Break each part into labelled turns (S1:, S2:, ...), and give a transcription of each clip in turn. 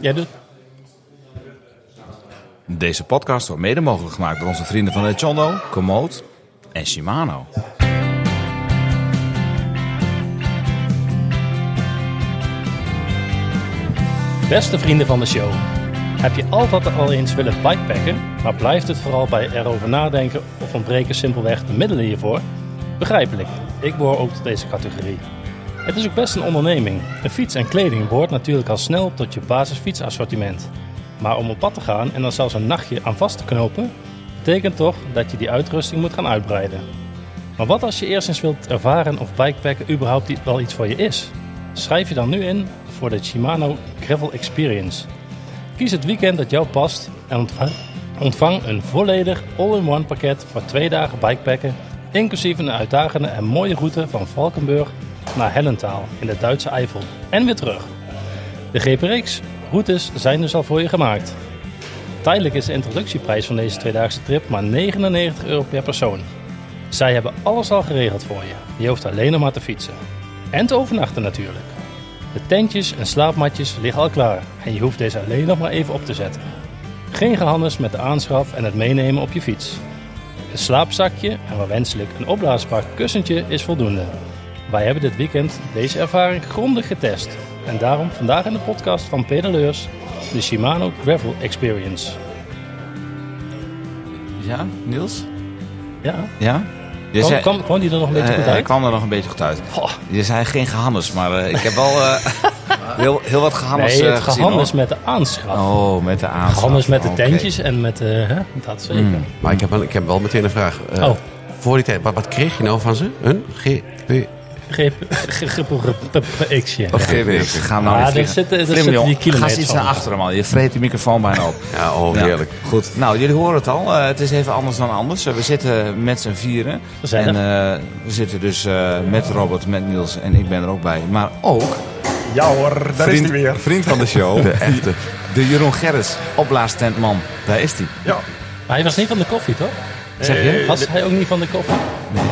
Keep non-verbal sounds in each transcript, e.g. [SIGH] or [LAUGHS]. S1: Ja, dus...
S2: Deze podcast wordt mede mogelijk gemaakt door onze vrienden van Echondo, Komoot en Shimano.
S1: Beste vrienden van de show, heb je altijd al eens willen bikepacken, maar blijft het vooral bij erover nadenken of ontbreken simpelweg de middelen hiervoor? Begrijpelijk, ik behoor ook tot deze categorie. Het is ook best een onderneming. Een fiets en kleding behoort natuurlijk al snel tot je basisfietsassortiment. Maar om op pad te gaan en dan zelfs een nachtje aan vast te knopen, betekent toch dat je die uitrusting moet gaan uitbreiden. Maar wat als je eerst eens wilt ervaren of bikepacken überhaupt i- wel iets voor je is? Schrijf je dan nu in voor de Shimano Gravel Experience. Kies het weekend dat jou past en ontvang, ontvang een volledig all-in-one pakket voor twee dagen bikepacken, inclusief een uitdagende en mooie route van Valkenburg naar Hellentaal in de Duitse Eifel en weer terug. De GPRX-routes zijn dus al voor je gemaakt. Tijdelijk is de introductieprijs van deze tweedaagse trip maar 99 euro per persoon. Zij hebben alles al geregeld voor je. Je hoeft alleen nog maar te fietsen. En te overnachten natuurlijk. De tentjes en slaapmatjes liggen al klaar en je hoeft deze alleen nog maar even op te zetten. Geen gehannes met de aanschaf en het meenemen op je fiets. Een slaapzakje en waar wenselijk een opblaasbaar kussentje is voldoende. Wij hebben dit weekend deze ervaring grondig getest en daarom vandaag in de podcast van Pedaleurs de Shimano Gravel Experience.
S2: Ja, Niels?
S1: Ja,
S2: Ja? Je
S1: kwam,
S2: zei-
S1: kwam, kwam die er nog een beetje
S2: eh,
S1: goed
S2: hij
S1: uit?
S2: kwam er nog een beetje goed uit.
S1: Goh.
S2: Je zei geen gehannes, maar eh, ik heb wel
S1: [LAUGHS]
S2: eh, heel, heel wat gehannes
S1: nee,
S2: eh,
S1: het
S2: gezien,
S1: gehandels met de aanschaf.
S2: hoor. Oh, met de aanslag.
S1: Gehandels met de
S2: Oké. Mm,
S1: tentjes en met de... Hè, dat zeker.
S3: Maar ik heb wel, ik heb wel meteen een vraag. Eh,
S1: Oh.
S3: Voor die tijd, wat, wat kreeg je nou van ze? Een G... P-
S1: X-je.
S2: Oké, weer. Ga nou
S1: Ah,
S2: niet
S1: daar
S2: vliegen.
S1: zitten- daar
S2: Flim,
S1: zitten die
S2: jong, Ga
S1: kilometers
S2: eens iets
S1: van.
S2: naar achteren, man. Je vreet die microfoon bijna op.
S3: Ja, oh,
S2: Ja.
S3: heerlijk.
S2: Goed. Nou, jullie horen het al. Eh, het is even anders dan anders. Eh, we zitten met z'n vieren.
S1: We zijn
S2: en eh, we zitten dus eh, met Robert, met Niels en ik ben er ook bij. Maar ook
S4: Ja hoor, daar is
S2: vriend,
S4: hij weer.
S2: vriend van de show.
S3: [LAUGHS] De echte.
S2: De Jeroen Gerrits, opblaastentman. Daar is hij.
S4: Ja.
S1: Maar hij was niet van de koffie, toch? Eh,
S2: Zeg je?
S1: Was hij ook niet van de koffie?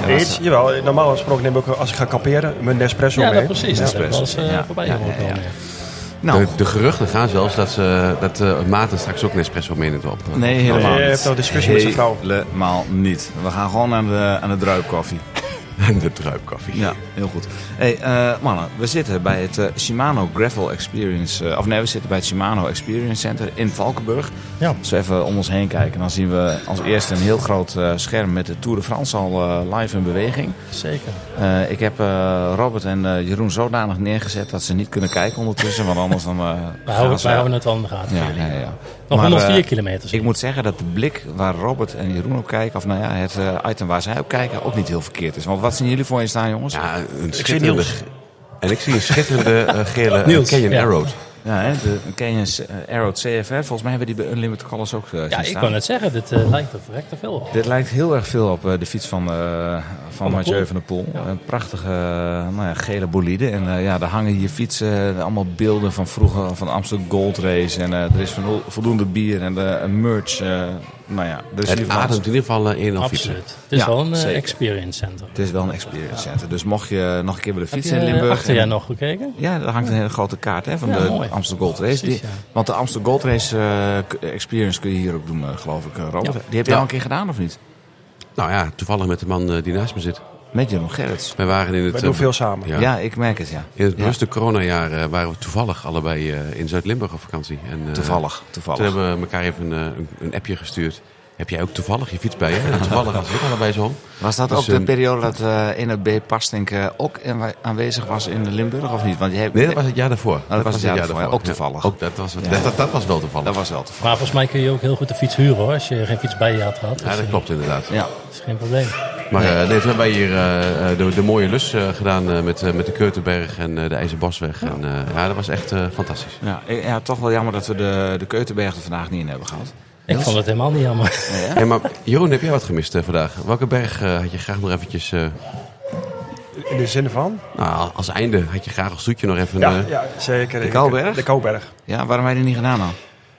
S2: Nee,
S4: Eet, jawel, normaal gesproken neem ik ook als ik ga kamperen mijn Nespresso
S1: Ja,
S4: mee.
S1: dat precies. Dat heb ik wel eens eh,
S2: Ja.
S1: voorbij
S2: Ja,
S1: gehoord
S2: ja, ja.
S1: komen, ja.
S2: nou,
S3: De, de geruchten gaan zelfs dat, ze, dat eh, Maarten straks ook Nespresso meeneemt op. eh,
S2: nee,
S3: [LAUGHS]
S2: helemaal
S4: Je
S2: niet.
S4: hebt al discussie met zijn vrouw.
S2: Helemaal niet. We gaan gewoon aan de, aan de druipkoffie.
S3: De druipkoffie.
S2: Ja, heel goed. Hey, eh, mannen, we zitten bij het eh, Shimano Gravel Experience. eh, of nee, we zitten bij het Shimano Experience Center in Valkenburg.
S1: Ja.
S2: Als we even om ons heen kijken, dan zien we als eerste een heel groot eh, scherm met de Tour de France al eh, live in beweging.
S1: Zeker.
S2: Eh, ik heb eh, Robert en eh, Jeroen zodanig neergezet dat ze niet kunnen kijken ondertussen, want anders dan.
S1: [LAUGHS]
S2: eh,
S1: Wij
S2: gaan
S1: houden,
S2: ze-
S1: wij houden het wel in de gaten.
S2: ja,
S1: voor
S2: ja,
S1: jullie.
S2: ja.
S1: Nog
S2: Maar,
S1: 104
S2: eh,
S1: kilometer.
S2: ik moet zeggen dat de blik waar Robert en Jeroen op kijken, of nou ja, het eh, item waar zij op kijken, ook niet heel verkeerd is. Want wat zien jullie voor je staan, jongens?
S3: Ja, een schitterende...
S4: Niels.
S3: En ik zie een schitterende eh,
S1: [LAUGHS]
S3: gele eh,
S1: Niels,
S3: Canyon
S1: ja.
S3: Arrow.
S2: Ja, hè, de Canyon eh, Arrow CFR. Volgens mij hebben die bij Unlimited Colors ook eh, zien
S1: ja, ik
S2: staan.
S1: kan het zeggen. Dit eh, lijkt er verrekt te veel op.
S2: Dit lijkt heel erg veel op eh, de fiets van, eh van
S1: der
S2: Mathieu
S1: Poel.
S2: van der Poel. Een prachtige eh, nou ja, gele bolide. En eh, ja, daar hangen hier fietsen. eh, Allemaal beelden van vroeger, van de Amsterdam Gold Race. En eh, er is vano- voldoende bier en eh, een merch. eh, nou ja, er is hier
S3: Het
S2: van alles.
S3: ademt in ieder geval eh, een of fietsen.
S1: Absoluut. Het is
S2: Ja,
S1: wel een eh,
S2: zeker.
S1: experience center.
S2: Het is wel een experience center. Dus mocht je nog een keer willen
S1: Heb
S2: fietsen in
S1: je, eh,
S2: Limburg...
S1: achter
S2: en-
S1: jij nog gekeken?
S2: Ja, daar hangt een hele grote kaart hè, van
S1: Ja,
S2: de
S1: mooi.
S2: Amsterdam Gold Race.
S1: Precies,
S2: Die-
S1: ja.
S2: Want de Amsterdam Gold Race eh, k- Experience kun je hier ook doen, eh, geloof ik, eh, Robert.
S1: Ja.
S2: Die heb je
S3: Ja.
S2: al een keer gedaan, of niet?
S3: Nou ja, toevallig met de man eh, die naast me zit.
S2: Met Jeroen Gerrits.
S3: Wij waren in het...
S4: Wij doen
S3: eh,
S4: veel samen.
S3: Ja.
S2: Ja, ik merk het, ja.
S3: In het
S2: Ja.
S3: bewuste coronajaar eh, waren we toevallig allebei eh, in Zuid-Limburg op vakantie. En, eh,
S2: Toevallig, toevallig.
S3: Toen hebben we elkaar even een, eh, een, een appje gestuurd. Heb jij ook toevallig je fiets bij je? En toevallig was het ook allebei zo.
S2: Was dat
S3: Dus,
S2: ook de
S3: ehm,
S2: periode dat eh in het B. Pastink eh, ook in- aanwezig was in Limburg, of niet? Want je hebt...
S3: Nee, dat was het jaar daarvoor.
S2: Ah, dat was het jaar daarvoor, ja. Ook toevallig.
S3: ook dat, was, dat, dat, dat was wel toevallig.
S2: Dat was wel toevallig.
S1: Maar volgens mij kun je ook heel goed de fiets huren hoor. Als je geen fiets bij je had gehad. Dus,
S3: Ja, dat
S1: eh,
S3: klopt inderdaad.
S2: Ja.
S1: dat is geen probleem.
S3: Maar eh, nee, toen hebben wij hier eh, eh, de, de mooie lus eh, gedaan eh, met, eh, met de Keutenberg en eh, de IJzerbosweg. En, eh, ja, dat was echt eh, fantastisch.
S2: Ja, ik- ja, toch wel jammer dat we de, de Keutenberg er vandaag niet in hebben gehad.
S1: Ik vond het helemaal niet jammer. [LAUGHS]
S3: Hey, maar Jeroen, heb jij wat gemist eh, vandaag? Welke berg eh, had je graag nog eventjes... eh,
S4: In de zin van?
S3: nou, als einde had je graag als zoetje nog even...
S4: Ja,
S3: eh,
S4: ja zeker.
S2: de Kouberg?
S4: De Kouberg.
S2: Ja, waarom heb je dat niet gedaan dan?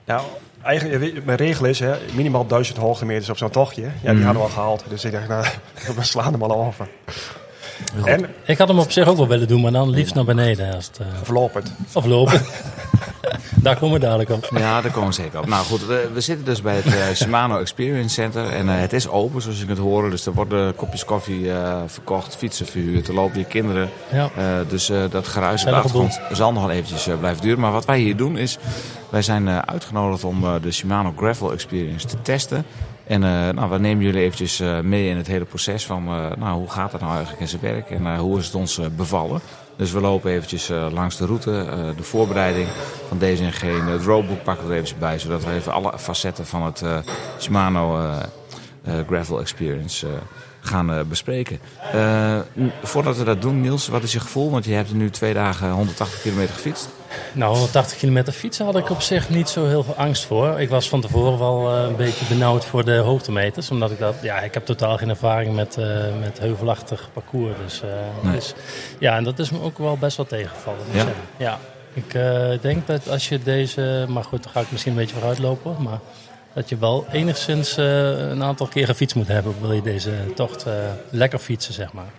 S4: Nou, eigenlijk, je weet, mijn regel is hè, minimaal 1000 hoogtemeters op zo'n tochtje. Ja, die hadden we al gehaald. Dus ik dacht, nou, [LAUGHS] we slaan hem al over. En
S1: [LAUGHS] Ik had hem op zich ook wel willen doen, maar dan liefst naar beneden. Als het, eh,
S4: verlopend.
S1: of lopen. Daar komen we dadelijk op.
S2: [LAUGHS] Ja, daar komen we zeker op. Nou goed, we, we zitten dus bij het eh, Shimano Experience Center. En eh, het is open, zoals je kunt horen. Dus er worden kopjes koffie eh, verkocht, fietsen verhuurd. Er lopen hier kinderen.
S1: Ja.
S2: Eh, dus eh, dat geruis op de
S1: Gezellig
S2: achtergrond zal nog wel eventjes eh, blijven duren. Maar wat wij hier doen is, wij zijn eh, uitgenodigd om eh, de Shimano Gravel Experience te testen. En eh, nou, we nemen jullie eventjes eh, mee in het hele proces van eh, nou, hoe gaat dat nou eigenlijk in zijn werk en eh, hoe is het ons eh, bevallen. Dus we lopen eventjes eh, langs de route, eh, de voorbereiding van deze en geen. Het roadbook pakken we er eventjes bij, zodat we even alle facetten van het eh, Shimano eh, eh, gravel experience eh, gaan eh, bespreken. Eh, n- voordat we dat doen, Niels, wat is je gevoel? Want je hebt nu twee dagen 180 kilometer gefietst.
S1: Nou, 180 kilometer fietsen had ik op zich niet zo heel veel angst voor. Ik was van tevoren wel eh, een beetje benauwd voor de hoogtemeters. Omdat ik dat, ja, ik heb totaal geen ervaring met, eh, met heuvelachtig parcours. Dus, eh,
S2: Nee.
S1: dus ja, en dat is me ook wel best wel tegengevallen. moet ik
S2: Ja?
S1: zeggen. ja. Ik eh, denk dat als je deze, maar goed, dan ga ik misschien een beetje vooruitlopen. Maar dat je wel enigszins eh, een aantal keren fiets moet hebben. Wil je deze tocht eh, lekker fietsen, zeg maar.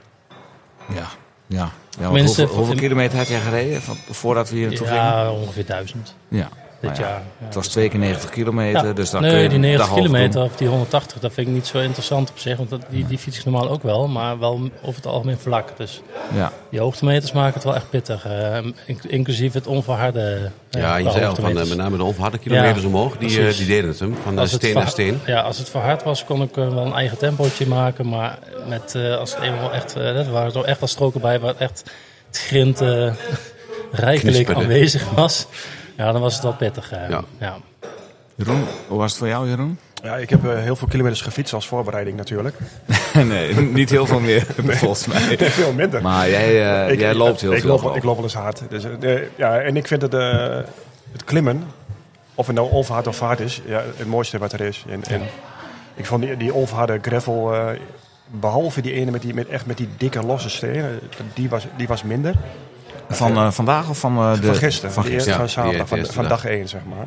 S2: Ja. Ja. ja want
S1: Tenminste,
S2: hoeveel,
S1: voor-
S2: hoeveel kilometer heb jij gereden van, voordat we hier naartoe gingen?
S1: Ja, ongeveer duizend
S2: Ja.
S1: dit
S2: Nou ja,
S1: jaar. Ja.
S2: Het was twee keer 90 kilometer,
S1: Ja.
S2: dus dan kun
S1: nee,
S2: je
S1: die
S2: een
S1: 90
S2: dag half
S1: kilometer of die 180, dat vind ik niet zo interessant op zich. Want dat, die, die fiets ik normaal ook wel, maar wel over het algemeen vlak. Dus
S2: doen. Ja.
S1: die hoogtemeters maken het wel echt pittig. eh, in- inclusief het onverharde. eh,
S3: Ja, je
S1: qua
S3: zei al, van, eh,
S1: hoogtemeters.
S3: met name de onverharde kilometers
S1: Ja,
S3: omhoog, die, eh,
S1: precies.
S3: die deden het hem. Van eh,
S1: Als het
S3: steen naar
S1: verha-
S3: steen.
S1: Ja, als het verhard was, kon ik eh, wel een eigen tempootje maken. Maar met, eh, als het eenmaal echt, eh, er waren er echt wel stroken bij waar het echt het grind eh, [LAUGHS] rijkelijk
S3: Knisperde.
S1: aanwezig was. Ja, dan was het wel pittig. eh,
S3: Ja.
S1: ja.
S2: Jeroen, hoe was het voor jou, Jeroen?
S4: Ja, ik heb eh, heel veel kilometers gefietst als voorbereiding natuurlijk.
S2: [LAUGHS]
S4: [LAUGHS]
S2: nee, niet heel veel [LAUGHS] meer, volgens mij.
S4: Veel minder.
S2: Maar jij, eh, jij loopt heel
S4: ik
S2: veel.
S4: Loop,
S2: geloof
S4: ik loop wel eens hard. Dus, eh, eh, ja, en ik vind het, eh, het klimmen, of het nou onverhard of hard is, ja, het mooiste wat er is. En, en ik vond die, die onverharde gravel, eh, behalve die ene met die, met, echt met die dikke losse stenen, die was, die was minder.
S2: Van eh, vandaag of van, eh, de,
S4: van gisteren,
S2: Van
S4: van,
S2: gisteren.
S4: eerste,
S3: ja,
S4: van
S3: die
S4: zaterdag, van,
S3: eerste
S4: van
S3: dag.
S4: dag 1 zeg maar.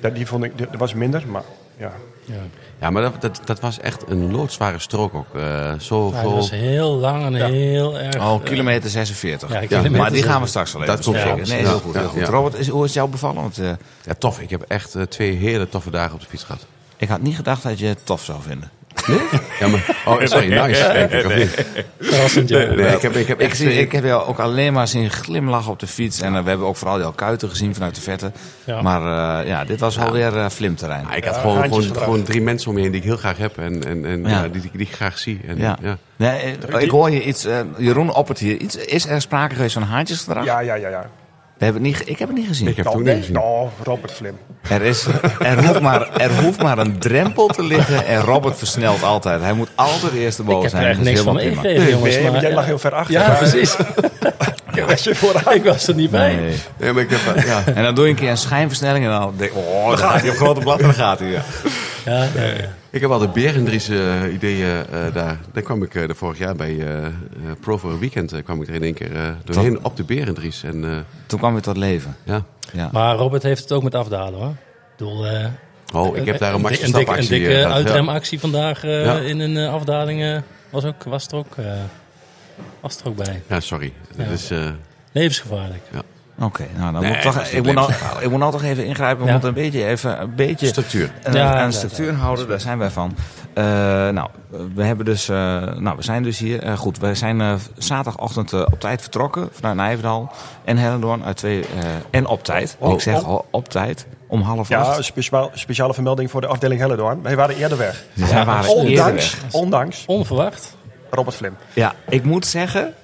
S4: Dat, die vond ik, die- dat was minder, maar ja.
S1: Ja.
S3: Ja, maar dat, dat, dat was echt een loodzware strook ook. eh zo
S1: Ja,
S3: vol-
S1: dat was heel lang en heel erg.
S2: Oh, kilometer 46.
S1: Ja,
S2: Ja,
S1: kilometer
S2: maar die gaan we
S1: 46.
S2: straks wel even
S3: Dat komt
S2: bespreken.
S3: wel.
S2: Nee,
S3: Ja,
S2: heel goed.
S3: ja,
S2: heel goed.
S3: ja.
S2: Robert, is, hoe is het jou bevallen? Want eh,
S3: Ja, tof. Ik heb echt eh, twee hele toffe dagen op de fiets gehad.
S2: ik had niet gedacht dat je het tof zou vinden.
S3: Ja, maar, oh, sorry, nice. Denk ik, of niet?
S1: Verrassend, ja.
S3: Nee, ik heb, ik heb
S2: Ik,
S3: echt...
S2: zie,
S3: eh,
S2: ik heb jou ook alleen maar zien glimlachen op de fiets. En eh, we hebben ook vooral jouw kuiten gezien vanuit de verte.
S1: Ja.
S2: Maar eh, ja, dit was wel weer eh, flimterrein.
S3: Ah, ik had
S4: Ja,
S3: gewoon,
S4: haantjes
S3: gewoon,
S4: gedragen.
S3: gewoon drie mensen om me heen die ik heel graag heb en, en, en
S2: Ja.
S3: ja, die, die, die ik graag zie. En,
S2: Ja.
S3: ja.
S2: Nee, eh, ik hoor je iets. eh, Jeroen oppert hier iets. Is er sprake geweest van haantjesgedrag?
S4: Ja, ja, ja, ja.
S2: We hebben het niet, ge- ik heb het niet gezien.
S3: Ik heb Ah. het
S4: Nou,
S3: ook
S4: nee,
S3: niet gezien.
S4: nou, Robert Flim.
S2: Er, is, er, hoeft maar, er hoeft maar een drempel te liggen. En Robert versnelt altijd. Hij moet altijd eerst de
S1: Ik
S2: boven
S1: heb
S2: zijn.
S1: er echt
S2: Dat is
S1: niks van
S2: helemaal prima.
S1: meegekregen, jongens.
S4: Nee,
S1: maar,
S4: maar jij
S1: ja.
S4: lag heel ver achter.
S1: Ja,
S4: maar-
S1: precies.
S4: Als je vooruit
S1: ik was er niet bij.
S2: Nee.
S3: Nee, maar ik heb, eh, ja.
S2: En dan doe je een keer een schijnversnelling en dan denk ik, oh, dan gaat hij op grote blad en dan gaat hij. Ja.
S1: Ja, ja, ja.
S3: Ik heb al de Berendriese eh, ideeën eh, daar. Daar kwam ik eh, de vorig jaar bij eh, eh, Pro voor een weekend. eh, kwam ik er in één keer eh, doorheen op de Berendries. En eh,
S2: Toen kwam weer tot leven.
S3: ja,
S2: Ja.
S1: Maar Robert heeft het ook met afdalen, hoor. Ik bedoel, eh,
S3: oh, ik heb daar een
S1: dik- een
S3: Max
S1: dikke, een
S3: Verstappenactie,
S1: dikke
S3: eh, gehad. Ja.
S1: uitremactie vandaag eh,
S3: Ja.
S1: in een eh, afdaling eh, was, ook, was, er ook, eh, was er ook bij.
S3: Ja, sorry. Dat
S1: Ja.
S3: is, eh,
S1: Levensgevaarlijk.
S2: Oké, nou dan
S3: Nee,
S2: moet ik toch,
S3: dat is
S2: ik, moet nou, ik moet nou toch even ingrijpen. We
S1: Ja.
S2: moeten een beetje, even, een beetje
S3: structuur.
S2: eh,
S1: Ja,
S2: aan
S1: inderdaad,
S2: de structuur houden. Daar zijn wij van. Eh, nou, we hebben dus, eh, nou, we zijn dus hier. Eh, goed, we zijn eh, zaterdagochtend eh, op tijd vertrokken vanuit Nijverdal en Hellendoorn uit twee eh, en op tijd.
S4: Oh,
S2: ik zeg
S4: oh.
S2: al op tijd om half
S4: Ja,
S2: acht.
S4: een speciaal, speciale vermelding voor de afdeling Hellendoorn. Wij waren eerder weg.
S2: Zij waren eerder
S4: Ondanks,
S2: weg.
S4: ondanks
S1: Onverwacht.
S4: Robert Flim.
S2: Ja, ik moet zeggen,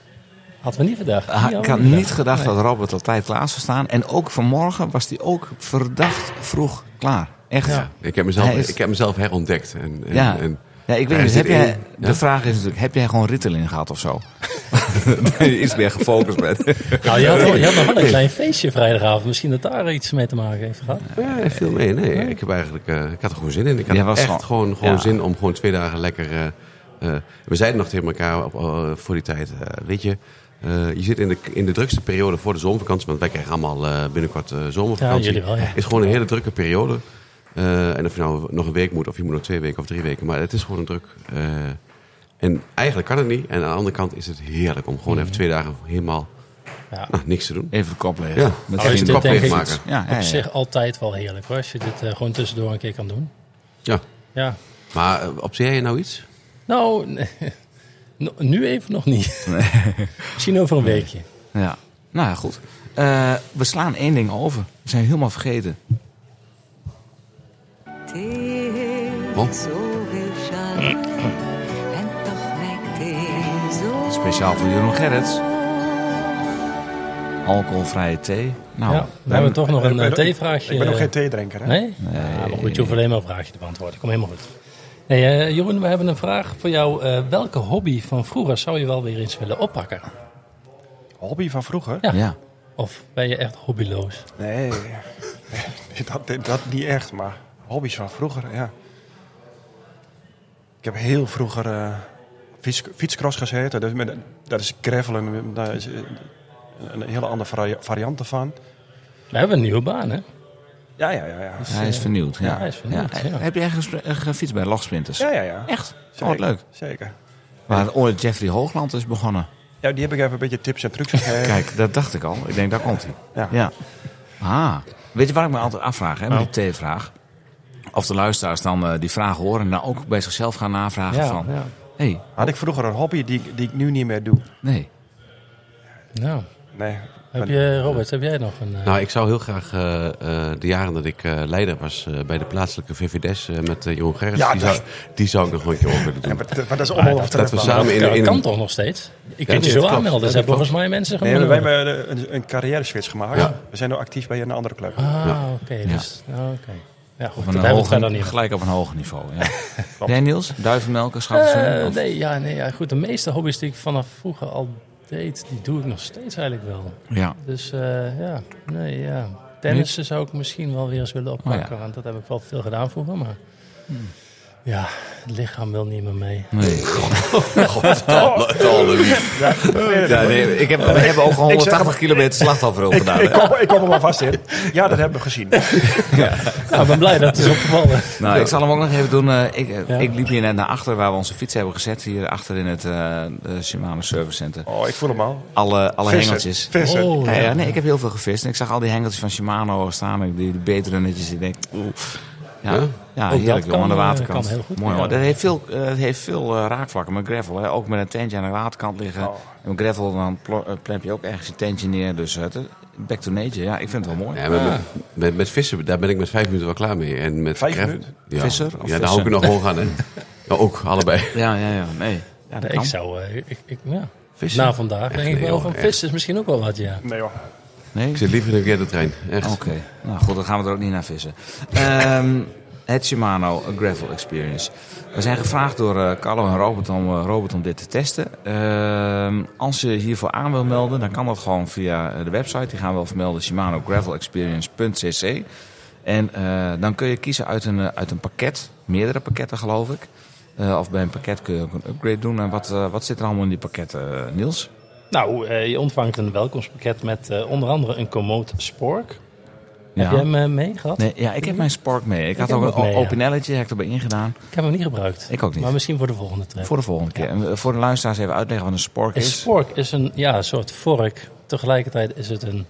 S1: Hadden we niet verdacht.
S2: Ah,
S1: Die
S2: ik
S1: hadden
S2: had
S1: we
S2: niet gedacht dat Robert op tijd klaar zou staan. En ook vanmorgen was hij ook verdacht vroeg klaar. Echt. Ja,
S3: Ik heb mezelf,
S2: Hij is-
S3: ik heb mezelf herontdekt. En, en,
S2: ja.
S3: en- [LAUGHS]
S2: ik weet
S3: Hij
S2: niet.
S3: zit
S2: Heb jij,
S3: in-
S2: de
S3: ja.
S2: vraag is natuurlijk, heb jij gewoon Ritalin gehad of zo? dat je iets meer gefocust bent.
S1: Nou, je had, je had nog wel een klein feestje vrijdagavond. Misschien dat daar iets mee te maken heeft gehad.
S3: [LAUGHS] Ja, veel mee. Nee, ik, heb eigenlijk, eh, ik had er gewoon zin in. Ik had
S2: Jij was
S3: echt
S2: gewoon-
S3: gewoon, gewoon,
S2: ja.
S3: zin om gewoon twee dagen lekker... eh, eh, we zeiden nog tegen elkaar op, eh, voor die tijd... eh, weet je, eh, je zit in de, in de drukste periode voor de zomervakantie. Want wij krijgen allemaal eh, binnenkort eh, zomervakantie.
S1: Ja, jullie wel, ja.
S3: Het is gewoon een hele drukke periode. Eh, en of je nou nog een week moet, of je moet nog twee weken of drie weken. Maar het is gewoon een druk... eh, en eigenlijk kan het niet. En aan de andere kant is het heerlijk om gewoon even twee dagen helemaal
S1: Ja.
S3: Nou, niks te doen.
S2: Even de kop leeg.
S3: Ja.
S2: Met
S1: Als je
S2: vrienden.
S1: dit
S3: kop
S1: denkt-
S3: leeg maken.
S2: Ja, ja,
S1: Op
S2: ja.
S1: zich altijd wel heerlijk hoor, als je dit eh, gewoon tussendoor een keer kan doen.
S3: Ja.
S1: Ja.
S3: Maar eh, observeer je nou iets?
S1: Nou, [LAUGHS] no- nu even nog niet. Misschien over een weekje.
S2: Ja. Nou ja, goed. Eh, we slaan één ding over. We zijn helemaal vergeten.
S3: Wat?
S2: Speciaal voor Jeroen Gerrits. Alcoholvrije thee. Nou,
S1: ja, we hebben toch nog
S4: Ik
S1: een
S4: ben
S1: eh,
S4: ook-
S1: theevraagje.
S4: Ik ben nog
S1: eh,
S4: geen theedrinker. Hè?
S1: Nee? Ja, maar goed, je hoeft alleen maar een vraagje te beantwoorden. Kom helemaal goed. Nee, eh, Jeroen, we hebben een vraag voor jou. Eh, welke hobby van vroeger zou je wel weer eens willen oppakken?
S4: Hobby van vroeger?
S1: Ja.
S2: ja.
S1: Of ben je echt hobbyloos?
S4: Nee, dat, dat niet echt, maar hobby's van vroeger, ja. Ik heb heel vroeger eh, fiets, fietscross gezeten. Dus met, dat is gravelen, daar is een, een hele andere vari- variant ervan.
S1: We hebben een nieuwe baan, hè?
S4: Ja, ja, ja. Ja,
S2: Hij is vernieuwd. Ja.
S1: Ja, hij is vernieuwd, ja.
S2: Heb jij gespe- eh, gefietst bij Lachsprinters?
S4: ja, ja. ja.
S2: Echt?
S4: Zeker,
S2: Oh, wat leuk.
S4: Zeker.
S2: Waar ooit Jeffrey Hoogland is begonnen.
S4: Ja, die heb ik even een beetje tips en trucs gegeven.
S2: Kijk, dat dacht ik al. Ik denk, daar komt hij.
S4: Ja.
S2: Ja. Ah. Weet je waar ik me altijd afvraag, hè, met
S1: Nou.
S2: die T-vraag? Of de luisteraars dan eh, die vraag horen en dan ook bij zichzelf gaan navragen van...
S1: ja.
S2: hey,
S4: Had ik vroeger een hobby die, ik- die ik nu niet meer doe.
S2: nee.
S1: Nou,
S4: Nee.
S1: heb je, Robert, heb jij nog een... eh,
S3: Nou, ik zou heel graag eh, eh, de jaren dat ik eh, leider was eh, bij de plaatselijke VVD's eh, met eh Jeroen Gerrits,
S4: Ja,
S3: die,
S4: dat-
S3: zou, die zou ik nog een keer op willen doen.
S4: Ja, maar, dat- maar dat is onbehoorlijk.
S3: dat we samen in,
S1: dat
S3: in
S1: kan
S3: een...
S1: toch nog steeds? Ik
S3: dat
S1: kunt je zo
S3: klopt.
S1: aanmelden.
S3: Dat
S1: Ze hebben
S3: klopt.
S1: volgens mij mensen
S4: Nee,
S1: gemaakt.
S4: wij hebben eh, een, een carrière switch gemaakt.
S3: Ja.
S4: We zijn nu actief bij een andere club.
S1: Ah, oké. dus, ah, oké. Ja, goed.
S2: Op een
S1: Daar hebben we het
S2: hoger,
S1: dan niet over.
S2: gelijk op een hoger niveau.
S1: [LAUGHS]
S2: Ja. Jij Niels? Duivenmelken,
S1: Eh,
S2: schapenzoen? of-
S1: nee, ja, nee, ja, goed. De meeste hobby's die ik vanaf vroeger al deed, die doe ik nog steeds eigenlijk wel.
S2: Ja.
S1: Dus eh, ja, nee, ja. Tennissen zou ik misschien wel weer eens willen oppakken,
S2: Oh ja.
S1: want dat heb ik wel veel gedaan vroeger, maar... Ja, het lichaam wil niet meer mee.
S2: Nee.
S3: Ja, nee, ik heb,
S2: We hebben ook al
S4: Ik zeg
S2: 180 kilometer slachtoffer op gedaan.
S4: Ik kom, ik kom er wel vast in. Ja, dat hebben we gezien.
S1: Nou, ik ben blij dat het is opgevallen.
S2: Nou, ik zal hem ook nog even doen. Eh, ik, eh,
S1: Ja.
S2: ik liep hier net naar achter waar we onze fiets hebben gezet. Hier achter in het eh, eh, Shimano Service Center.
S4: Oh, ik voel hem al.
S2: Alle, alle
S4: Vissen.
S2: hengeltjes.
S4: Vissen.
S1: Oh,
S2: Ja,
S1: ja.
S2: ja, nee, ik heb heel veel gevist. En ik zag al die hengeltjes van Shimano staan. Ik- Die, die beetrunnetjes. Ik denk, oeh. Ja, ja
S1: dat
S2: heerlijk, jongen, aan de
S1: kan, eh,
S2: waterkant.
S1: kan heel goed,
S2: Mooi,
S1: ja.
S2: hoor. Dat heeft veel, eh, dat heeft veel eh, raakvlakken met gravel. Hè. Ook met een tentje aan de waterkant liggen.
S4: Oh.
S2: En met gravel dan plo- eh, plep je ook ergens een tentje neer. Dus het, back to nature. Ja, ik vind het wel mooi.
S3: Ja, maar met, met, met vissen, daar ben ik met vijf minuten wel klaar mee. En met
S4: Vijf
S3: kref-
S4: minuten?
S3: Ja,
S2: Visser of
S3: ja
S2: vissen?
S3: daar hou ik er nog hoog aan. Hè. Ja, ook, allebei.
S2: Ja, ja, ja. Nee. Ja, dat
S1: Nee,
S2: kan.
S1: ik zou... eh, ik, ik- ja.
S3: Vissen?
S1: Na vandaag
S3: Echt,
S1: denk ik
S3: nee,
S1: wel
S3: joh,
S1: van
S3: echt.
S1: vis is misschien ook wel wat, ja.
S4: Nee joh.
S2: Nee?
S3: Ik zit liever in de trein. Echt.
S2: Oké, nou goed, dan gaan we er ook niet naar vissen. Ehm, het Shimano Gravel Experience. We zijn gevraagd door eh, Carlo en Robert om, eh, Robert om dit te testen. Ehm, als je hiervoor aan wil melden, dan kan dat gewoon via eh, de website. Die gaan we wel vermelden, shimanogravelexperience.cc. En eh, dan kun je kiezen uit een, eh, uit een pakket, meerdere pakketten geloof ik. Eh, of bij een pakket kun je ook een upgrade doen. En wat, eh, wat zit er allemaal in die pakketten, eh, Niels?
S1: Nou, eh, je ontvangt een welkomstpakket met eh, onder andere een Komoot Spork.
S2: Ja.
S1: Heb jij hem eh, mee gehad?
S2: Nee, ja, ik heb mijn Spark mee. Ik, had
S1: heb
S2: ook
S1: ook
S2: een
S1: mee, ja.
S2: Opinelletje, heb ik erbij ingedaan.
S1: Ik heb hem niet gebruikt.
S2: Ik ook niet.
S1: Maar misschien voor de volgende trip.
S2: Voor de volgende keer. En eh, voor de luisteraars even uitleggen wat een spork
S1: Een
S2: is.
S1: spork is een ja, een soort vork. Tegelijkertijd is het [LAUGHS] een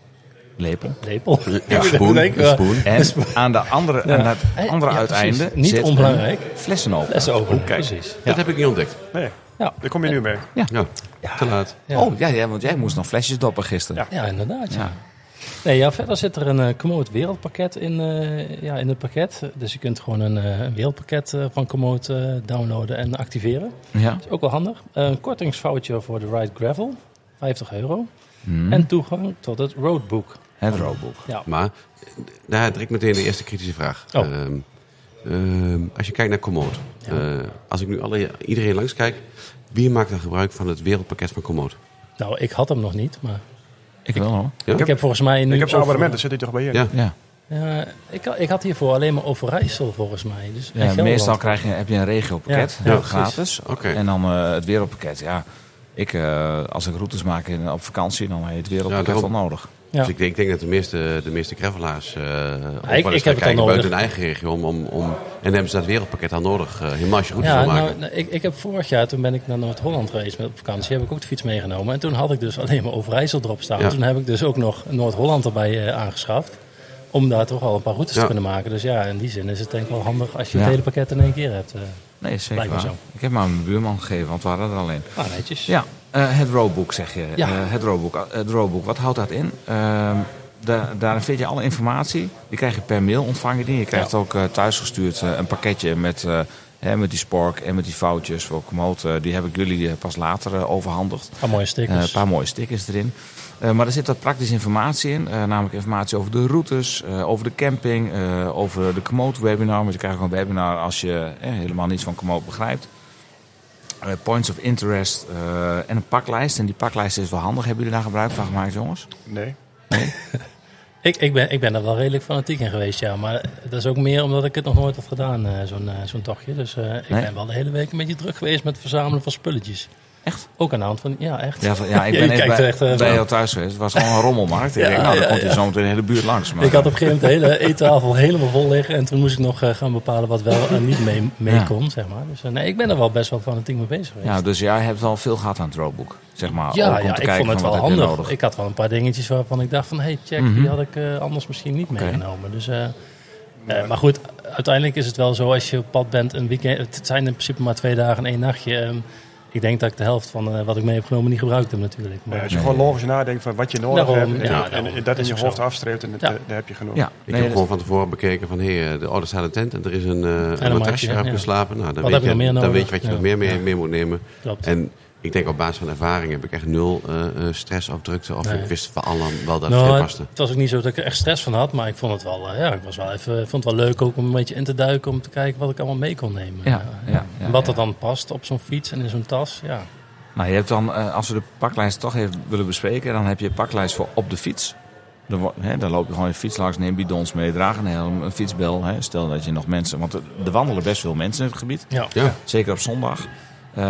S2: Lepel.
S1: lepel.
S3: Ja, spoen,
S1: Denk ik wel.
S3: een spoen.
S2: En aan, de andere, aan het andere
S1: Ja, precies.
S2: uiteinde
S1: Niet
S2: zit
S1: onbelangrijk.
S2: een flessenopener.
S1: Dat is open. Precies.
S3: Dat heb ik niet ontdekt.
S4: Nee,
S1: Ja,
S4: daar kom je nu mee.
S3: Ja, te laat.
S1: ja.
S2: Oh, ja, ja, want jij moest nog flesjes doppen gisteren.
S1: ja inderdaad. Ja.
S2: Ja.
S1: Nee, ja, verder zit er een eh Komoot wereldpakket in, eh, ja, in het pakket. Dus je kunt gewoon een eh, een wereldpakket eh, van Komoot eh, downloaden en activeren.
S2: Ja.
S1: Dat is ook wel handig. Een kortingsfoutje voor de Ride Gravel, 50 euro. En toegang tot het roadbook.
S2: Het roodboek.
S1: Ja.
S3: Maar daar direct meteen de eerste kritische vraag.
S1: Oh.
S3: Ehm, ehm, als je kijkt naar Komoot. eh, als ik nu alle, iedereen langs kijk, wie maakt dan gebruik van het wereldpakket van Komoot?
S1: Nou, ik had hem nog niet, maar
S2: Ik wel hoor.
S1: ik heb volgens mij nu...
S4: Ik heb zo'n
S1: over-
S4: abonnement, daar zit hij toch bij je?
S3: Ja.
S2: Ja.
S1: Ja, ik, ha- ik had hiervoor alleen maar Overijssel volgens mij. Dus en
S2: Ja,
S1: Gelderland.
S2: meestal krijg je, heb je een regiopakket,
S1: Ja,
S2: heel
S1: ja,
S2: gratis.
S3: Oké.
S2: En dan eh, het wereldpakket. Ja, ik, eh, als ik routes maak in, op vakantie, dan heb je het
S3: Ja,
S2: wereldpakket
S3: daarom.
S2: wel nodig.
S1: Ja.
S3: Dus ik denk, ik denk dat de meeste, de meeste gravelaars eh ook wel
S1: ik
S3: eens
S1: heb
S3: gaan
S1: het al
S3: kijken
S1: nodig.
S3: buiten hun eigen regio. Om, om, om, en dan hebben ze dat wereldpakket al nodig. eh helemaal als je goed
S1: Ja,
S3: wil maken.
S1: nou, nou, ik, ik heb vorig jaar, toen ben ik naar Noord-Holland geweest met op vakantie, heb ik ook de fiets meegenomen. En toen had ik dus alleen maar Overijssel erop staan.
S3: Ja.
S1: Toen heb ik dus ook nog Noord-Holland erbij eh, aangeschaft. Om daar toch al een paar routes
S3: Ja.
S1: te kunnen maken. Dus ja, in die zin is het denk ik wel handig als je
S2: Ja.
S1: het hele pakket in één keer hebt. eh.
S2: Nee, zeker
S1: Lijkt me
S2: waar.
S1: zo.
S2: Ik heb maar aan mijn buurman gegeven, want we hadden er alleen.
S1: nou, netjes.
S2: Ja, eh, het roadbook zeg je.
S1: Ja.
S2: Eh, het, roadbook, Eh, het roadbook, wat houdt dat in? Ehm, da- daarin vind je alle informatie. Die krijg je per mail ontvangen. Die. Je krijgt ook eh, thuisgestuurd eh, een pakketje met, eh, hè, met die spork en met die foutjes voor Komoot. Eh, die heb ik jullie eh, pas later eh, overhandigd.
S1: Een paar Ah, mooie
S2: Eh,
S1: stickers.
S2: een paar mooie stickers erin. Eh, maar er zit wat praktische informatie in. Eh, namelijk informatie over de routes, eh, over de camping, eh, over de Komoot webinar. Want je krijgt ook een webinar als je eh, helemaal niets van Komoot begrijpt. Eh, points of interest eh, en een paklijst. En die paklijst is wel handig. Hebben jullie daar gebruik van gemaakt, jongens?
S4: Nee.
S1: Ik, ik, ben, ik ben er wel redelijk fanatiek in geweest, ja. Maar dat is ook meer omdat ik het nog nooit had gedaan, eh, zo'n eh, zo'n tochtje. Dus eh, ik
S2: Nee.
S1: ben wel de hele week een beetje druk geweest met het verzamelen van spulletjes.
S2: Echt?
S1: Ook aan de hand van, ja, echt.
S2: Ja, van- ja
S1: [LAUGHS]
S2: [LAUGHS] ik
S1: Je
S2: ben
S1: kijkt
S2: even
S1: er
S2: bij,
S1: echt, eh,
S2: bij
S1: van-
S2: jou thuis geweest. Het was gewoon een [LAUGHS] rommelmarkt. Ik
S1: Ja,
S2: denk, nou, dan
S1: ja,
S2: komt hij zometeen de hele buurt langs. Maar,
S1: Ik had op een gegeven moment de hele eettafel helemaal vol liggen. En toen moest ik nog eh, gaan bepalen wat wel en niet mee, mee
S2: Ja.
S1: kon, zeg maar. Dus eh, nee, ik ben er wel best wel fanatiek mee bezig geweest.
S2: ja, dus jij hebt wel veel gehad aan het roadbook. Zeg maar,
S1: Ja,
S2: ook Oh, om
S1: ja,
S2: te
S1: ik
S2: kijken
S1: vond het
S2: van,
S1: wel
S2: wat heb je
S1: handig.
S2: nodig.
S1: Ik had wel een paar dingetjes waarvan ik dacht van... hey, check,
S2: Mhm.
S1: die had ik eh, anders misschien niet meegenomen. Dus, eh, eh, maar goed, uiteindelijk is het wel zo als je op pad bent een weekend... Het zijn in principe maar twee dagen en één nachtje. Ehm, ik denk dat ik de helft van eh, wat ik mee heb genomen niet gebruikt heb natuurlijk.
S4: Nee,
S1: Maar,
S4: als je gewoon logisch nadenkt van wat je nodig
S1: Daarom,
S4: hebt. En,
S1: ja,
S4: en-
S1: daarom.
S4: en dat in
S1: Is
S4: je
S1: ook
S4: hoofd
S1: zo.
S4: afstreept. En dat,
S1: Ja.
S4: eh, daar heb je genoeg.
S2: ja,
S3: Ik
S2: nee,
S3: heb
S2: dat-
S3: gewoon van tevoren bekeken van, hé, hey, eh, er staat een tent en er is een, eh, een
S1: een
S3: matrasje
S1: matje,
S3: waar
S1: ja.
S3: je slapen. Nou, dan,
S1: Wat
S3: weet
S1: heb je nog meer
S3: je, dan
S1: nodig?
S3: weet je wat je
S1: Ja.
S3: nog meer mee,
S1: Ja.
S3: mee moet nemen.
S1: klopt.
S3: En ik denk op basis van ervaring heb ik echt nul eh, eh, stress of drukte. Of
S1: Nee.
S3: ik wist van allen wel dat het
S1: Nou,
S3: erin
S1: het
S3: paste.
S1: het was ook niet zo dat ik er echt stress van had, maar ik vond het wel, eh, ja, ik was wel even, vond het wel leuk ook om een beetje in te duiken om te kijken wat ik allemaal mee kon nemen.
S2: Ja,
S1: Eh,
S2: ja, ja,
S1: en wat
S2: ja.
S1: er dan past op zo'n fiets en in zo'n tas. Ja,
S2: Nou, je hebt dan, eh, als we de paklijst toch even willen bespreken, dan heb je paklijst voor op de fiets. Dan, wo- hè, dan loop je gewoon je fiets langs, neem bidons mee, draag een helm, een fietsbel. Hè, stel dat je nog mensen, want er er wandelen best veel mensen in het gebied,
S1: ja.
S3: Ja,
S2: zeker op zondag. Eh,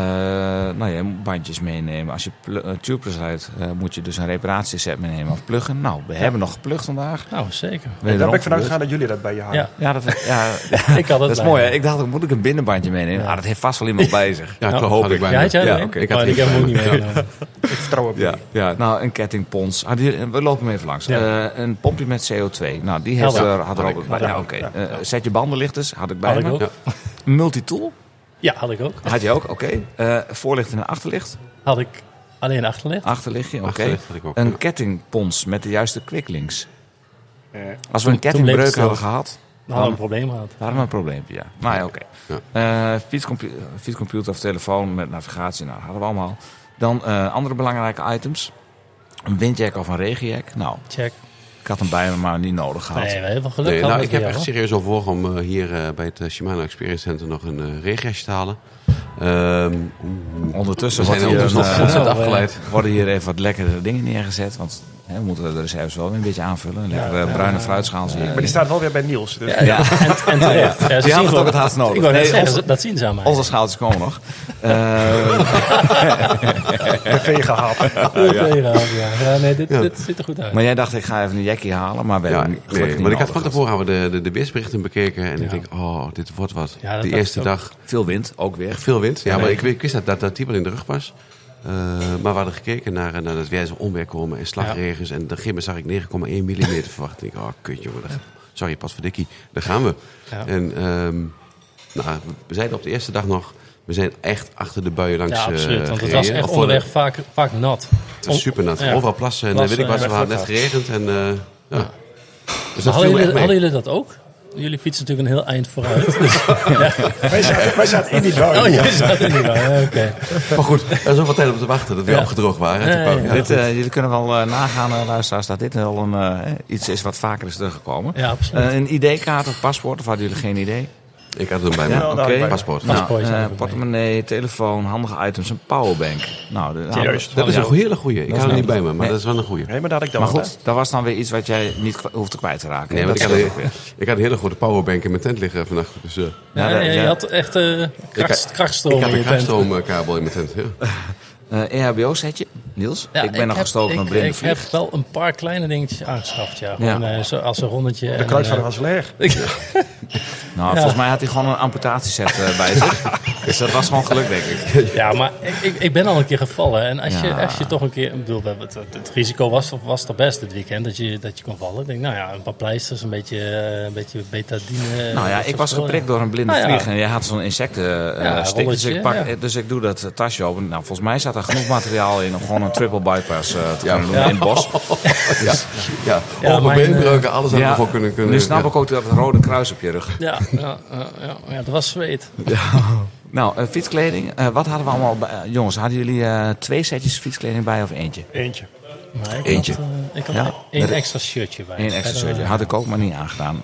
S2: nou, je moet bandjes meenemen. Als je pl- eh, tubeless rijdt, eh, moet je dus een reparatieset meenemen of pluggen. Nou, we hebben nog geplukt vandaag.
S1: nou
S2: [LAUGHS]
S1: zeker.
S4: En daar
S2: Wederom
S4: ben ik vanuit
S2: gebeurd.
S4: gegaan dat jullie dat bij je halen.
S1: Ja,
S2: Ja, dat,
S4: [LAUGHS]
S2: ja,
S1: ik had het
S2: dat is
S1: bij
S2: mooi. Hè?
S1: me.
S2: Ik dacht, ook, moet ik een binnenbandje meenemen?
S1: Ja.
S2: Ah, dat heeft vast wel
S4: [LAUGHS]
S2: iemand bij zich.
S3: ja
S1: Nou,
S3: klopt.
S2: hoop
S3: had
S2: ik.
S3: bij
S1: Ja,
S3: me.
S1: had jij
S2: Ja,
S1: ja,
S2: oké,
S1: ik,
S3: ik had
S1: ik
S3: geen
S1: heb hem ook niet
S3: vraag. Ja.
S1: meegenomen.
S4: Ik vertrouw op
S2: Ja,
S4: jullie.
S2: ja. Nou, een kettingpons. Ah, die- we lopen hem even langs.
S1: Ja.
S2: Eh, een pompje met CO2. Nou, die heeft,
S1: Ja,
S2: er had er
S3: had
S2: ook
S3: ik.
S2: bij. Ja,
S1: Ja,
S2: oké.
S4: ja.
S2: Eh, zet je bandenlichters, had ik bij
S1: Had ik
S2: me.
S1: ook.
S3: Ja.
S2: Een Multitool,
S1: Ja, had ik ook.
S2: had je ook, oké. Eh, voorlicht en een achterlicht.
S1: Had ik alleen achterlicht.
S2: Achterlichtje, oké.
S3: Achterlicht had ik ook,
S2: Een
S3: ja.
S2: kettingpons met de juiste quicklinks.
S4: Eh,
S2: Als we een
S1: toen bleef het
S2: kettingbreuk
S1: stil.
S2: hadden gehad,
S1: Dan
S3: Ah.
S1: hadden we een probleem gehad.
S2: waren we een probleempje, ja. Maar ja, oké. Eh, fietscompu- fietscomputer of telefoon met navigatie, nou, hadden we allemaal. Dan eh, andere belangrijke items. Een windjack of een regenjack. Nou,
S1: Check.
S2: ik had hem bij me, maar niet nodig gehad.
S1: Nee, we hebben geluk
S3: Nee,
S1: gehad met
S3: nou, ik heb
S1: jou,
S3: echt
S1: hoor.
S3: serieus overwogen om eh, hier eh, bij het eh, Shimano Experience Center nog een eh regenjasje te halen. Ehm, oeh,
S2: Ondertussen
S3: we zijn
S2: wordt hier,
S3: ondertussen nog
S1: ontzettend
S2: een,
S3: ontzettend
S1: eh,
S3: afgeleid.
S2: eh, worden hier even wat lekkere dingen neergezet. Want hè, we moeten de reserves wel weer een beetje aanvullen. Een lekkere bruine fruitschaal zie ik.
S4: Maar die staat wel weer bij Niels. Dus
S2: Ja, ja.
S1: En, en terecht. Ja, ze
S2: Die
S1: zien
S2: had het
S1: gewoon-
S2: ook het haast
S1: Ik
S2: nodig.
S1: wou net
S2: Nee,
S1: zeggen,
S2: onze,
S1: ze- dat zien ze aan mij.
S2: onze schaaltjes komen nog. Eh,
S4: de vee gehaald.
S1: Goed tegenhouden, ja. Ja, nee, dit,
S3: Ja.
S1: dit ziet er goed uit.
S2: maar jij dacht, ik ga even een jackie halen. Maar we
S3: Ja,
S2: hebben
S3: nee,
S2: hem gelukkig niet
S3: want ik had van
S2: nodig
S3: tevoren hadden we de, de, de weersberichten bekeken. En
S1: Ja.
S3: ik denk, oh, dit wordt wat.
S1: Ja, dat
S3: die
S1: dacht
S3: eerste
S1: ik ook.
S3: dag
S2: gehad. Veel wind, ook weer.
S3: Veel wind. Ja, maar
S1: nee.
S3: ik, ik wist dat dat, dat type in de rug was. Eh, maar we hadden gekeken naar, eh, naar dat wijze onweer komen en slagregens. En de gimmen zag ik 9,1 mm verwacht. Ik denk, oh kut jongen, daar- sorry, pas voor Dikkie. Daar gaan we.
S1: Ja.
S3: En ehm, nou, we zeiden op de eerste dag nog, we zijn echt achter de buien langs
S1: Ja, absoluut.
S3: eh,
S1: Want het
S3: gereden.
S1: was echt
S3: Of voor de-
S1: onderweg vaak, vaak nat.
S3: Het was super nat.
S1: Ja.
S3: Overal plassen en eh,
S1: Plassen
S3: weet ik wat,
S1: en
S3: we hadden net
S1: echt
S3: geregend. En, eh, ja. Dus
S1: Hadden
S3: dat viel me
S1: jullie,
S3: echt
S1: hadden
S3: mee.
S1: jullie dat ook? Jullie fietsen natuurlijk een heel eind
S3: [LAUGHS]
S1: vooruit. Dus,
S4: Wij zaten, wij zaten in die
S1: oh,
S4: duim.
S1: jullie zaten niet waar. Ja, Oké.
S3: Maar goed, er is zoveel tijd om te wachten dat we
S1: Ja.
S3: opgedroogd waren. En
S1: Ja,
S3: toen kwam-
S1: ja, ja.
S3: ja.
S2: Dit, eh, jullie kunnen wel eh, nagaan, eh, luisteraars, dat dit wel een, eh, iets is wat vaker is teruggekomen.
S1: Ja, absoluut.
S2: Eh, een ID-kaart of paspoort, of hadden jullie geen idee?
S3: Ik had het bij me.
S4: Ja, nou,
S2: oké.
S4: ik ben-
S3: Paspoort.
S1: Nou,
S2: Nou,
S1: Paspoort is
S2: eh,
S1: even mee.
S2: portemonnee, telefoon, handige items, een powerbank. Nou, de- nou,
S4: Juist.
S3: Dat is een hele goeie. Ik
S2: is
S3: had hem
S2: een-
S3: niet bij me, maar
S2: Nee.
S3: dat is wel een goeie.
S4: Nee, maar dat had ik dan
S2: Maar
S4: wel,
S2: goed, dat was dan weer iets wat jij niet kwa- hoefde kwijt te raken.
S3: Nee,
S2: dat
S3: want ik had,
S2: scheelt ook
S3: een,
S2: weer.
S3: ik had een hele goede powerbank in mijn tent liggen vannacht. Dus, eh,
S1: Ja,
S2: Ja,
S1: ja,
S2: dat-
S1: je
S2: ja.
S1: had echt eh kracht,
S3: ik
S1: krachtstroom in
S3: had een
S1: je tent.
S3: krachtstroomkabel in mijn tent. Ja.
S2: Eh, E EHBO-setje, Niels.
S1: Ja,
S2: ik ben nog
S1: heb-
S2: gestoken
S1: ik-
S2: met blinde
S1: Ik heb
S2: vlieg.
S1: wel een paar kleine dingetjes aangeschaft, ja. Gewoon, eh, zo als een eh, ronnetje.
S4: De kruid van was leeg.
S1: [LAUGHS]
S2: Nou, volgens mij had hij gewoon een amputatieset eh, bij
S1: [LAUGHS]
S2: zich. dus dat was gewoon geluk, denk ik.
S1: Ja, maar ik, ik, ik ben al een keer gevallen. En als, je,
S2: Ja.
S1: als je toch een keer... Ik bedoel, we hebben het, het, het risico was, was toch best dit weekend dat je, dat je kon vallen. Ik denk, nou ja, een paar pleisters, een beetje, eh, een beetje betadine.
S2: Nou ja,
S1: dat
S2: ik
S1: soort
S2: was
S1: spullen.
S2: geprikt door een blinde
S1: Ah, ja.
S2: vlieg en jij had zo'n insecten eh,
S1: Ja,
S2: stick. Dus
S1: rolletje,
S2: ik, pak,
S1: ja.
S2: dus ik doe dat eh, tasje open. Nou, volgens mij zat er genoeg materiaal in om gewoon een triple bypass eh, te kunnen doen
S1: Ja.
S2: in het
S3: [LAUGHS]
S1: [LAUGHS]
S2: bos.
S3: Ja, ja.
S1: Ja, eh,
S3: open
S1: mijn,
S3: beenbreuken, alles aan
S2: Ja,
S3: ervoor kunnen. kunnen
S2: nu snap
S3: ja.
S2: ik ook dat rode kruis op je rug.
S1: Ja, ja, ja, ja, ja, dat was zweet.
S2: Nou, eh, fietskleding. Eh, wat hadden we allemaal bij? eh, jongens, hadden jullie eh, twee setjes fietskleding bij of eentje?
S4: Eentje.
S1: Maar ik
S3: Eentje.
S1: Had, eh, ik had
S2: Ja.
S1: één extra shirtje bij.
S2: Eén extra
S1: Verder, eh,
S2: shirtje. Had ik ook maar niet aangedaan.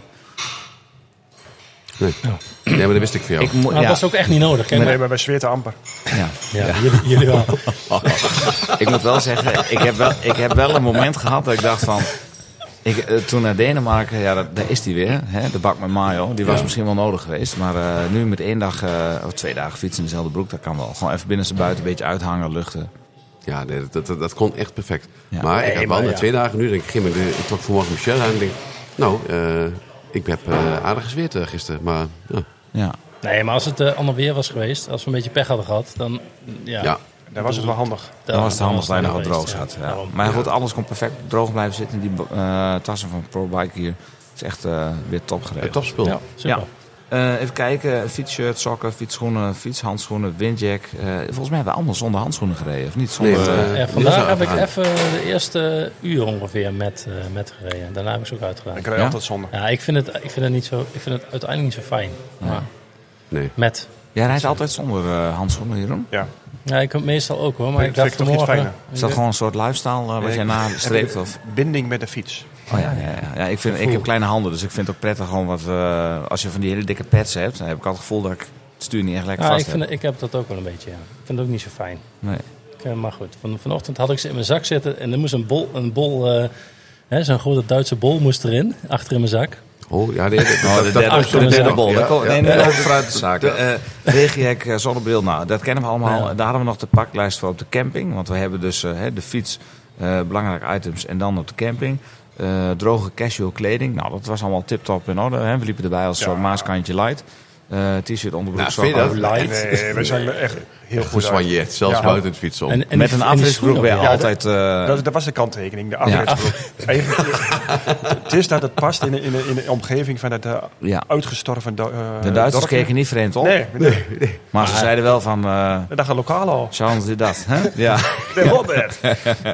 S3: Nee. nee, maar dat wist ik veel.
S2: Ik mo-
S1: Maar
S2: ja,
S1: dat was ook echt niet nodig. Hè?
S4: Nee, maar bij Zweerte amper.
S2: ja.
S1: Ja, Jullie, jullie wel.
S2: Ik moet wel zeggen, ik heb wel, ik heb wel een moment gehad dat ik dacht van... Ik, eh, toen naar Denemarken, ja, dat, daar is die weer. Hè, de bak met mayo. Die was misschien wel nodig geweest. Maar eh, nu met één dag eh, of twee dagen fietsen in dezelfde broek, dat kan wel. Gewoon even binnen buiten een beetje uithangen, luchten.
S3: Ja, nee, dat, dat, dat kon echt perfect.
S2: Ja.
S3: Maar ik
S1: Nee,
S3: heb
S1: maar
S3: wel na
S1: ja.
S3: twee dagen nu, denk ik, Gim, ik, ik trok vanmorgen Michel aan en denk, nou, eh, ik heb eh, aardig gezweerd eh, gisteren, maar ja.
S2: Ja.
S1: Nee, maar als het eh, ander weer was geweest, als we een beetje pech hadden gehad, dan... Ja,
S3: ja.
S4: Daar was het wel handig.
S2: Dan was het handig dat
S1: dan
S2: je nog wat
S1: geweest,
S2: droog zat. Ja.
S1: Daarom.
S2: Maar goed, alles kon perfect droog blijven zitten. Die eh, tassen van ProBike hier. Het is echt eh, weer top geregeld.
S3: Eh, topspul.
S1: Ja, super.
S2: Ja. Eh, even kijken, fietsshirt, sokken, fietsschoenen, fietshandschoenen, windjack. Eh, volgens mij hebben we allemaal zonder handschoenen gereden, of niet? Zonder,
S3: Nee,
S2: eh,
S1: Ja,
S3: eh, Niels
S1: vandaag
S3: zou
S1: heb ik
S3: gaan.
S1: even de eerste uur ongeveer met, eh, met gereden. Daarna heb ik ze ook uitgedaan.
S4: Ik reed
S2: Ja?
S4: altijd zonder.
S1: Ja, ik vind, het, ik, vind het niet zo, ik vind het uiteindelijk niet zo fijn. Maar
S3: Nee.
S1: met.
S2: Jij rijdt altijd zonder eh, handschoenen, Jeroen?
S4: Ja.
S1: Ja, ik kan het meestal ook hoor, maar
S4: Nee,
S1: ik
S4: dat
S1: dacht
S4: vind ik toch iets
S1: vanmorgen...
S2: Is dat gewoon een soort lifestyle eh, wat
S4: Nee,
S2: jij
S4: ik-
S2: nastreeft? Of?
S4: Binding met de fiets.
S2: Oh ja, ja, ja. ja ik, vind, ik heb kleine handen, dus ik vind het ook prettig gewoon wat... eh, als je van die hele dikke pads hebt, dan heb ik altijd het gevoel dat ik het stuur niet echt lekker
S1: Ja,
S2: vast
S1: ik, vind,
S2: heb.
S1: het- ik heb dat ook wel een beetje. Ja. Ik vind het ook niet zo fijn.
S2: Nee.
S1: Ik, eh, maar goed, van, vanochtend had ik ze in mijn zak zitten en er moest een bol, een bol eh, hè, zo'n grote Duitse bol moest erin, achter in mijn zak.
S3: Oh, ja, nee, dat,
S2: Oh, de
S3: dat- dat
S2: derde,
S3: komt
S2: de
S3: zo
S1: de
S3: meteen
S1: derde
S2: derde
S3: nog.
S2: bol.
S3: Ja,
S2: Dat komt-
S3: ja.
S2: nee, nee, over fruitzaken. Eh Regiek, eh, zonnebril, nou, dat kennen we allemaal. Daar hadden we nog de paklijst voor op de camping. Want we hebben dus eh, hè, de fiets, eh, belangrijke items en dan op de camping. Eh, droge casual kleding. Nou, dat was allemaal tip-top in orde. Hè. We liepen erbij als een soort maaskantje light. Eh, T-shirt, onderbroek,
S3: Nou, vind je dat?
S2: sokken.
S1: Oh, Light.
S4: [LAUGHS] Nee, we zijn er echt heel goed uit.
S3: Geswanjeerd, zelfs
S4: Ja.
S3: buiten het fietsen om.
S1: En, en
S2: Oh. Met
S1: die-
S2: een
S1: en die
S2: afrisbroek
S1: schoenen
S2: weer
S1: ook, ja.
S2: altijd... eh,
S4: Dat, dat was de kanttekening, de afwetsbroek.
S2: [LAUGHS]
S4: Het is dat het past in de, in de, in de omgeving van dat eh,
S2: Ja.
S4: uitgestorven do- eh,
S2: de Duitsers
S4: dorpje.
S2: keken niet vreemd op.
S4: Nee, nee.
S2: Maar ze zeiden wel van... eh
S4: Dat dacht een lokaal al.
S2: Zouden ze dat? [LAUGHS] Hè? Ja.
S4: Nee, Robert.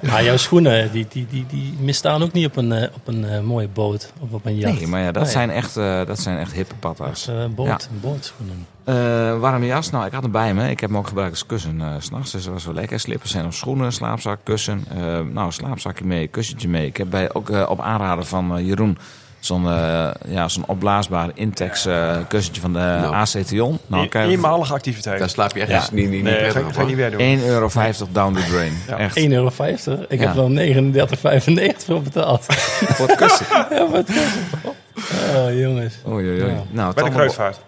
S1: Maar jouw schoenen, die, die, die, die misstaan ook niet op een, eh, op een eh, mooie boot of op een jacht.
S2: Nee, maar ja, dat,
S1: Nee.
S2: Zijn, echt, eh, dat zijn echt hippe patas.
S1: Eh, boot,
S2: Ja.
S1: bootschoenen.
S2: Eh, warme jas? Nou, ik had hem bij me. Ik heb hem ook gebruikt als kussen eh, 's s'nachts. Dus dat was wel lekker. Slippers en op schoenen, slaapzak, kussen. Eh, nou, slaapzakje mee, kussentje mee. Ik heb bij, ook eh, op aanraden van eh, Jeroen zo'n eh, ja, zo'n opblaasbaar Intex eh, kussentje van de
S3: Nou.
S2: ACTIon. [LAUGHS] Nou,
S4: Een-
S2: kijk,
S4: Eenmalige
S3: Daar
S4: activiteit.
S3: slaap je echt
S2: Ja.
S3: niet, niet, niet
S4: Nee,
S3: prettig
S4: ga, ga
S3: van.
S4: ik niet weer doen.
S2: 1,50 euro down the drain. Echt.
S1: 1,50 euro. Ik
S2: Ja.
S1: heb wel 39,95 voor betaald.
S2: [LAUGHS] Voor het kussen.
S1: Oh, jongens.
S2: Oei, oei, oei.
S1: Ja.
S2: Nou,
S4: Bij de
S2: tanden-
S4: kruidvaart.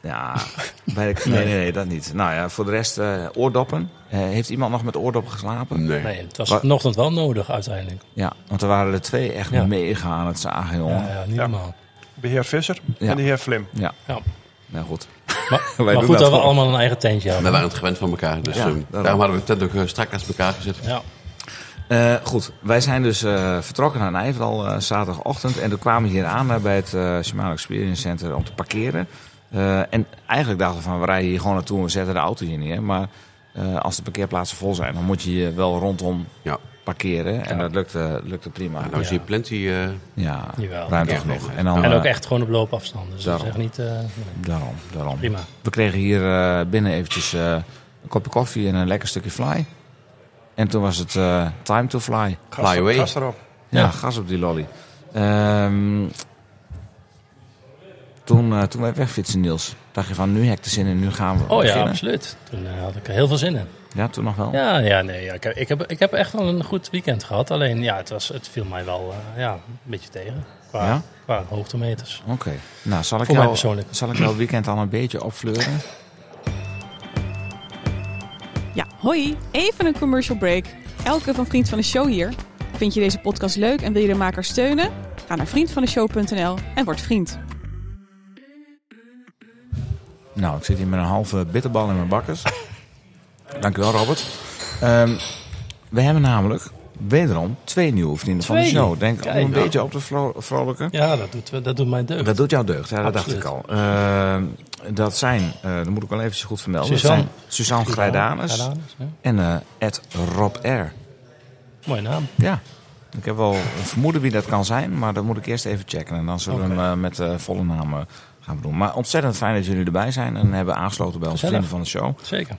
S2: Ja, bij de, nee, nee, nee, dat niet. Nou ja, voor de rest eh, oordoppen. Eh, heeft iemand nog met oordoppen geslapen?
S3: Nee.
S1: Nee, het was
S2: Maar-
S1: vanochtend wel nodig uiteindelijk.
S2: Ja, want er waren er twee echt
S1: Ja.
S2: mega aan het zagen, jongen.
S1: Ja, ja niet
S4: Ja.
S1: normaal.
S4: De heer Visser
S2: Ja.
S4: en de heer Flim.
S2: Ja,
S1: Ja.
S2: nou goed.
S1: Maar,
S2: [LAUGHS] Wij
S1: maar
S2: doen
S1: goed dat,
S2: dat
S1: we
S2: gewoon.
S1: allemaal een eigen tentje
S3: We
S1: hadden.
S3: waren het gewend van elkaar, dus
S2: Ja,
S3: ehm,
S2: daarom.
S3: daarom hadden we de tent ook eh, strak naast elkaar gezet.
S1: Ja.
S2: Nou Eh, goed, wij zijn dus eh, vertrokken naar Nijverdal eh, zaterdagochtend. En toen kwamen we hier aan eh, bij het eh Shimano Experience Center om te parkeren. Eh, en eigenlijk dachten we van, we rijden hier gewoon naartoe en we zetten de auto hier neer. Maar eh, als de parkeerplaatsen vol zijn, dan moet je hier wel rondom
S3: Ja.
S2: parkeren. En dat lukte, lukte prima.
S3: Nou, is hier
S1: Ja.
S3: plenty... eh,
S2: Ja,
S1: Jawel.
S2: ruimte
S3: Ja,
S2: genoeg.
S3: nee,
S2: En, dan,
S1: En ook
S2: eh,
S1: echt gewoon op loopafstand. Dus dat is
S2: Daarom.
S1: echt niet... eh, nee.
S2: Daarom, daarom.
S1: Prima. Oh
S2: We kregen hier eh, binnen eventjes eh, een kopje koffie en een lekker stukje fly. En toen was het eh, time to fly.
S4: Gas-
S3: Fly away.
S4: gas erop.
S2: Ja,
S1: Ja.
S2: gas op die lolly. Ehm, toen, eh, toen wij wegfietsen, Niels, dacht je van nu heb ik de zin in, nu gaan we
S1: Oh ja,
S2: beginnen.
S1: absoluut. Toen eh, had ik er heel veel zin in.
S2: Ja, toen nog wel.
S1: Ja, ja, nee, ja. Ik, heb- ik, heb, ik heb echt wel een goed weekend gehad. Alleen, ja, het, was, het viel mij wel eh, ja, een beetje tegen. Qua,
S2: Ja?
S1: qua hoogtemeters.
S2: Oké. Nou, zal ik,
S1: Voor mij
S2: jou,
S1: persoonlijk.
S2: zal ik jou het weekend al een beetje opfleuren?
S5: Ja, Hoi, even een commercial break. Elke van Vriend van de Show hier. Vind je deze podcast leuk en wil je de maker steunen? Ga naar vriendvandeshow.nl en word vriend.
S2: Nou, ik zit hier met een halve bitterbal in mijn
S1: [LAUGHS]
S2: bakkers. Dankjewel, Robert. Ehm, we hebben namelijk wederom twee nieuwe vrienden van de
S1: Twee?
S2: show. Denk om
S1: Kijk. nou.
S2: een beetje op te vro- vrolijken.
S1: Ja, dat doet, dat doet mij deugd.
S2: Dat doet jou deugd, ja, dat
S1: Absoluut.
S2: dacht ik al. Ehm, dat zijn, eh dat moet ik wel eventjes goed vermelden.
S1: Suzanne.
S2: Dat zijn Suzanne Grijdanus
S1: Grijdanus, ja.
S2: en eh Ed Rob R.
S1: Mooie naam.
S2: Ja, ik heb wel een vermoeden wie dat kan zijn, maar dat moet ik eerst even checken. En dan zullen we
S1: Oké.
S2: hem eh, met eh, volle naam eh, gaan doen. Maar ontzettend fijn dat jullie erbij zijn en hebben aangesloten bij onze
S1: Gezellig.
S2: vrienden van de show.
S1: Zeker.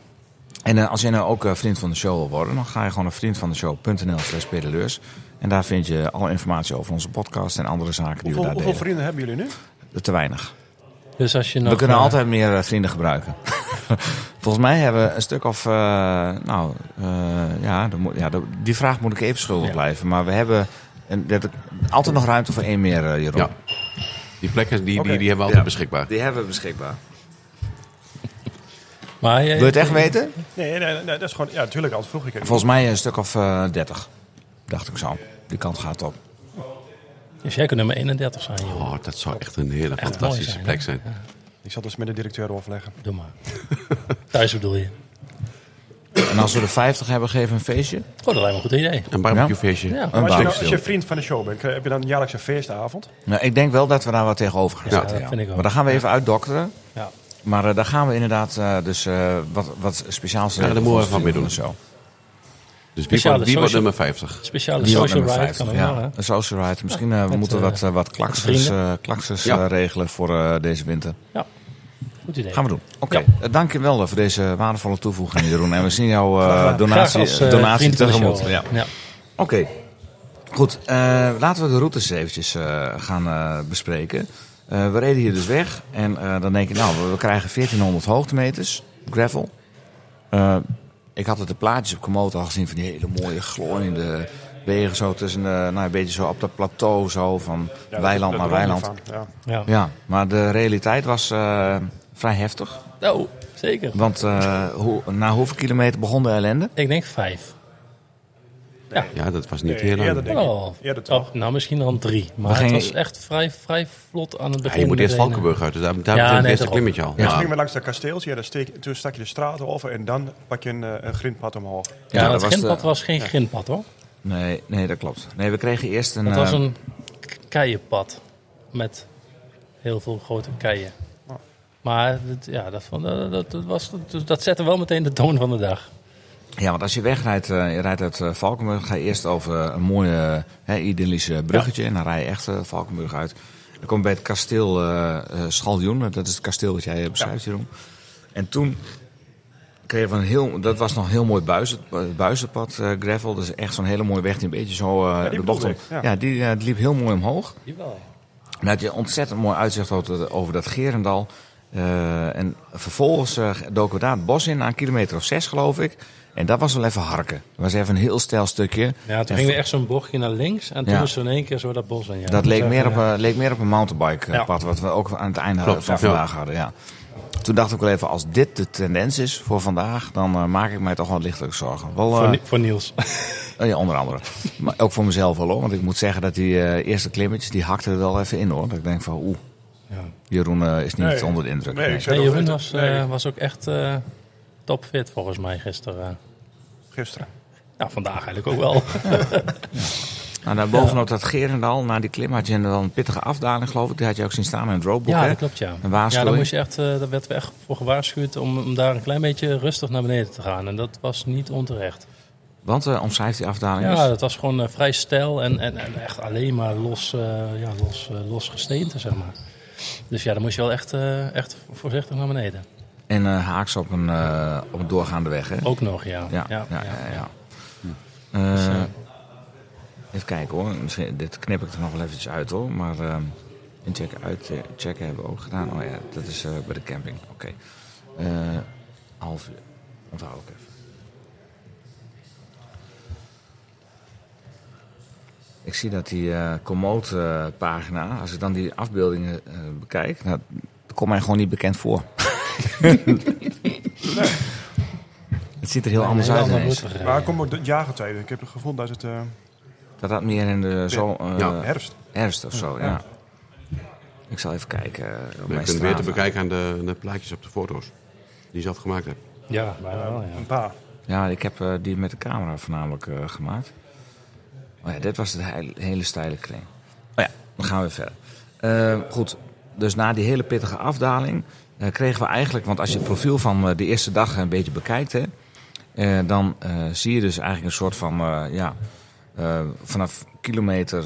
S2: En eh, als jij nou ook eh, vriend van de show wil worden, dan ga je gewoon naar vriendvandeshow.nl slash pedaleurs. En daar vind je alle informatie over onze podcast en andere zaken die
S4: Hoeveel,
S2: we daar
S4: hoeveel
S2: delen.
S4: vrienden hebben jullie nu?
S2: Te weinig.
S1: Dus als je nog,
S2: We kunnen
S1: eh,
S2: altijd meer eh, vrienden
S3: [LAUGHS]
S2: gebruiken. Volgens mij hebben we een stuk of. eh, nou, eh, ja, dat moet- ja dat- die vraag moet ik even schuldig
S1: Ja.
S2: blijven. Maar we hebben een, dat, altijd nog ruimte voor één meer, eh, Jeroen.
S3: Ja. Die plekken die,
S2: Oké.
S3: die, die hebben we altijd
S2: Ja.
S3: beschikbaar.
S2: Die hebben we beschikbaar.
S1: Maar eh, je,
S2: Wil je het echt weten?
S4: Nee, nee, nee, dat is gewoon... Ja, natuurlijk, altijd vroeg ik even.
S2: Volgens mij een stuk of eh, dertig. Dacht ik zo. Die kant gaat op.
S1: Dus jij kunt nummer 31 zijn, joh.
S3: Oh, dat zou echt een hele
S1: Echt
S3: fantastische
S1: mooi
S3: plek
S1: zijn,
S3: zijn.
S4: Ik zal dus met de directeur overleggen.
S1: Doe
S2: [LAUGHS]
S1: maar. Thuis bedoel je.
S2: En als we de 50 hebben, geven we een feestje.
S1: Oh, dat lijkt me een goed idee.
S3: Een barbecuefeestje.
S1: Ja.
S2: Een
S4: Maar als, je nou,
S2: barbecue.
S4: als je vriend van de show bent, heb je dan jaarlijks een feestavond?
S2: Nou, ik denk wel dat we daar wat tegenover gaan
S3: Ja,
S2: zetten.
S1: dat vind ik ook.
S2: Maar daar gaan we even uitdokteren.
S1: Ja.
S2: Maar eh, daar gaan we inderdaad eh, dus eh, wat, wat speciaals
S3: daar
S2: regelen
S3: moeten we
S2: voor
S3: even
S2: onze
S3: wat
S2: vrienden
S3: Dus wie,
S1: Speciale
S3: wordt, wie wordt
S1: social-
S3: nummer 50?
S1: Speciale
S2: Die wordt
S1: social
S2: nummer
S1: ride kan
S2: 50,
S1: ook
S2: ja.
S1: wel, hè?
S2: Een social ride. Misschien eh, we
S1: met,
S2: moeten
S1: eh,
S2: wat, eh, wat klaksers,
S1: vrienden.
S2: eh, klaksers
S3: Ja.
S2: eh, regelen voor eh, deze winter.
S1: Goed idee.
S2: Gaan we doen. Oké,
S1: Ja.
S2: Eh, dankjewel eh, voor deze waardevolle toevoeging, Jeroen. En we zien jouw eh,
S4: gedaan.
S2: donatie,
S1: Graag als, eh,
S2: donatie
S1: vriend van de
S2: tegemoet.
S1: show.
S2: Ja. Oké, goed. Eh, laten we de routes eventjes eh, gaan eh, bespreken. Eh, we reden hier dus weg. En eh, dan denk je, nou, we, we krijgen 1400 hoogtemeters. Gravel. Eh, ik had het de plaatjes op Komodo al gezien van die hele mooie glooiende wegen. Zo tussen, de, nou, een beetje zo op dat plateau zo van
S4: Ja,
S2: weiland
S4: dat-
S2: naar
S4: dat droomt
S2: weiland.
S4: niet van, Ja.
S1: Ja.
S2: Ja, maar de realiteit was eh, vrij heftig.
S1: Oh, zeker.
S2: Want eh, hoe, na hoeveel kilometer begon de ellende?
S1: Ik denk vijf.
S3: Ja, dat was niet
S4: Nee,
S3: heel lang.
S4: eerder denk ik.
S1: Oh,
S4: Eerder toch?
S1: oh, nou, misschien dan drie. Maar
S2: We gingen-
S1: het was echt vrij, vrij vlot aan het
S3: Ja,
S1: begin.
S3: je moet eerst
S1: meteen.
S3: Valkenburg uit, dus daar, daar
S1: Ja,
S3: begint
S1: nee,
S3: het eerste
S1: daarop.
S3: klimmetje al.
S4: Toen
S3: Ja.
S4: gingen we langs dat kasteeltje, en dan steek, toen stak je de straat over en dan pak je een, eh, een grindpad omhoog.
S1: Ja,
S2: Ja, dat
S1: het
S2: was
S1: grindpad
S2: de-
S1: was geen grindpad hoor.
S2: Nee, nee, dat klopt. Nee, we kregen eerst een...
S1: Het was
S2: eh,
S1: een k- keienpad. Met heel veel grote keien.
S4: Oh.
S1: Maar dat, ja, dat, vond- dat, dat, dat was, dat, dat zette wel meteen de toon van de dag.
S2: Ja, want als je wegrijdt, eh, je rijdt uit eh, Valkenburg, ga je eerst over een mooie, eh, hè, idyllische bruggetje. En dan rij je echt eh, Valkenburg uit. Dan kom je bij het kasteel eh eh, Schaljoen. Dat is het kasteel wat jij eh, beschrijft, Jeroen. En toen kregen we een heel, dat was nog een heel mooi buizen, buizenpad, eh, gravel. Dus echt zo'n hele mooie weg die een beetje zo eh, de bocht
S4: bedoel
S2: om.
S4: ik,
S2: Ja,
S4: ja.
S2: die eh, die liep heel mooi omhoog.
S1: Jawel.
S2: En had je ontzettend mooi uitzicht over, over dat Gerendal. Eh, en vervolgens eh, doken we daar het bos in, aan een kilometer of zes geloof ik. En dat was wel even harken. Dat was even een heel steil stukje.
S1: Ja, toen
S2: En
S1: ging er echt zo'n bochtje naar links. En toen
S2: Ja.
S1: was er in één keer zo dat bos aan. Ja.
S2: Dat leek
S1: was
S2: meer,
S1: echt,
S2: op, een- leek meer op een mountainbike eh,
S1: Ja.
S2: pad, wat we ook aan het einde
S3: Klopt,
S2: van
S3: ja.
S2: vandaag hadden. Ja. Toen dacht ik wel even, als dit de tendens is voor vandaag, dan eh, maak ik mij toch wel lichtelijk zorgen. Wel,
S1: eh,
S2: eh,
S1: Voor, Ni- voor Niels.
S2: Eh, Ja, onder andere. [LAUGHS] Maar ook voor mezelf wel hoor. Want ik moet zeggen dat die eh, eerste klimmetjes, die hakten er wel even in hoor. Dat ik denk van oeh,
S1: Ja.
S2: Jeroen eh, is niet
S4: Nee.
S2: onder de indruk.
S4: Nee,
S2: Nee.
S4: ik zei
S1: Nee,
S4: dat-
S1: Jeroen was, eh,
S4: nee,
S1: was ook echt eh, topfit volgens mij gisteren.
S4: gisteren.
S1: Nou, vandaag eigenlijk ook wel.
S2: Nou, daar bovenop dat Gerendal, na die klim had je wel een pittige afdaling geloof ik. Die had je ook zien staan in het roadbook
S1: ja,
S2: hè?
S1: dat klopt ja.
S2: Een
S1: ja,
S2: waarschuwing.
S1: daar, moest je echt, eh, daar werd we echt voor gewaarschuwd om, om daar een klein beetje rustig naar beneden te gaan. En dat was niet onterecht.
S2: Want eh omschrijft die afdaling dus
S1: Ja,
S2: eens.
S1: dat was gewoon eh, vrij stijl en, en, en echt alleen maar los, eh, ja, los, eh, los gesteente, zeg maar. Dus ja, dan moest je wel echt, eh, echt voorzichtig naar beneden.
S2: En eh, haaks op een, eh, op een doorgaande weg hè?
S1: Ook nog, Oh. ja.
S2: Ja, ja, ja. ja, Eh, even kijken hoor. Misschien, dit knip ik er nog wel eventjes uit hoor. Maar ehm incheck uit eh, checken hebben we ook gedaan. Oh ja, dat is eh, bij de camping. Oké. Eh half uur. Onthoud ik even. Ik zie dat die eh Komoot-pagina, als ik dan die afbeeldingen eh, bekijk, nou, dat komt mij gewoon niet bekend voor. [LAUGHS] Het ziet er heel anders uit ineens.
S4: Maar kom op de jagertijden. Ik heb het gevonden dat het eh,
S2: Dat had meer in de zo, eh,
S3: Ja.
S4: herfst.
S2: herfst of zo, ja. Ik zal even kijken. eh, op
S3: Je
S2: mijn
S3: kunt het weer te
S2: Strava.
S3: bekijken aan de, aan de plaatjes op de foto's die je zelf gemaakt hebt.
S1: Ja, bijna wel, ja.
S4: Een paar.
S2: Ja, ik heb eh, die met de camera voornamelijk eh, gemaakt. Oh ja, dit was de heil- hele steile kring. Oh ja, dan gaan we verder. Eh, goed, dus na die hele pittige afdaling eh, kregen we eigenlijk... Want als je het profiel van eh, de eerste dag een beetje bekijkt... Hè, eh, dan eh, zie je dus eigenlijk een soort van... eh, ja, eh, vanaf kilometer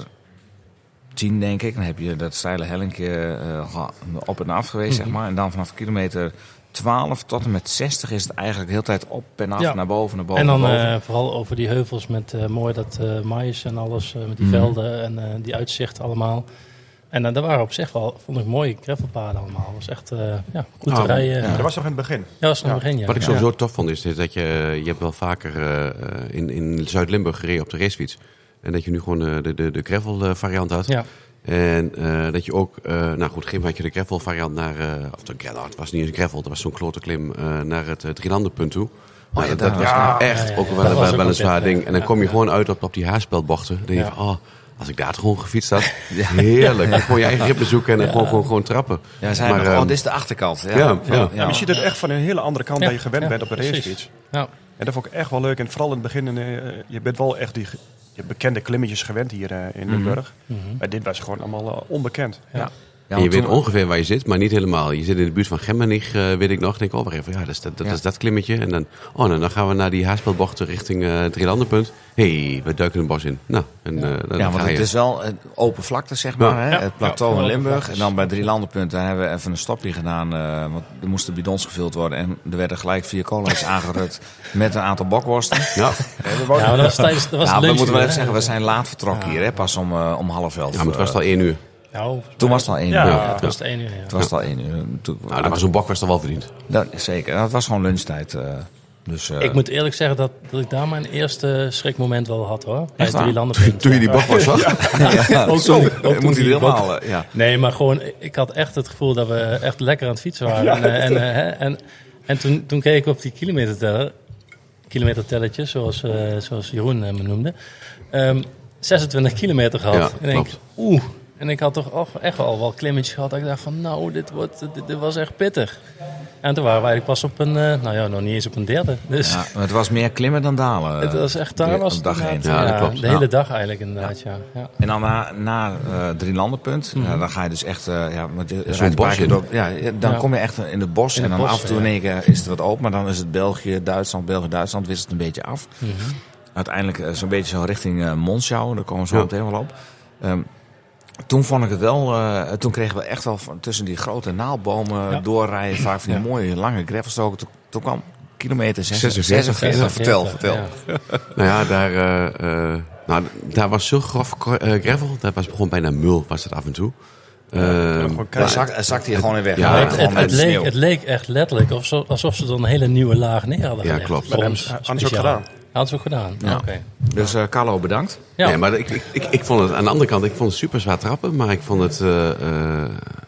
S2: 10 denk ik... dan heb je dat steile hellinkje eh, geha- op en af geweest, zeg maar. En dan vanaf kilometer... 12 tot en met 60 is het eigenlijk de hele tijd op en af,
S1: Ja.
S2: naar boven, naar boven.
S1: En dan
S2: naar boven.
S1: eh, vooral over die heuvels met eh, mooi dat eh mais en alles, eh, met die
S2: Mhm.
S1: velden en eh, die uitzicht allemaal. En eh, daar waren op zich wel, vond ik, mooie gravelpaden allemaal. Het was echt eh, ja, goed te
S3: Ah,
S1: rijden.
S2: Oh, ja.
S1: Ja,
S4: Maar dat was nog in het begin.
S1: dat was in het
S4: ja.
S1: begin, ja.
S3: Wat ik
S1: Ja.
S3: sowieso tof vond is dat je, je hebt wel vaker eh, eh, in, in Zuid-Limburg gereden op de racefiets. En dat je nu gewoon eh, de, de, de gravel eh, variant had.
S1: Ja.
S3: En eh, dat je ook, eh, nou goed, Grim had je de gravel variant naar, eh, of de, nou, het was niet eens gravel, dat was zo'n klote klim eh, naar het eh, Drielandenpunt
S1: Oh,
S3: toe. Nou,
S2: ja,
S3: dat,
S2: daar
S3: dat was
S2: was-
S3: nou
S4: ja,
S3: echt
S1: ja,
S3: ook
S1: ja.
S3: wel,
S1: Dat was
S3: wel,
S1: ook
S3: wel
S1: een
S3: een zwaar
S1: pittig,
S3: ding.
S1: ja.
S3: En dan kom je
S1: Ja.
S3: gewoon uit op, op die haarspelbochten. Dan denk je
S1: Ja.
S3: van, oh, als ik daar het gewoon gefietst
S1: [LAUGHS]
S3: had, heerlijk. Dan Gewoon je eigen ritme zoeken en dan gewoon, gewoon, gewoon trappen.
S2: Ja, zei
S3: Maar,
S2: nog, oh,
S3: ehm,
S2: dit is de achterkant. Ja,
S3: ja, ja.
S4: Ja, maar je ziet het echt van een hele andere kant
S1: Ja,
S4: dan je gewend
S1: ja,
S4: bent op de
S1: precies.
S4: racefiets.
S1: Ja.
S4: En dat vond ik echt wel leuk. En vooral in het begin, eh, je bent wel echt die ge- je bekende klimmetjes gewend hier eh, in Limburg.
S1: Mhm.
S4: Maar dit was gewoon allemaal eh, onbekend.
S2: Ja,
S3: en je
S2: want
S3: weet
S2: toen-
S3: ongeveer waar je zit, maar niet helemaal. Je zit in de buurt van Gemmenig, eh, weet ik nog. Denk, oh, wacht even, ja, dat is dat, dat,
S2: Ja.
S3: is dat klimmetje. En dan, oh, nou, dan gaan we naar die haaspelbochten richting eh, het Drielandenpunt. Hé, hey, we duiken een bos in. Nou, en eh, dan
S2: Ja, want
S3: ga je.
S2: het is wel een open vlakte, zeg maar.
S3: Ja.
S2: Hè?
S1: Ja.
S2: Het plateau
S1: Ja,
S2: in
S1: open
S2: Limburg.
S1: vlaktes.
S2: En dan bij drie landenpunten daar hebben we even een stopje gedaan. eh, want er moesten bidons gevuld worden. En er werden gelijk vier
S1: [LAUGHS]
S2: cola's aangerukt met een aantal bokworsten. [LAUGHS]
S3: Ja,
S1: Ja, maar dat was tijdens dat was
S2: Nou,
S1: lunch.
S2: we moeten wel
S1: hè?
S2: even zeggen, we zijn laat vertrokken hier. Hè? Pas om, eh, om half elf.
S3: ja, maar het was
S2: eh,
S3: al één uur.
S1: Nou, volgens
S2: toen
S1: mij-
S2: was het al één
S4: Ja.
S2: uur.
S1: Ja, het was het één uur, ja.
S2: Het was het al één uur. Toen-
S3: Nou, dat was een bok was dan wel verdiend.
S2: dat, zeker. Dat was gewoon lunchtijd. eh, dus, eh,
S1: Ik
S2: [LAUGHS]
S1: moet [LAUGHS] eerlijk zeggen dat, dat ik daar mijn eerste schrikmoment wel had, hoor. Bij
S2: Echt
S1: het
S2: waar?
S1: Drielandenpunt.
S3: Toen je die bok was, zag.
S2: ja,
S1: Ook
S2: zo,
S1: toen- ook toen
S2: moet
S1: die
S2: hij helemaal...
S1: bok-
S2: eh, ja.
S1: Nee, maar gewoon, ik had echt het gevoel dat we echt lekker aan het fietsen waren. en, eh, en, eh, hè, en, en toen, toen keek ik op die kilometerteller, kilometertelletje, zoals, eh, zoals Jeroen eh, me noemde. Ehm, 26 kilometer gehad.
S3: Ja,
S1: en ik denk,
S3: klopt.
S1: oeh. En ik had toch al- echt wel wel klimmetjes gehad. Dat ik dacht van, nou, dit, wordt, dit, dit was echt pittig. En toen waren we eigenlijk pas op een, eh, nou ja, nog niet eens op een derde. Dus
S2: Ja, maar het was meer klimmen dan dalen.
S1: [LAUGHS]
S2: eh,
S1: het was
S3: eh,
S1: echt, daar
S2: Op
S1: was het
S2: dag één.
S1: inderdaad,
S3: Ja, dat klopt.
S1: De hele dag eigenlijk inderdaad, ja. ja.
S2: En dan na, na eh drie landenpunt, ja,
S1: Mhm.
S2: dan ga je dus echt, eh, ja, want je rijdt
S3: zo'n
S2: een paar
S3: bos
S2: keer
S3: in.
S2: door- ja, ja, dan
S1: Ja.
S2: kom je echt in het bos
S1: In
S2: en
S1: het
S2: dan
S1: bos,
S2: af en toe
S1: ja.
S2: in één keer is het wat open, maar dan is het België, Duitsland, België, Duitsland, wisselt het een beetje af.
S1: Mhm.
S2: Uiteindelijk eh, zo'n beetje zo richting eh Monschau, daar komen we zo
S3: Ja.
S2: meteen wel op. Ehm, toen vond ik het wel, eh, toen kregen we echt wel van tussen die grote naaldbomen
S1: Ja.
S2: doorrijden, vaak van die mooie lange gravelstoken. Toen, toen kwam kilometer 46. 46. Vertel, vertel.
S1: Ja.
S3: Nou ja, daar, eh, eh, nou, daar was zo grof eh, gravel. Dat was gewoon bijna mul, was dat af en toe. Eh,
S4: Gewoon
S2: Daar
S4: keihard.
S2: zak, zakte je gewoon in weg.
S3: Ja,
S2: hè?
S1: het,
S2: Gewoon
S1: het,
S2: met
S1: het, leek,
S2: sneeuw.
S1: het leek echt letterlijk of zo- alsof ze dan een hele nieuwe laag neer hadden
S3: Ja,
S1: gelegd.
S3: klopt.
S1: Voor
S4: Maar
S1: ons
S4: hebben ze- hadden ze ook
S1: speciaal.
S4: gedaan.
S1: Hadden ze ook gedaan,
S2: Ja.
S1: oké.
S2: Dus eh, Carlo, bedankt.
S1: Ja.
S3: Nee, maar ik, ik, ik, ik vond het aan de andere kant, ik vond het super zwaar trappen, maar ik vond het eh, eh,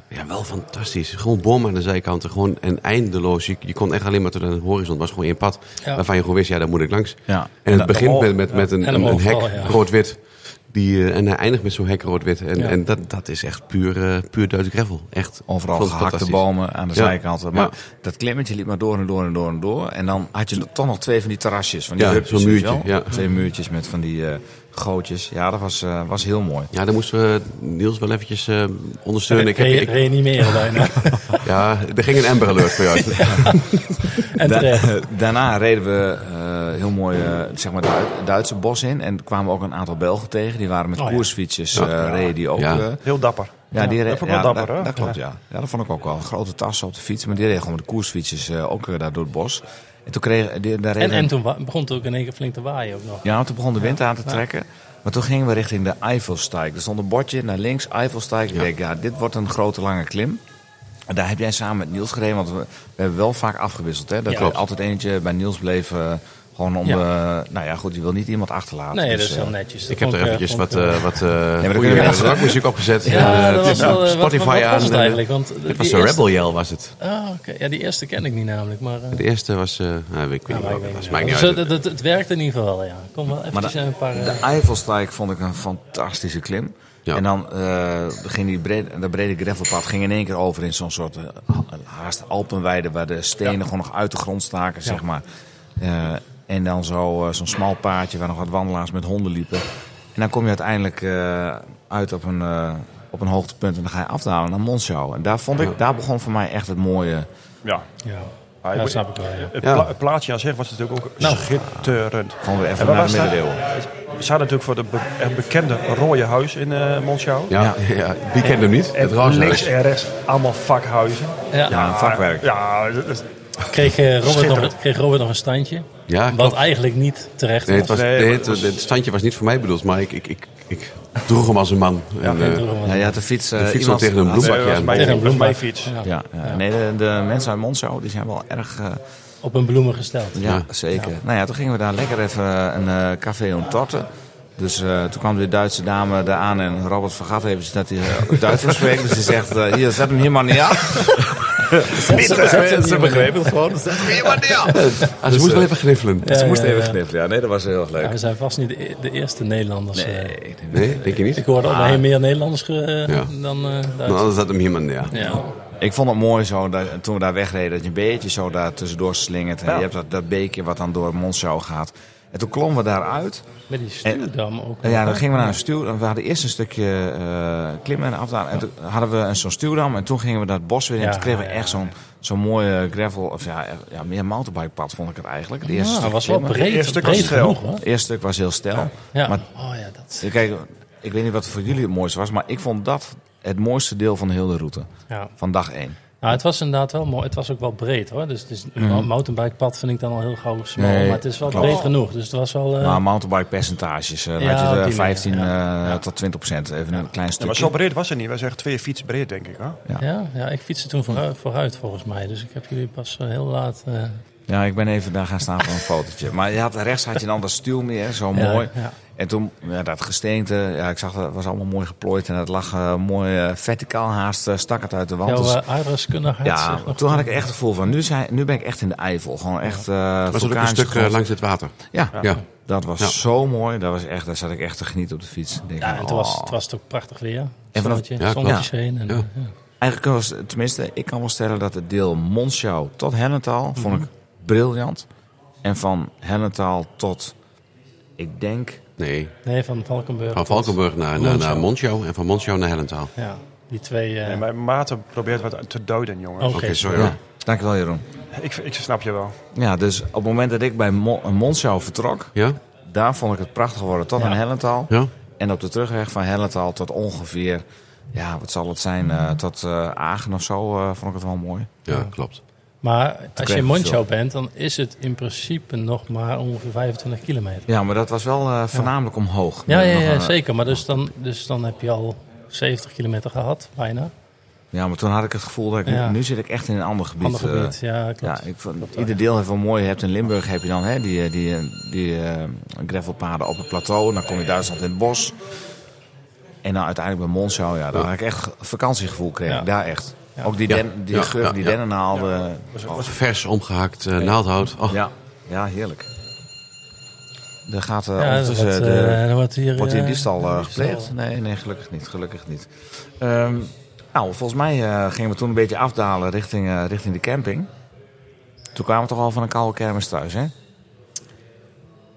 S3: ja, wel fantastisch. Gewoon bomen aan de zijkanten, gewoon en eindeloos. Je, je kon echt alleen maar tot aan de horizon, was gewoon één pad
S1: Ja.
S3: waarvan je gewoon wist, ja, daar moet ik langs.
S2: Ja.
S3: En het begint met, met, met een,
S1: En
S3: een, een
S1: overal,
S3: hek
S1: ja.
S3: rood-wit. Die, eh, en hij eindigt met zo'n hek rood-wit. En,
S1: Ja.
S3: en dat, dat is echt puur, eh, puur Duits gravel. Echt
S2: Overal
S3: vond ik
S2: gehakte
S3: fantastisch.
S2: bomen aan de
S3: Ja.
S2: zijkanten. Maar
S3: Ja.
S2: dat klimmetje liep maar door en door en door en door. En dan had je toch nog twee van die terrasjes. Van die
S3: Ja,
S2: hupjes,
S3: zo'n
S2: weet je
S3: muurtje,
S2: wel.
S3: ja.
S2: Twee muurtjes met van die eh, gootjes. Ja, dat was, eh, was heel mooi.
S3: Ja, daar moesten we Niels wel eventjes eh, ondersteunen. Ik heb,
S1: Re-
S3: ik,
S1: Reanimeren
S3: [LAUGHS]
S1: bijna.
S3: ja, er ging een Amber Alert voor
S1: [LAUGHS]
S3: jou. uit.
S1: en terecht.
S2: Da- [LAUGHS] daarna reden we eh, heel mooi eh, zeg maar het Duitse bos in. En kwamen ook een aantal Belgen tegen. Die waren met
S1: Oh, ja.
S2: koersfietsjes. eh, reden die ook.
S3: Ja.
S2: eh,
S4: Heel dapper.
S2: Ja, die
S4: dat
S2: reed-
S4: vond ik wel
S2: ja,
S4: dapper,
S2: dat,
S4: hè?
S2: dat klopt, ja. ja. Dat vond ik ook wel. Grote tassen op de fiets, maar die reed gewoon met de koersfietsers eh, ook eh, daar door het bos. En toen kreeg die, daar
S1: En,
S2: reden-
S1: en toen wa- begon het ook in één keer flink te waaien ook nog.
S2: Ja, toen begon de wind aan te trekken. Maar toen gingen we richting de Eifelsteig. Er stond een bordje naar links, Eifelsteig. Ik denk, ja, dit wordt een grote lange klim. En daar heb jij samen met Niels gereden, want we, we hebben wel vaak afgewisseld. Hè? Dat
S1: Ja.
S2: er altijd eentje bij Niels bleef eh, Gewoon om
S1: Ja.
S2: de... Nou ja, goed, je wil niet iemand achterlaten.
S1: Nee,
S2: dus,
S1: dat is
S2: eh,
S1: heel netjes. Dat
S3: Ik heb
S1: vond
S3: er
S1: eh,
S3: eventjes
S1: vond
S3: wat,
S1: ik, eh,
S3: eh wat eh
S2: kunnen
S3: goede
S2: we laten-
S3: rockmuziek opgepzet.
S1: ja,
S3: En, eh,
S1: dat was
S3: het is
S1: wel,
S3: op
S1: eh, wat-
S3: Spotify
S1: wat, wat,
S3: aan.
S1: was het
S3: en, eh,
S1: eigenlijk? Want
S3: Dit was de Rebel Yell was het.
S1: Ah, oké. Ja, die eerste ken ik niet namelijk, maar... eh,
S3: De eerste was... eh nou, ik weet niet welke het was. Maakt niet
S1: Dus
S3: uit.
S1: het, het, het werkt in ieder geval wel, ja. Kom wel eventjes
S2: dat-
S1: een paar... eh,
S2: De Eifelstrijk vond ik een fantastische klim.
S3: Ja.
S2: En dan eh, ging die brede, dat brede gravelpad ging in één keer over in zo'n soort eh, ha- haast Alpenweide... waar de stenen gewoon nog uit de grond staken, zeg maar. Eh, en dan zo, eh, zo'n smal paadje waar nog wat wandelaars met honden liepen. En dan kom je uiteindelijk eh, uit op een, eh, op een hoogtepunt... en dan ga je afdalen naar Monschau. En daar, vond ik, daar begon voor mij echt het mooie... eh,
S4: Ja,
S1: ja.
S4: maar ik
S1: ja,
S4: Ah, moet-
S1: snap ik wel, ja.
S4: het,
S3: Ja.
S4: pla- het plaatsje aan zich was natuurlijk ook
S1: Nou.
S4: schitterend.
S2: Gewoon weer even
S4: En waar
S2: naar de
S4: was dat?
S2: middeleeuwen.
S4: We zaten natuurlijk voor de be- het bekende rode huis in eh Monschau.
S3: Ja, ja, die kent hem niet. Het
S4: En links
S3: Rooshuis.
S4: en rechts allemaal vakhuizen.
S1: Ja.
S2: Ja, een vakwerk.
S4: Ja, dat is-
S1: Kreeg, eh, Robert nog,
S4: Schitterend.
S1: kreeg Robert nog een standje.
S3: Ja,
S1: wat
S3: klopt.
S1: eigenlijk niet terecht
S3: Nee,
S1: was.
S3: het, was,
S4: Nee,
S3: nee,
S4: maar
S3: het, het standje was niet voor mij bedoeld, maar ik, ik, ik, ik droeg hem als een man. En, eh,
S1: Toen was-
S2: Ja, je had de fiets... eh,
S3: de fiets al
S2: iemand-
S3: tegen een
S4: dat
S3: bloembakje
S4: was
S3: aan.
S4: mijn,
S1: Tegen
S4: dat
S1: een
S4: was mijn
S1: bloembak.
S4: fiets.
S1: Ja.
S2: Ja, ja. nee, de, de mensen uit Monschau die zijn wel erg... eh,
S1: Op een bloemen gesteld.
S2: Ja,
S3: Ja.
S2: zeker. Nou ja, toen gingen we daar lekker even eh, een eh, café on torte. Dus eh, toen kwam de Duitse dame daar aan en Robert vergat even dat hij eh, Duits spreekt. Dus hij zegt, eh, hier, zet hem hier maar niet aan.
S1: Ze begrepen
S2: het gewoon.
S3: Ah, ze moest wel even gniffelen.
S1: Ja,
S2: Ze moest
S1: ja,
S2: even
S1: ja.
S2: gniffelen. Ja, nee, dat was heel erg
S1: Ja,
S2: leuk.
S1: we zijn vast niet de, e- de eerste Nederlanders. eh.
S3: Nee, denk je niet?
S1: ik
S2: Ah.
S1: hoorde ook nog heel meer Nederlanders ge-
S3: Ja.
S1: dan eh
S3: Nou,
S1: Duitsers.
S3: anders had hem iemand, ja.
S1: Ja.
S2: Ik vond het mooi zo, dat, toen we daar wegreden, dat je een beetje zo daar tussendoor slingert. En je hebt dat, dat beekje wat dan door Monschau gaat. En toen klommen we daaruit.
S1: Met die stuurdam ook.
S2: En Ja, dan gingen we naar een stuw. We hadden eerst een stukje eh, klimmen en afdalen. En toen hadden we een- zo'n stuwdam. En toen gingen we dat bos weer in.
S1: Ja,
S2: toen kregen we
S1: ja,
S2: echt zo'n zo'n mooie gravel... Of ja, eh, ja, meer mountainbikepad vond ik het eigenlijk. Het
S1: Ja,
S2: eerste stuk
S1: Ah, was wel
S2: klimmen.
S1: breed,
S4: Eerste stuk was
S1: breed
S4: stijl.
S1: genoeg hoor.
S2: Het eerste stuk was heel stijl.
S1: Ja.
S2: Maar
S1: oh ja, dat.
S2: kijk, ik weet niet wat voor jullie het mooiste was. Maar ik vond dat het mooiste deel van heel de route.
S1: Ja.
S2: Van dag één.
S1: Nou, het was inderdaad wel mooi. Het was ook wel breed hoor. Dus, het is een mountainbikepad vind ik dan al heel gauw smal.
S2: Mhm. Nee,
S1: maar het is wel
S2: klopt. Nou,
S1: breed genoeg. Dus het was wel. eh,
S2: Maar mountainbike percentages. eh, dan
S1: Ja,
S2: had je
S1: op
S2: eh,
S1: die manier,
S2: 15
S1: ja.
S2: eh, tot 20 procent. Even een klein
S4: Ja, maar zo
S2: stukje.
S4: breed was het niet. We zijn echt twee fiets breed, denk ik. Hè?
S1: ja, ja, ik fietste toen vooruit, vooruit volgens mij. Dus ik heb jullie pas eh, heel laat. eh,
S2: Ja, ik ben even daar gaan staan voor een fotootje. Maar je had, rechts had je dan dat stuw meer, zo
S1: Ja,
S2: mooi.
S1: ja.
S2: En toen, ja, dat gesteente, ja, ik zag dat was allemaal mooi geplooid. En het lag eh, mooi eh, verticaal haast, eh, stak het uit de wand.
S1: jouw
S2: Dus,
S1: uh, aardrijkskundige had
S2: ja,
S1: zich nog
S2: toen had ik echt het gevoel van, nu, zijn, nu ben ik echt in de Eifel. Gewoon echt eh
S3: Was dat ook een
S2: vulkanisch
S3: stuk eh,
S2: gegrond.
S3: langs het water?
S2: Ja,
S3: Ja.
S2: dat was
S3: Ja.
S2: zo mooi. Dat was echt, daar zat ik echt te genieten op de fiets. Ik denk,
S1: Ja, en toen was,
S2: oh.
S1: het was het ook prachtig weer.
S2: vanaf-
S1: Zonnetje,
S3: ja,
S1: zonnetjes
S2: klopt.
S1: heen. En,
S3: Ja.
S1: ja.
S2: Eigenlijk kunnen we, tenminste, ik kan wel stellen dat het deel Monschau tot Hellenthal
S1: Mhm.
S2: vond ik briljant. En van Hellenthal tot, ik denk...
S3: Nee.
S1: Nee, van Valkenburg.
S3: Van Valkenburg naar, naar, naar Monschau en van Monschau naar Hellentaal.
S1: Ja, die twee. eh,
S4: En mijn maten probeert wat te duiden, jongen.
S1: Oké,
S3: Oké, sorry.
S2: Ja, dankjewel Jeroen.
S4: Ik, ik snap je wel.
S2: Ja, dus op het moment dat ik bij Mo Monschau vertrok,
S3: Ja?
S2: daar vond ik het prachtig worden tot
S1: Ja.
S2: aan Hellenthal.
S3: Ja?
S2: En op de terugweg van Hellenthal tot ongeveer, ja, wat zal het zijn, eh, tot eh Agen of zo, eh, vond ik het wel mooi.
S3: Ja, klopt.
S1: Maar als je
S2: kreeg
S1: in
S2: ik
S1: Monschau
S2: veel.
S1: bent, dan is het in principe nog maar ongeveer 25 kilometer.
S2: Ja, maar dat was wel eh, voornamelijk omhoog.
S1: Ja, ja,
S2: Nog eh,
S1: ja
S2: een-
S1: zeker. Maar dus dan, dus dan heb je al 70 kilometer gehad, bijna.
S2: ja, maar toen had ik het gevoel dat ik,
S1: Ja.
S2: nu zit ik echt in een ander gebied.
S1: Ander
S2: eh,
S1: gebied, ja, klopt.
S2: Ja, ik vond, ieder deel heeft wel mooi. Je hebt in Limburg heb je dan hè, die, eh, die, eh, die eh, gravelpaden op het plateau. Dan kom je Duitsland in het bos. En dan uiteindelijk bij Monschau, ja, daar had ik echt vakantiegevoel kreeg.
S1: Ja.
S2: ik Daar echt.
S1: Ja.
S2: Ook die,
S3: Ja.
S2: den, die
S3: Ja,
S2: geur van die
S3: ja, ja.
S2: dennennaalden. Ja.
S3: Vers omgehakt eh, naaldhout. Oh,
S2: ja. heerlijk. Er gaat eh,
S1: Ja,
S2: ondertussen
S1: dat,
S2: de,
S1: eh, dan wordt hier,
S2: wordt hier
S1: eh,
S2: diefstal eh,
S1: diefstal.
S2: gepleegd. Nee, nee, gelukkig niet. Gelukkig niet. Ehm, nou, volgens mij eh, gingen we toen een beetje afdalen richting, eh, richting de camping. Toen kwamen we toch al van een koude kermis thuis, hè?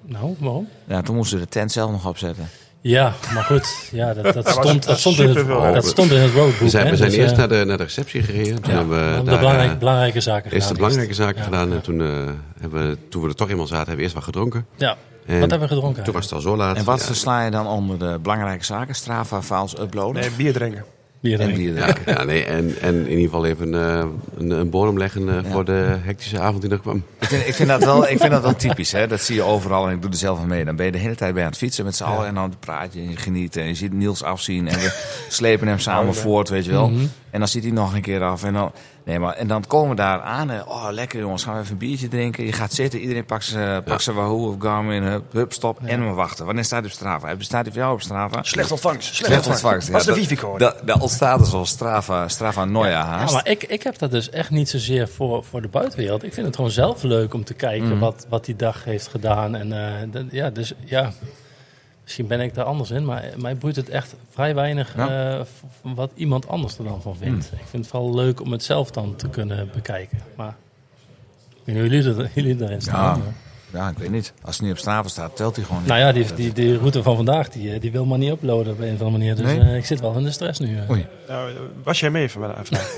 S1: Nou, waarom?
S2: Ja, toen moesten we de tent zelf nog opzetten.
S1: Ja, maar goed. Ja, dat, dat, stond, dat,
S4: dat
S1: stond in het,
S4: superveel werk.
S1: dat stond in het roadbook.
S3: We zijn,
S1: hè,
S3: we zijn
S1: dus,
S3: eerst
S1: eh,
S3: naar de, naar de receptie gereden. Toen hebben
S1: we
S3: we
S1: hebben
S3: daar,
S1: de belangrijke,
S3: eh,
S1: belangrijke zaken
S3: eerst de
S1: gedaan.
S3: belangrijke zaken
S1: Ja,
S3: gedaan. En toen, eh, hebben we, toen we er toch eenmaal zaten, hebben we eerst wat gedronken.
S1: Ja,
S3: En
S1: wat hebben we gedronken?
S3: Toen was het al zo laat.
S2: En wat
S3: Ja.
S2: versla je dan onder de belangrijke zaken? Strava-files uploaden?
S4: Nee, bier drinken.
S1: Bier
S2: en
S1: drinken.
S2: die
S3: Ja, ja, nee, en, en in ieder geval even eh, een, een bodem leggen eh, voor de hectische avond die er kwam.
S2: ik, vind, ik, vind dat wel, ik vind dat wel typisch, hè? Dat zie je overal en ik doe er zelf aan mee. Dan ben je de hele tijd bij aan het fietsen met z'n allen en dan praat je en je geniet. En je ziet Niels afzien en we slepen hem samen voort, weet je wel. En dan zit hij nog een keer af. En dan, nee, maar, en dan komen we daar aan. En, oh, lekker jongens, gaan we even een biertje drinken. Je gaat zitten, iedereen pakt zijn eh, pakt zijn Wahoo of Garmin. Hup, hup stop. En we wachten. Wanneer staat hij op Strava? Hij bestaat hij voor jou op Strava?
S4: Slecht ontvangst. Slecht,
S2: Slecht
S4: ontvangst.
S2: ontvangst.
S4: Wat is de
S2: dat-
S4: wifi-code?
S2: dat- Daar ontstaat dus al Strava, Strava Noia
S1: Ja,
S2: haast.
S1: Nou, maar ik, ik heb dat dus echt niet zozeer voor, voor de buitenwereld. Ik vind het gewoon zelf leuk om te kijken
S2: Mm.
S1: wat, wat die dag heeft gedaan. En, eh, dat- ja, dus ja, misschien ben ik daar anders in. Maar mij boeit het echt vrij weinig
S2: Ja.
S1: eh,
S2: Mm.
S1: v- wat iemand anders er dan van vindt. Ik vind het vooral leuk om het zelf dan te kunnen bekijken. Maar ik weet niet hoe jullie, er- jullie daarin staan.
S2: Ja. Ja, ik weet niet. Als het niet op Strava staat, telt hij gewoon niet.
S1: Nou ja, die, die, die route van vandaag, die, eh, die wil maar niet uploaden op een of andere manier. Dus
S2: Nee?
S1: eh, ik zit wel in de stress nu. eh.
S2: Oei.
S4: Nou, eh, was jij mee vanmiddag? vandaag?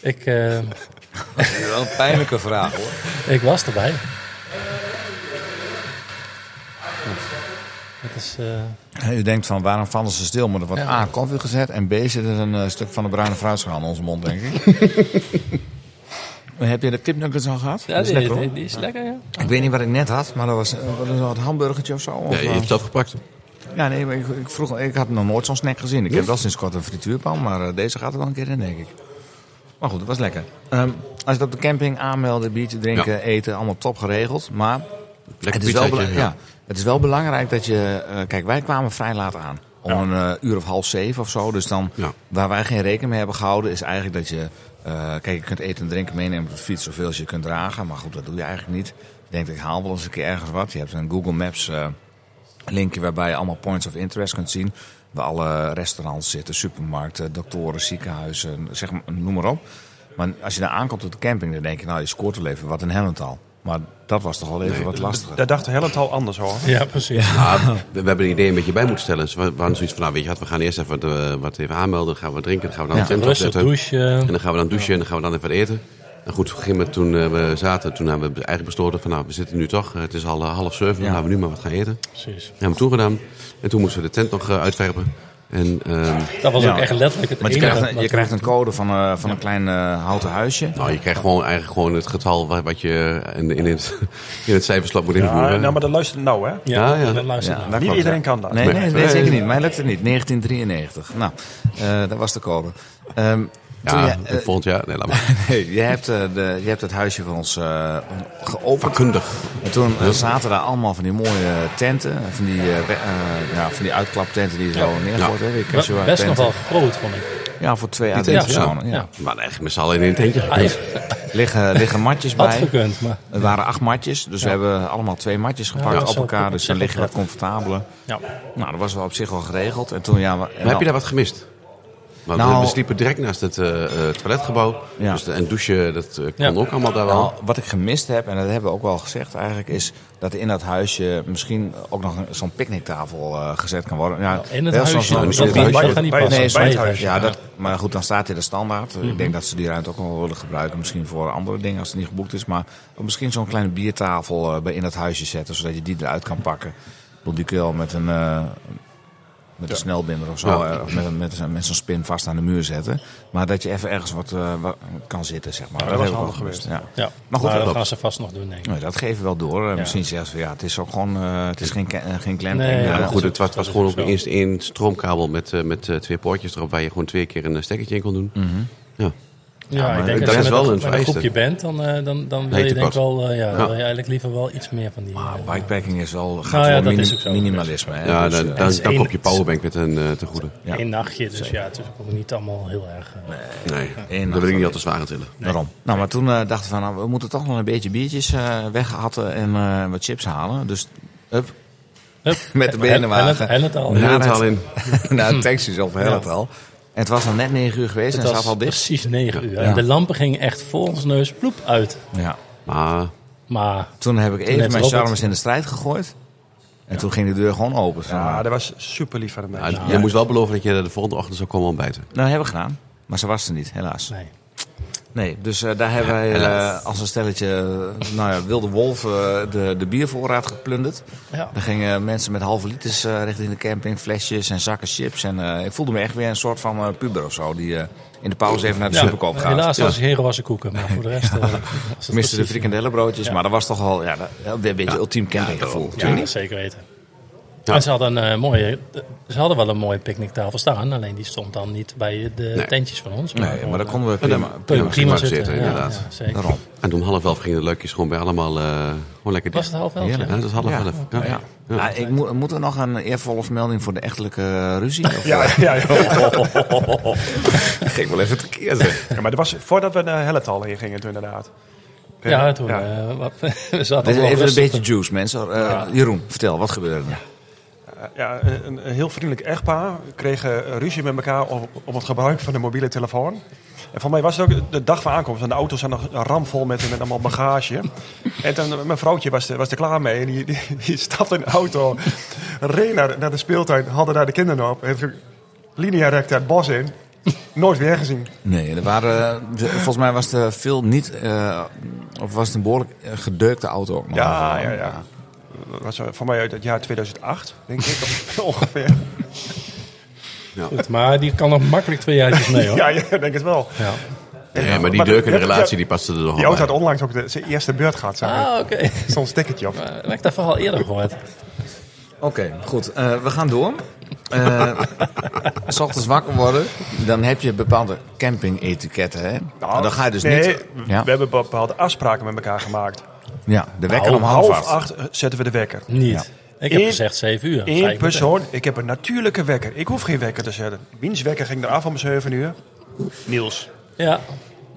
S1: Ik, eh,
S2: Dat is wel een pijnlijke vraag hoor.
S1: Ik was erbij. Het is, eh,
S2: Hè, U denkt van waarom vallen ze stil? Maar er wordt
S1: Ja.
S2: A, koffie gezet en B, zit er een eh, stuk van de bruine fruitschaal in onze mond, denk ik. [LAUGHS] Heb je de kipnuggets al gehad?
S1: ja,
S2: Dat is
S1: die,
S2: lekker,
S1: die-
S2: hoor.
S1: die is lekker, ja.
S2: Ik weet niet wat ik net had, maar dat was, eh, wat is dat, een hamburgertje of zo? Of,
S3: Nee, je
S2: eh,
S3: hebt het afgepakt.
S2: ja, nee, maar ik, ik, vroeg, ik had nog nooit zo'n snack gezien. Ik heb wel sinds kort een frituurpan, maar eh, deze gaat er wel een keer in, denk ik. Maar goed, dat was lekker. Ehm, als je het op de camping aanmelden, biertje drinken,
S3: Ja.
S2: eten, allemaal top geregeld. Maar
S3: Lekker
S2: het is, wel
S3: pizzaatje,
S2: bela- ja. het is wel belangrijk dat je. eh, kijk, wij kwamen vrij laat aan. Om een eh, uur of half zeven of zo. Dus dan,
S3: Ja.
S2: waar wij geen rekening mee hebben gehouden, is eigenlijk dat je. eh, kijk, je kunt eten en drinken meenemen op de fiets zoveel als je kunt dragen. Maar goed, dat doe je eigenlijk niet. Je denkt, ik haal wel eens een keer ergens wat. Je hebt een Google Maps eh, linkje waarbij je allemaal points of interest kunt zien. Waar alle restaurants zitten, supermarkten, doktoren, ziekenhuizen, zeg maar, noem maar op. Maar als je daar aankomt op de camping, dan denk je, nou, je scoort wel even wat in Hellental. Maar dat was toch wel even wat lastiger.
S4: Daar dacht de hele taal anders hoor.
S1: Ja, precies.
S3: Ah, we, we hebben een idee een beetje bij moeten stellen. Dus we we hadden zoiets van, nou weet je wat, we gaan eerst even wat, eh, wat even aanmelden. Dan gaan we drinken, dan gaan we dan
S2: Ja.
S3: de tent
S1: Rustig eh,
S3: opzetten.
S1: douchen.
S3: En dan gaan we dan douchen en dan gaan we dan even wat eten. En goed, op een gegeven moment toen eh, we zaten, toen hebben we eigenlijk besloten van nou, we zitten nu toch. eh, Het is al eh, half zeven, dan
S2: Ja.
S3: gaan we nu maar wat gaan eten.
S1: precies.
S3: Dat hebben we toegedaan. En toen moesten we de tent nog eh, uitwerpen. En ehm,
S1: Dat was
S2: Ja.
S1: ook echt letterlijk het
S2: Maar je
S1: enige.
S2: krijgt, een,
S1: wat-
S2: je krijgt een code van, eh, van een klein eh, houten huisje.
S3: nou, je krijgt gewoon, eigenlijk gewoon het getal wa- wat je in, in, het, [LAUGHS] in het cijferslap moet invoeren.
S4: Ja, nou, maar dat luistert nou hè.
S1: Ja,
S3: Ja, ja.
S1: dat luister
S2: Ja,
S1: naar.
S2: dat
S4: Niet
S2: klopt,
S4: iedereen
S2: ja.
S4: kan dat.
S2: Nee,
S3: Nee.
S2: nee, nee,
S3: Nee.
S2: zeker niet. Mij lukt het niet. 1993. Nou, eh, dat was de code. Ehm, toen
S3: ja,
S2: je, eh,
S3: volgend jaar. [LAUGHS] Nee, laat maar.
S2: nee, je, hebt, eh, de, je hebt het huisje van ons eh, geopend.
S3: Vakkundig.
S2: En toen eh, zaten daar allemaal van die mooie tenten. Van die, eh, we- eh, ja, van die uitklaptenten die zo neergooit.
S3: Ja.
S2: hè, die
S1: Best
S2: Quechua
S1: best nog
S2: tenten.
S1: wel groot, vond ik.
S2: Ja, voor twee à
S1: tenten,
S2: drie
S1: ja.
S2: personen. Ja.
S1: Ja.
S3: Maar echt met z'n allen in een tentje
S1: Ah,
S3: gekund.
S1: ik
S2: Liggen, liggen matjes
S1: had
S2: bij.
S1: gekund, maar...
S2: Er waren acht matjes, dus we hebben allemaal twee matjes gepakt
S1: Ja,
S2: op
S1: zo
S2: elkaar.
S1: klopt.
S2: Dus dan lig je wat comfortabeler.
S1: Ja.
S2: Nou, dat was wel op zich wel geregeld. En toen, ja, we- en
S3: Maar heb je
S2: dan-
S3: daar wat gemist? Want
S2: Nou-
S3: we, we sliepen direct naast het eh, eh, toiletgebouw.
S2: Ja.
S3: Dus de, en douchen, dat eh, kon
S1: Ja.
S3: ook allemaal daar
S2: nou,
S3: wel.
S2: wat ik gemist heb, en dat hebben we ook wel gezegd eigenlijk, is dat in dat huisje misschien ook nog een- zo'n picknicktafel eh, gezet kan worden. Ja,
S1: In het
S2: wel zo'n-
S1: huisje,
S2: zo'n-
S1: dat,
S2: zo'n
S1: dat,
S2: huisje.
S1: dat gaat niet
S4: bij-
S1: passen.
S4: bij
S2: Nee,
S4: het
S2: zo'n-
S4: huisje.
S2: Ja, dat, maar goed, dan staat hij er standaard. Ik denk dat ze die ruimte ook wel willen gebruiken. Misschien voor andere dingen als het niet geboekt is. Maar misschien zo'n kleine biertafel eh, bij in dat huisje zetten. Zodat je die eruit kan pakken. Ik bedoel, die kun je wel met een, eh, met een snelbinder of zo.
S3: Ja.
S2: eh, Of met, een- met, een- met zo'n spin vast aan de muur zetten. Maar dat je even ergens wat, eh, wat kan zitten, zeg maar.
S4: dat was
S2: heb ik wel
S4: handig
S2: gemist, Ja.
S1: Ja,
S2: Maar
S1: maar
S2: goed, dat
S1: dat
S2: loopt.
S1: gaan ze vast nog doen, denk ik.
S2: Nee, dat geven we wel door. Eh,
S1: Ja.
S2: Misschien zeggen ze, van, ja, het is ook gewoon, eh, het is geen, ke- eh, geen clamping.
S1: Nee,
S2: Eh,
S3: Ja,
S1: dat
S3: maar goed,
S1: is-
S3: het was, het was
S1: dat
S3: gewoon
S1: is
S3: ook
S1: zo.
S3: eerst één stroomkabel met, eh, met eh, twee poortjes erop... waar je gewoon twee keer een eh, stekkertje in kon doen. Ja.
S1: Ja,
S2: maar
S1: ik denk
S3: dat
S1: als je
S3: is
S1: met
S3: wel
S1: een,
S3: een
S1: met een
S3: vereiste.
S1: groepje bent, dan, eh, dan, dan wil
S3: Nee,
S1: je
S3: te
S1: denk ik
S3: kort.
S1: wel... eh, ja, dan
S3: Ja.
S1: wil je eigenlijk liever wel iets meer van die... eh,
S2: Maar bikepacking is wel, gaat
S1: Nou ja,
S2: wel
S1: dat
S2: minim-
S1: is ook zo.
S2: minimalisme. Hè?
S3: Ja,
S2: Dus,
S3: dan,
S2: eh,
S3: dan,
S1: is
S3: dan
S1: één-
S3: klopt je powerbank met een eh, te goede.
S2: Ja.
S1: Eén nachtje, dus ja, het is ook niet allemaal heel erg... eh,
S3: Nee,
S2: Eén
S3: dat wil ik
S2: nacht.
S3: niet al te zwaar aan tillen.
S2: Daarom. Nou, maar toen eh, dachten we van, nou, we moeten toch nog een beetje biertjes eh weghatten en eh, wat chips halen. Dus, up,
S1: hup.
S2: [LAUGHS] met de
S1: En het-
S2: benenwagen.
S1: En het al.
S2: Ja,
S3: het
S2: dat-
S3: al in.
S2: [LAUGHS] nou, taxis of heel het al. En het was nog net negen uur geweest
S1: Het
S2: en het
S1: was
S2: zat al dicht.
S1: precies 9 uur.
S2: Ja.
S1: En de lampen gingen echt voor ons neus ploep uit.
S2: Ja.
S3: Maar
S1: Maar
S2: Toen heb ik
S1: heeft
S2: even mijn
S1: Robert-
S2: charmes in de strijd gegooid. En toen ging de deur gewoon open.
S4: Ja, Ah, dat was super lief van de
S3: ja,
S4: mensen.
S3: je moest wel beloven dat je de volgende ochtend zou komen ontbijten.
S2: Nou, hebben we gedaan. Maar ze was er niet, helaas.
S1: nee.
S2: Nee, dus eh, daar hebben wij
S3: helaas.
S2: eh, als een stelletje eh, nou ja, wilde wolven eh, de, de biervoorraad geplunderd.
S1: Ja.
S2: Daar gingen mensen met halve liters eh, richting de camping, flesjes en zakken chips. En eh, ik voelde me echt weer een soort van eh, puber of zo, die eh, in de pauze even naar de superkoop gaat.
S1: Helaas was het geen gewassen koeken, maar voor de rest... eh, was het
S2: Miste de
S1: precies- eh,
S2: frikandellenbroodjes, maar dat was toch wel ja, dat- wel weer een beetje ultiem campinggevoel.
S1: Ja, zeker weten.
S3: Ja.
S1: En ze hadden, een, eh, mooie, ze hadden wel een mooie picknicktafel staan, alleen die stond dan niet bij de
S3: Nee.
S1: tentjes van ons.
S2: Nee, maar daar konden we
S3: Ja,
S2: prima.
S3: dan-
S1: kon je prima
S3: Ja, prima
S1: zitten,
S3: zitten,
S1: ja,
S3: inderdaad.
S1: ja, zeker.
S2: Daarom.
S3: En om half elf gingen de leukjes gewoon bij allemaal eh, gewoon lekker
S1: Was het half elf?
S2: Heerlijk.
S3: Ja, dat is half
S2: Ja.
S3: elf. Ja.
S2: Ja.
S3: Ja.
S2: Ah, ik moet, moeten we nog een eervolle vermelding voor de echtelijke
S4: [LAUGHS]
S2: ruzie? Of, eh?
S4: Ja, ja, ja.
S3: Ging wel even tekeer zeg.
S4: Ja, maar dat was voordat we naar Helletal heen gingen, toen inderdaad.
S1: Ja, ja, toen.
S4: Ja.
S1: eh, wat- [LAUGHS] we zaten
S2: Dit is
S1: wel
S2: even een
S1: rustig.
S2: beetje juice, mensen. Eh, Jeroen, vertel, wat gebeurde er?
S4: Eh, ja, een, een heel vriendelijk echtpaar kregen eh, ruzie met elkaar op, op het gebruik van de mobiele telefoon. En voor mij was het ook de dag van aankomst. En de auto's zijn nog ramvol met, met allemaal bagage. En toen, eh, mijn vrouwtje was, er- was er klaar mee. En die, die, die stapte in de auto, reed naar, naar de speeltuin, hadden daar de kinderen op. En toen linea recta het bos in. Nooit weer gezien.
S2: Nee, er waren, eh, de- volgens mij was er veel niet... eh, of was het een behoorlijk eh, gedeukte auto ook nog.
S4: Ja, ja, ja. Dat was eh, voor mij uit het jaar 2008, denk ik [LAUGHS] ongeveer.
S1: Goed, maar die kan nog makkelijk twee jaartjes mee
S2: [LAUGHS]
S1: hoor.
S4: Ja, ja, ik denk het wel.
S1: Ja.
S3: Nee, maar die
S4: Maar
S3: deuk in de
S4: dat-
S3: relatie die paste er nog
S2: Oh,
S4: Die
S3: wel
S4: auto had
S3: bij.
S4: onlangs ook de, zijn eerste beurt gehad. zag ik.
S1: Ah, oké.
S4: Zo'n stekkertje op.
S1: Maar heb ik dat verhaal eerder gehoord.
S2: Oké, goed. Eh, we gaan door. Eh, [LAUGHS] S ochtends wakker worden, dan heb je bepaalde camping-etiketten. Hè?
S4: Nou,
S2: En dan ga je dus niet...
S4: nee, we-
S2: Ja,
S4: We hebben bepaalde afspraken met elkaar gemaakt.
S2: ja, de wekker
S1: Nou,
S2: om half,
S4: Half
S2: acht.
S4: acht eh, zetten we de wekker.
S1: Niet. Ik heb
S4: Eén-
S1: gezegd 7 uur. Zei ik
S4: Eén
S1: meteen.
S4: persoon, ik heb een natuurlijke wekker. Ik hoef geen wekker te zetten. Wiens wekker ging eraf om 7 uur? Niels.
S1: Ja.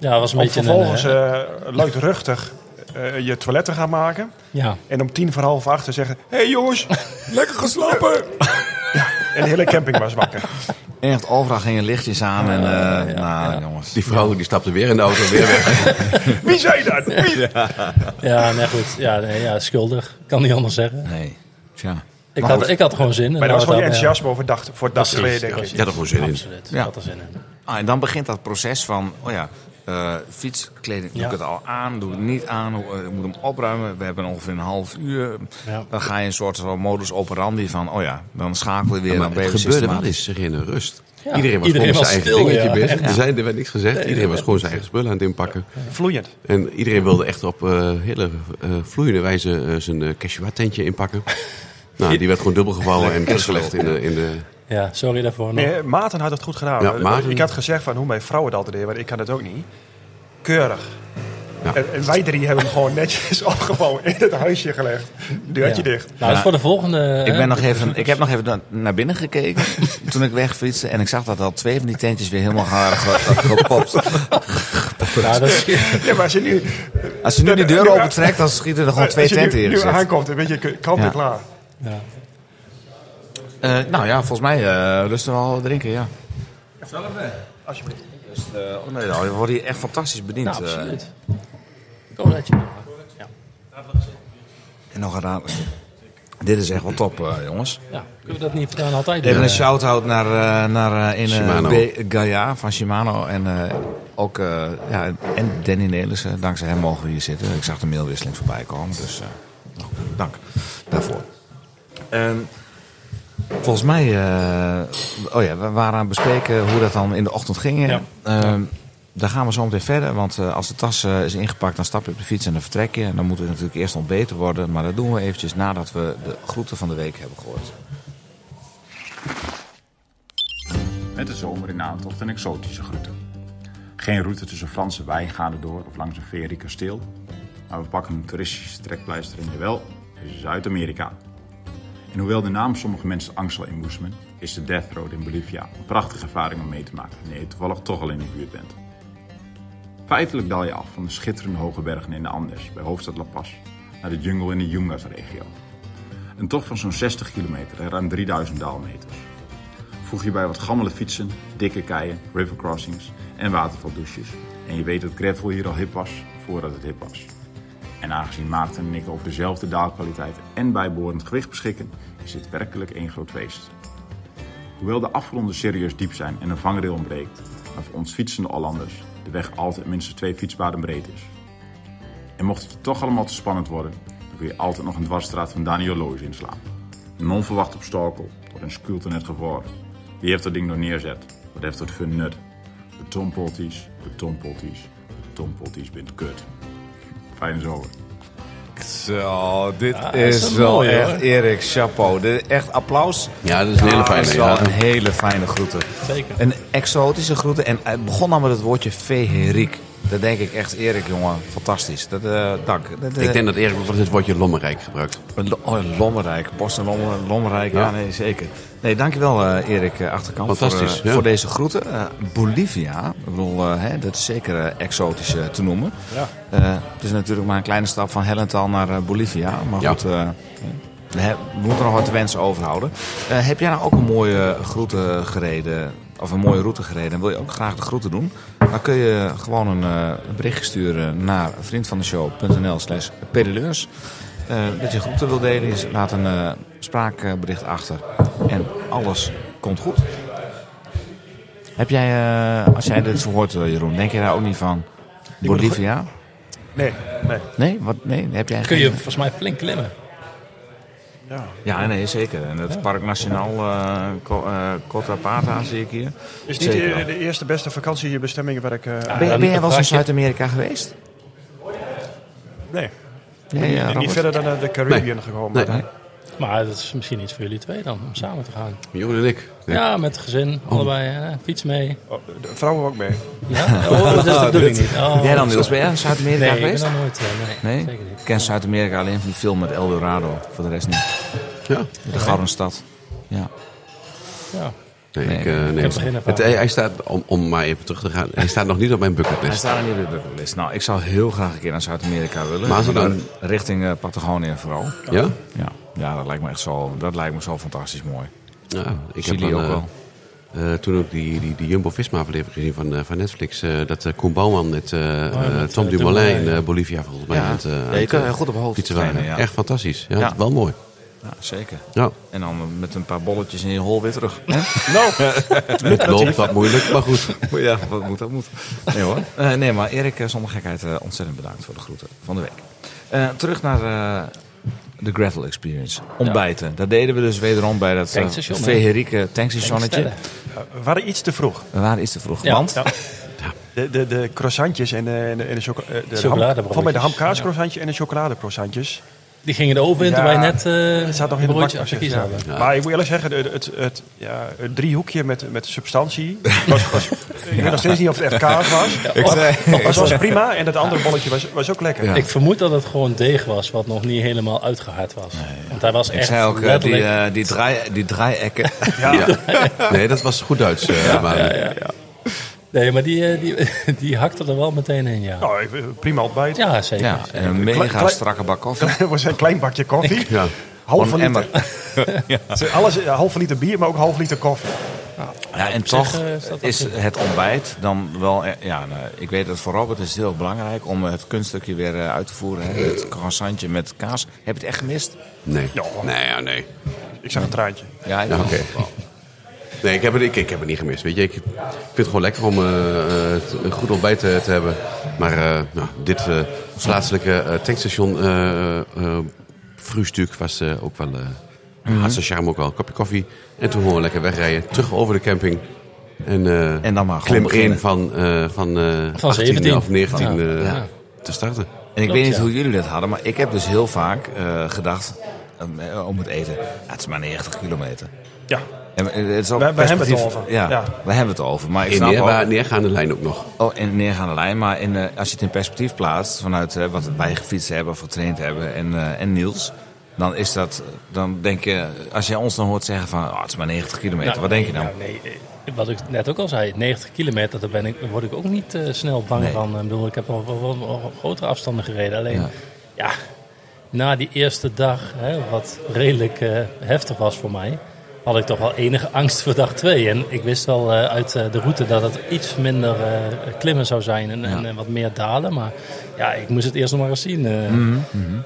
S1: Ja, dat was een
S4: Om
S1: beetje
S4: vervolgens
S1: een... eh,
S4: eh, luidruchtig eh, je toilet te gaan maken.
S1: ja.
S4: En om tien voor half acht te zeggen... Hé hey [LAUGHS] jongens, lekker geslapen! Ja, en de hele camping was wakker.
S2: Echt, overal gingen lichtjes aan. En, eh, nou, jongens.
S3: Die vrouw die stapte weer in de auto, weer weg.
S4: [LAUGHS] Wie zei dat? Wie?
S1: Ja, nee, goed. Ja, nee, ja, schuldig. Kan niet anders zeggen.
S2: Nee, tja.
S1: Ik
S2: Maar
S1: had,
S2: goed.
S1: ik had er gewoon zin in.
S4: Maar dat was gewoon je
S1: Ja.
S4: enthousiasme over dag, voor dag
S1: Precies,
S4: geleden, denk
S1: eh,
S4: ik.
S1: precies.
S3: Ja, daar gewoon zin in.
S1: Absoluut.
S2: Ja.
S1: Ik had er zin in.
S2: Ah, en dan begint dat proces van, oh ja, eh, fietskleding, doe
S1: Ja.
S2: ik het al aan, doe ik het niet aan, hoe, eh, ik moet hem opruimen. We hebben ongeveer een half uur.
S1: Ja.
S2: Dan ga je een soort van modus operandi van, oh ja, dan schakelen we weer. dan
S3: Ja, maar
S2: ben je
S3: het
S2: weer
S3: gebeurde wel
S2: systematisch.
S3: eens serene rust.
S1: Ja.
S3: Iedereen was
S1: Iedereen
S3: gewoon
S1: was
S3: zijn eigen
S1: stil,
S3: dingetje
S1: ja.
S3: bezig.
S1: Ja.
S3: Er, zijn, er werd niks gezegd. Iedereen was gewoon zijn eigen spullen aan het inpakken.
S4: Vloeiend.
S3: En iedereen wilde echt op eh, hele eh, vloeiende wijze eh, zijn eh, Quechua-tentje
S1: [LAUGHS]
S3: inpakken. nou, die werd gewoon dubbel gevouwen en vastgelegd in de... In de
S1: Ja, sorry daarvoor. nog.
S4: Nee, Maarten had het goed gedaan.
S3: Ja, Maarten-
S4: Ik had gezegd van hoe mijn vrouw het altijd deed, want ik kan het ook niet. Keurig.
S3: Ja.
S4: En, en wij drie hebben hem gewoon netjes [LAUGHS] opgebouwen in het huisje gelegd. Deurtje
S1: Ja.
S4: dicht.
S1: Nou, dat is voor de volgende...
S2: Ik,
S1: hè.
S2: ben nog even, ik heb nog even na- naar binnen gekeken toen ik wegfietste. En ik zag dat al twee van die tentjes weer helemaal gaan ge- gepopt.
S1: Ja, dat is-
S4: [LAUGHS] Ja, maar als je nu,
S2: Als je nu die deur opentrekt, dan schieten er gewoon twee
S4: als je
S2: tenten
S4: nu,
S2: in.
S4: nu aankomt, dan weet je, kant en
S2: Ja.
S4: klaar.
S1: ja.
S2: nou ja, volgens mij eh rusten we al drinken, ja.
S4: Alsjeblieft.
S2: Dus, eh, oh nee, nou, we worden hier echt fantastisch bediend.
S1: Nou,
S2: eh.
S1: absoluut. Ik hoop dat je... Ja.
S2: en nog een raar. Dit is echt wel top, eh, jongens.
S1: ja, kunnen we dat niet gedaan altijd doen?
S2: Even een shout-out naar, eh, naar eh, in, eh,
S3: Shimano.
S2: B- Gaia van Shimano. En, eh, ook, eh, ja, en Danny Nelissen. Dankzij hem mogen we hier zitten. Ik zag de mailwisseling voorbij komen. Dus eh, nou, dank daarvoor. Ehm, volgens mij... eh, oh ja, we waren aan het bespreken hoe dat dan in de ochtend ging.
S1: Ja.
S2: Ehm, daar gaan we zo meteen verder. Want eh, als de tas eh, is ingepakt, dan stap je op de fiets en dan vertrek je. En dan moet er natuurlijk eerst ontbeten worden. Maar dat doen we eventjes nadat we de groeten van de week hebben gehoord.
S6: Met de zomer in aantocht een exotische groeten. Geen route tussen Franse wijngaarden door of langs een ferie kasteel. Maar we pakken een toeristische trekpleister en jawel, dit is dus Zuid-Amerika. En hoewel de naam sommige mensen angst zal inboezemen, is de Death Road in Bolivia een prachtige ervaring om mee te maken wanneer je toevallig toch al in de buurt bent. Feitelijk daal je af van de schitterende hoge bergen in de Andes bij hoofdstad La Paz naar de jungle in de Yungas-regio. Een tocht van zo'n 60 kilometer en ruim 3000 daalmeters voeg je bij wat gammele fietsen, dikke keien, rivercrossings en watervaldouches. En je weet dat gravel hier al hip was voordat het hip was. En aangezien Maarten en ik over dezelfde daalkwaliteit en bijbehorend gewicht beschikken, is dit werkelijk één groot feest. Hoewel de afgronden serieus diep zijn en een vangrail ontbreekt, maar voor ons fietsende Hollanders de weg altijd minstens twee fietspaden breed is. En mocht het je toch allemaal te spannend worden, dan kun je altijd nog een dwarsstraat van Daniel Loos inslaan. Een onverwacht obstakel wordt een sculptor net geworpen. Wie heeft dat ding nog neerzet? Wat heeft dat voor nut? Betonpotties, betonpotties, betonpotties bent kut. Fijne zomer.
S2: Zo, dit
S1: is
S2: is,
S1: een
S2: wel
S1: mooie,
S2: echt
S1: hoor.
S2: Erik Chapeau. Dit is echt applaus.
S3: Ja, dat is een hele fijne,
S2: Dat is wel
S3: ja.
S2: een hele fijne groete.
S1: Zeker.
S2: Een exotische groete. En het begon dan met het woordje feheriek. Dat denk ik echt, Erik, jongen. Fantastisch. Dat, eh, dank. Dat, eh,
S3: Ik denk dat Erik wordt het woordje lommerrijk gebruikt.
S2: Lo- Oh, Lommerrijk, Bos en Lommer, Lommerrijk, ja.
S3: Ja.
S2: nee, zeker. Nee, dankjewel eh, Erik eh, Achterkamp
S3: Fantastisch,
S2: voor, eh,
S3: ja.
S2: voor deze groeten. Eh, Bolivia, ik bedoel, eh, hè, dat is zeker eh, exotisch eh, te noemen.
S4: Ja.
S2: Eh, het is natuurlijk maar een kleine stap van Hellenthal naar eh, Bolivia. Maar
S3: Ja.
S2: goed, eh, we, he- we moeten nog wat wensen overhouden. Eh, heb jij nou ook een mooie groete gereden, of een mooie route gereden... en wil je ook graag de groeten doen? Dan kun je gewoon een, eh, een berichtje sturen naar vriendvandeshow.nl slash pedaleurs. Eh, dat je groeten wil delen, is, laat een eh, spraakbericht achter. En alles komt goed. Heb jij, eh, als jij dit zo hoort, eh, Jeroen, denk je daar ook niet van?
S4: moet
S2: Bolivia?
S4: Nee, nee.
S2: Nee, wat, nee, heb jij
S1: Kun
S2: geen-
S1: je volgens mij flink klimmen.
S2: Ja, nee, zeker. En het Park Nationaal eh, Co- eh, Cotapata zie ik hier.
S4: Is niet
S2: Zeker. Ah,
S4: de, de eerste beste vakantiebestemming waar ik... eh,
S2: Ben, je- ben jij wel eens in
S1: Praatje.
S2: Zuid-Amerika geweest?
S4: Nee,
S2: Nee, ja,
S4: niet
S2: Robert?
S4: verder dan eh, de Caribbean gekomen.
S3: Nee.
S1: Maar dat is misschien iets voor jullie twee dan, om samen te gaan.
S3: Jeroen en ik.
S1: Ja, met het gezin, allebei, hè, fiets mee.
S4: Oh, de vrouwen ook mee.
S1: Ja? Oh, dat is de bedoeling niet. Oh,
S2: Jij dan, Niels, ben jij in Zuid-Amerika
S1: Nee, ik ben
S2: geweest?
S1: dan nooit. eh, Nee,
S2: Nee,
S1: zeker niet.
S2: ik ken Zuid-Amerika alleen van die film met El Dorado. Voor de rest niet.
S3: Ja.
S2: De Gouden Stad. Ja.
S1: Ja.
S3: Nee,
S2: Nee,
S3: ik, eh, nee.
S1: heb geen ervaring.
S3: Het- hij, hij staat, om, om maar even terug te gaan, hij staat nog niet op mijn
S2: Hij
S3: bucketlist.
S2: staat er niet op de bucketlist. Nou, ik zou heel graag een keer naar Zuid-Amerika willen.
S3: Maar als we dan-
S2: Richting eh, Patagonië vooral.
S3: Ja?
S2: Ja. ja, dat lijkt me echt zo, dat lijkt me zo fantastisch mooi.
S3: ja ik
S2: Chili
S3: dan,
S2: ook
S3: eh,
S2: wel.
S3: eh, toen ook die, die, die Jumbo-Visma-aflevering gezien van, eh, van Netflix. eh, dat eh Koen Bouwman met eh, eh,
S1: met,
S3: Tom
S1: eh,
S3: Dumoulin in
S1: Dumoulin,
S3: eh, Bolivia volgens mij.
S2: Ja.
S3: aan het, eh,
S2: Ja, je
S3: aan het,
S2: kunt
S3: eh,
S2: heel goed op hoofd
S3: fietsen waren.
S2: trainen, ja.
S3: Echt fantastisch. Ja,
S2: Ja.
S3: het is Wel mooi.
S2: Ja, zeker.
S3: Ja.
S2: En dan met een paar bolletjes in je hol weer terug. [LAUGHS] Nou.
S3: Het loopt wat moeilijk, maar goed.
S2: Oh ja, wat moet, [LAUGHS] dat moet. Nee hoor. Eh, nee, maar Erik, eh, zonder gekheid, eh, ontzettend bedankt voor de groeten van de week. Eh, terug naar eh, de Gravel Experience. Ontbijten. Dat deden we dus wederom bij dat eh,
S1: Tankstation, hè?
S2: Feherieke tankstationnetje.
S1: Tankstellen.
S4: We Eh, waren iets te vroeg.
S2: We waren iets te vroeg.
S1: Ja.
S2: Want,
S1: Ja.
S4: De, de, de croissantjes en de, en de, en de, choco- eh, de ham-
S1: Chocoladebroodjes.
S4: Volgens mij de hamkaascroissantje en de chocoladecroissantjes.
S1: Die gingen de oven in
S4: Ja.
S1: toen wij net eh
S4: Het staat nog in de
S1: broodje
S4: bak.
S1: asperges hadden.
S4: Ja. Maar ik moet eerlijk zeggen, het, het, het, ja, het driehoekje met, met substantie.
S2: [LAUGHS]
S4: Was, was, Ik weet nog steeds niet of het echt kaas was.
S2: ik zei,
S4: Maar het was prima en dat andere bolletje was, was ook lekker.
S1: Ik vermoed dat het gewoon deeg was wat nog niet helemaal uitgehard was. Want hij was
S2: ik
S1: echt
S2: zei ook, eh, die,
S1: letterlijk...
S2: eh, die, draai, die draaiekken.
S3: Ja. Nee, dat was goed Duits. eh, maar,
S1: Nee, maar die, eh, die, [LAUGHS] die hakte er wel meteen in, ja.
S4: Nou, ik- prima ontbijt.
S1: Ja, zeker.
S2: ja, en een
S4: Klein-
S2: mega
S4: klein-
S2: strakke bak koffie.
S4: [LAUGHS] Het was een klein bakje koffie.
S3: ja.
S4: Halve
S2: Een
S4: liter. Alles, eh, halve liter bier, maar ook halve liter koffie.
S2: Ja, en
S1: zich,
S2: toch
S1: eh, is dat
S2: is
S1: wel
S2: het ontbijt dan wel... eh, Ja, nou, ik weet dat voor Robert is het heel belangrijk om het kunststukje weer eh, uit te voeren. Hè? Het croissantje met kaas. Heb je het echt gemist?
S3: Nee.
S4: Ja.
S3: Nee, ja, nee.
S4: Ik zag een traantje.
S2: Ja, ik
S3: Ja, oké. Nee, ik heb, het, ik, ik heb het niet gemist. Weet je, ik vind het gewoon lekker om eh, eh, t- een goed ontbijt te, te hebben. Maar eh, nou, dit eh, plaatselijke eh tankstation eh eh, vroegstuk was eh, ook wel... eh
S2: Mhm.
S3: Had zijn charme ook wel. Een kopje koffie. En toen gewoon lekker wegrijden. Terug over de camping. En, eh,
S2: En dan maar gewoon
S3: klim
S2: beginnen.
S3: 1 van, eh van, eh, 18
S1: 17.
S3: of 19
S1: Ja.
S3: eh,
S2: Ja.
S3: te starten.
S2: En ik
S1: Klopt,
S2: weet niet
S1: ja.
S2: hoe jullie dat hadden, maar ik heb dus heel vaak eh, gedacht eh, om het eten. Ja, het is maar 90 kilometer.
S4: Ja,
S2: En, eh, het is ook
S4: Wij- wij hebben het
S2: perspectief-
S4: over.
S2: Ja,
S4: Ja.
S2: we hebben het over. Maar ik
S3: In
S2: snap
S3: neer,
S2: ook-
S3: waar- neergaande lijn ook nog.
S2: Oh, in de neergaande lijn. Maar in, eh, als je het in perspectief plaatst, vanuit eh, wat wij gefietst hebben, of getraind hebben en, eh, en Niels. Dan is dat, dan denk je, als je ons dan hoort zeggen van, oh, het is maar 90 kilometer,
S1: Nou,
S2: wat denk je dan?
S1: nou, nee, eh, wat ik net ook al zei, 90 kilometer, daar, ben ik, daar word ik ook niet eh, snel bang
S2: Nee.
S1: van. Ik bedoel, ik heb al, wel- wel- wel grotere afstanden gereden. Alleen,
S2: Ja.
S1: ja, na die eerste dag, hè, wat redelijk eh, heftig was voor mij, had ik toch wel enige angst voor dag 2. En ik wist wel eh, uit eh, de route dat het iets minder eh, klimmen zou zijn en, en eh, wat meer dalen. Maar ja, ik moest het eerst nog maar eens zien. eh.
S2: Mhm,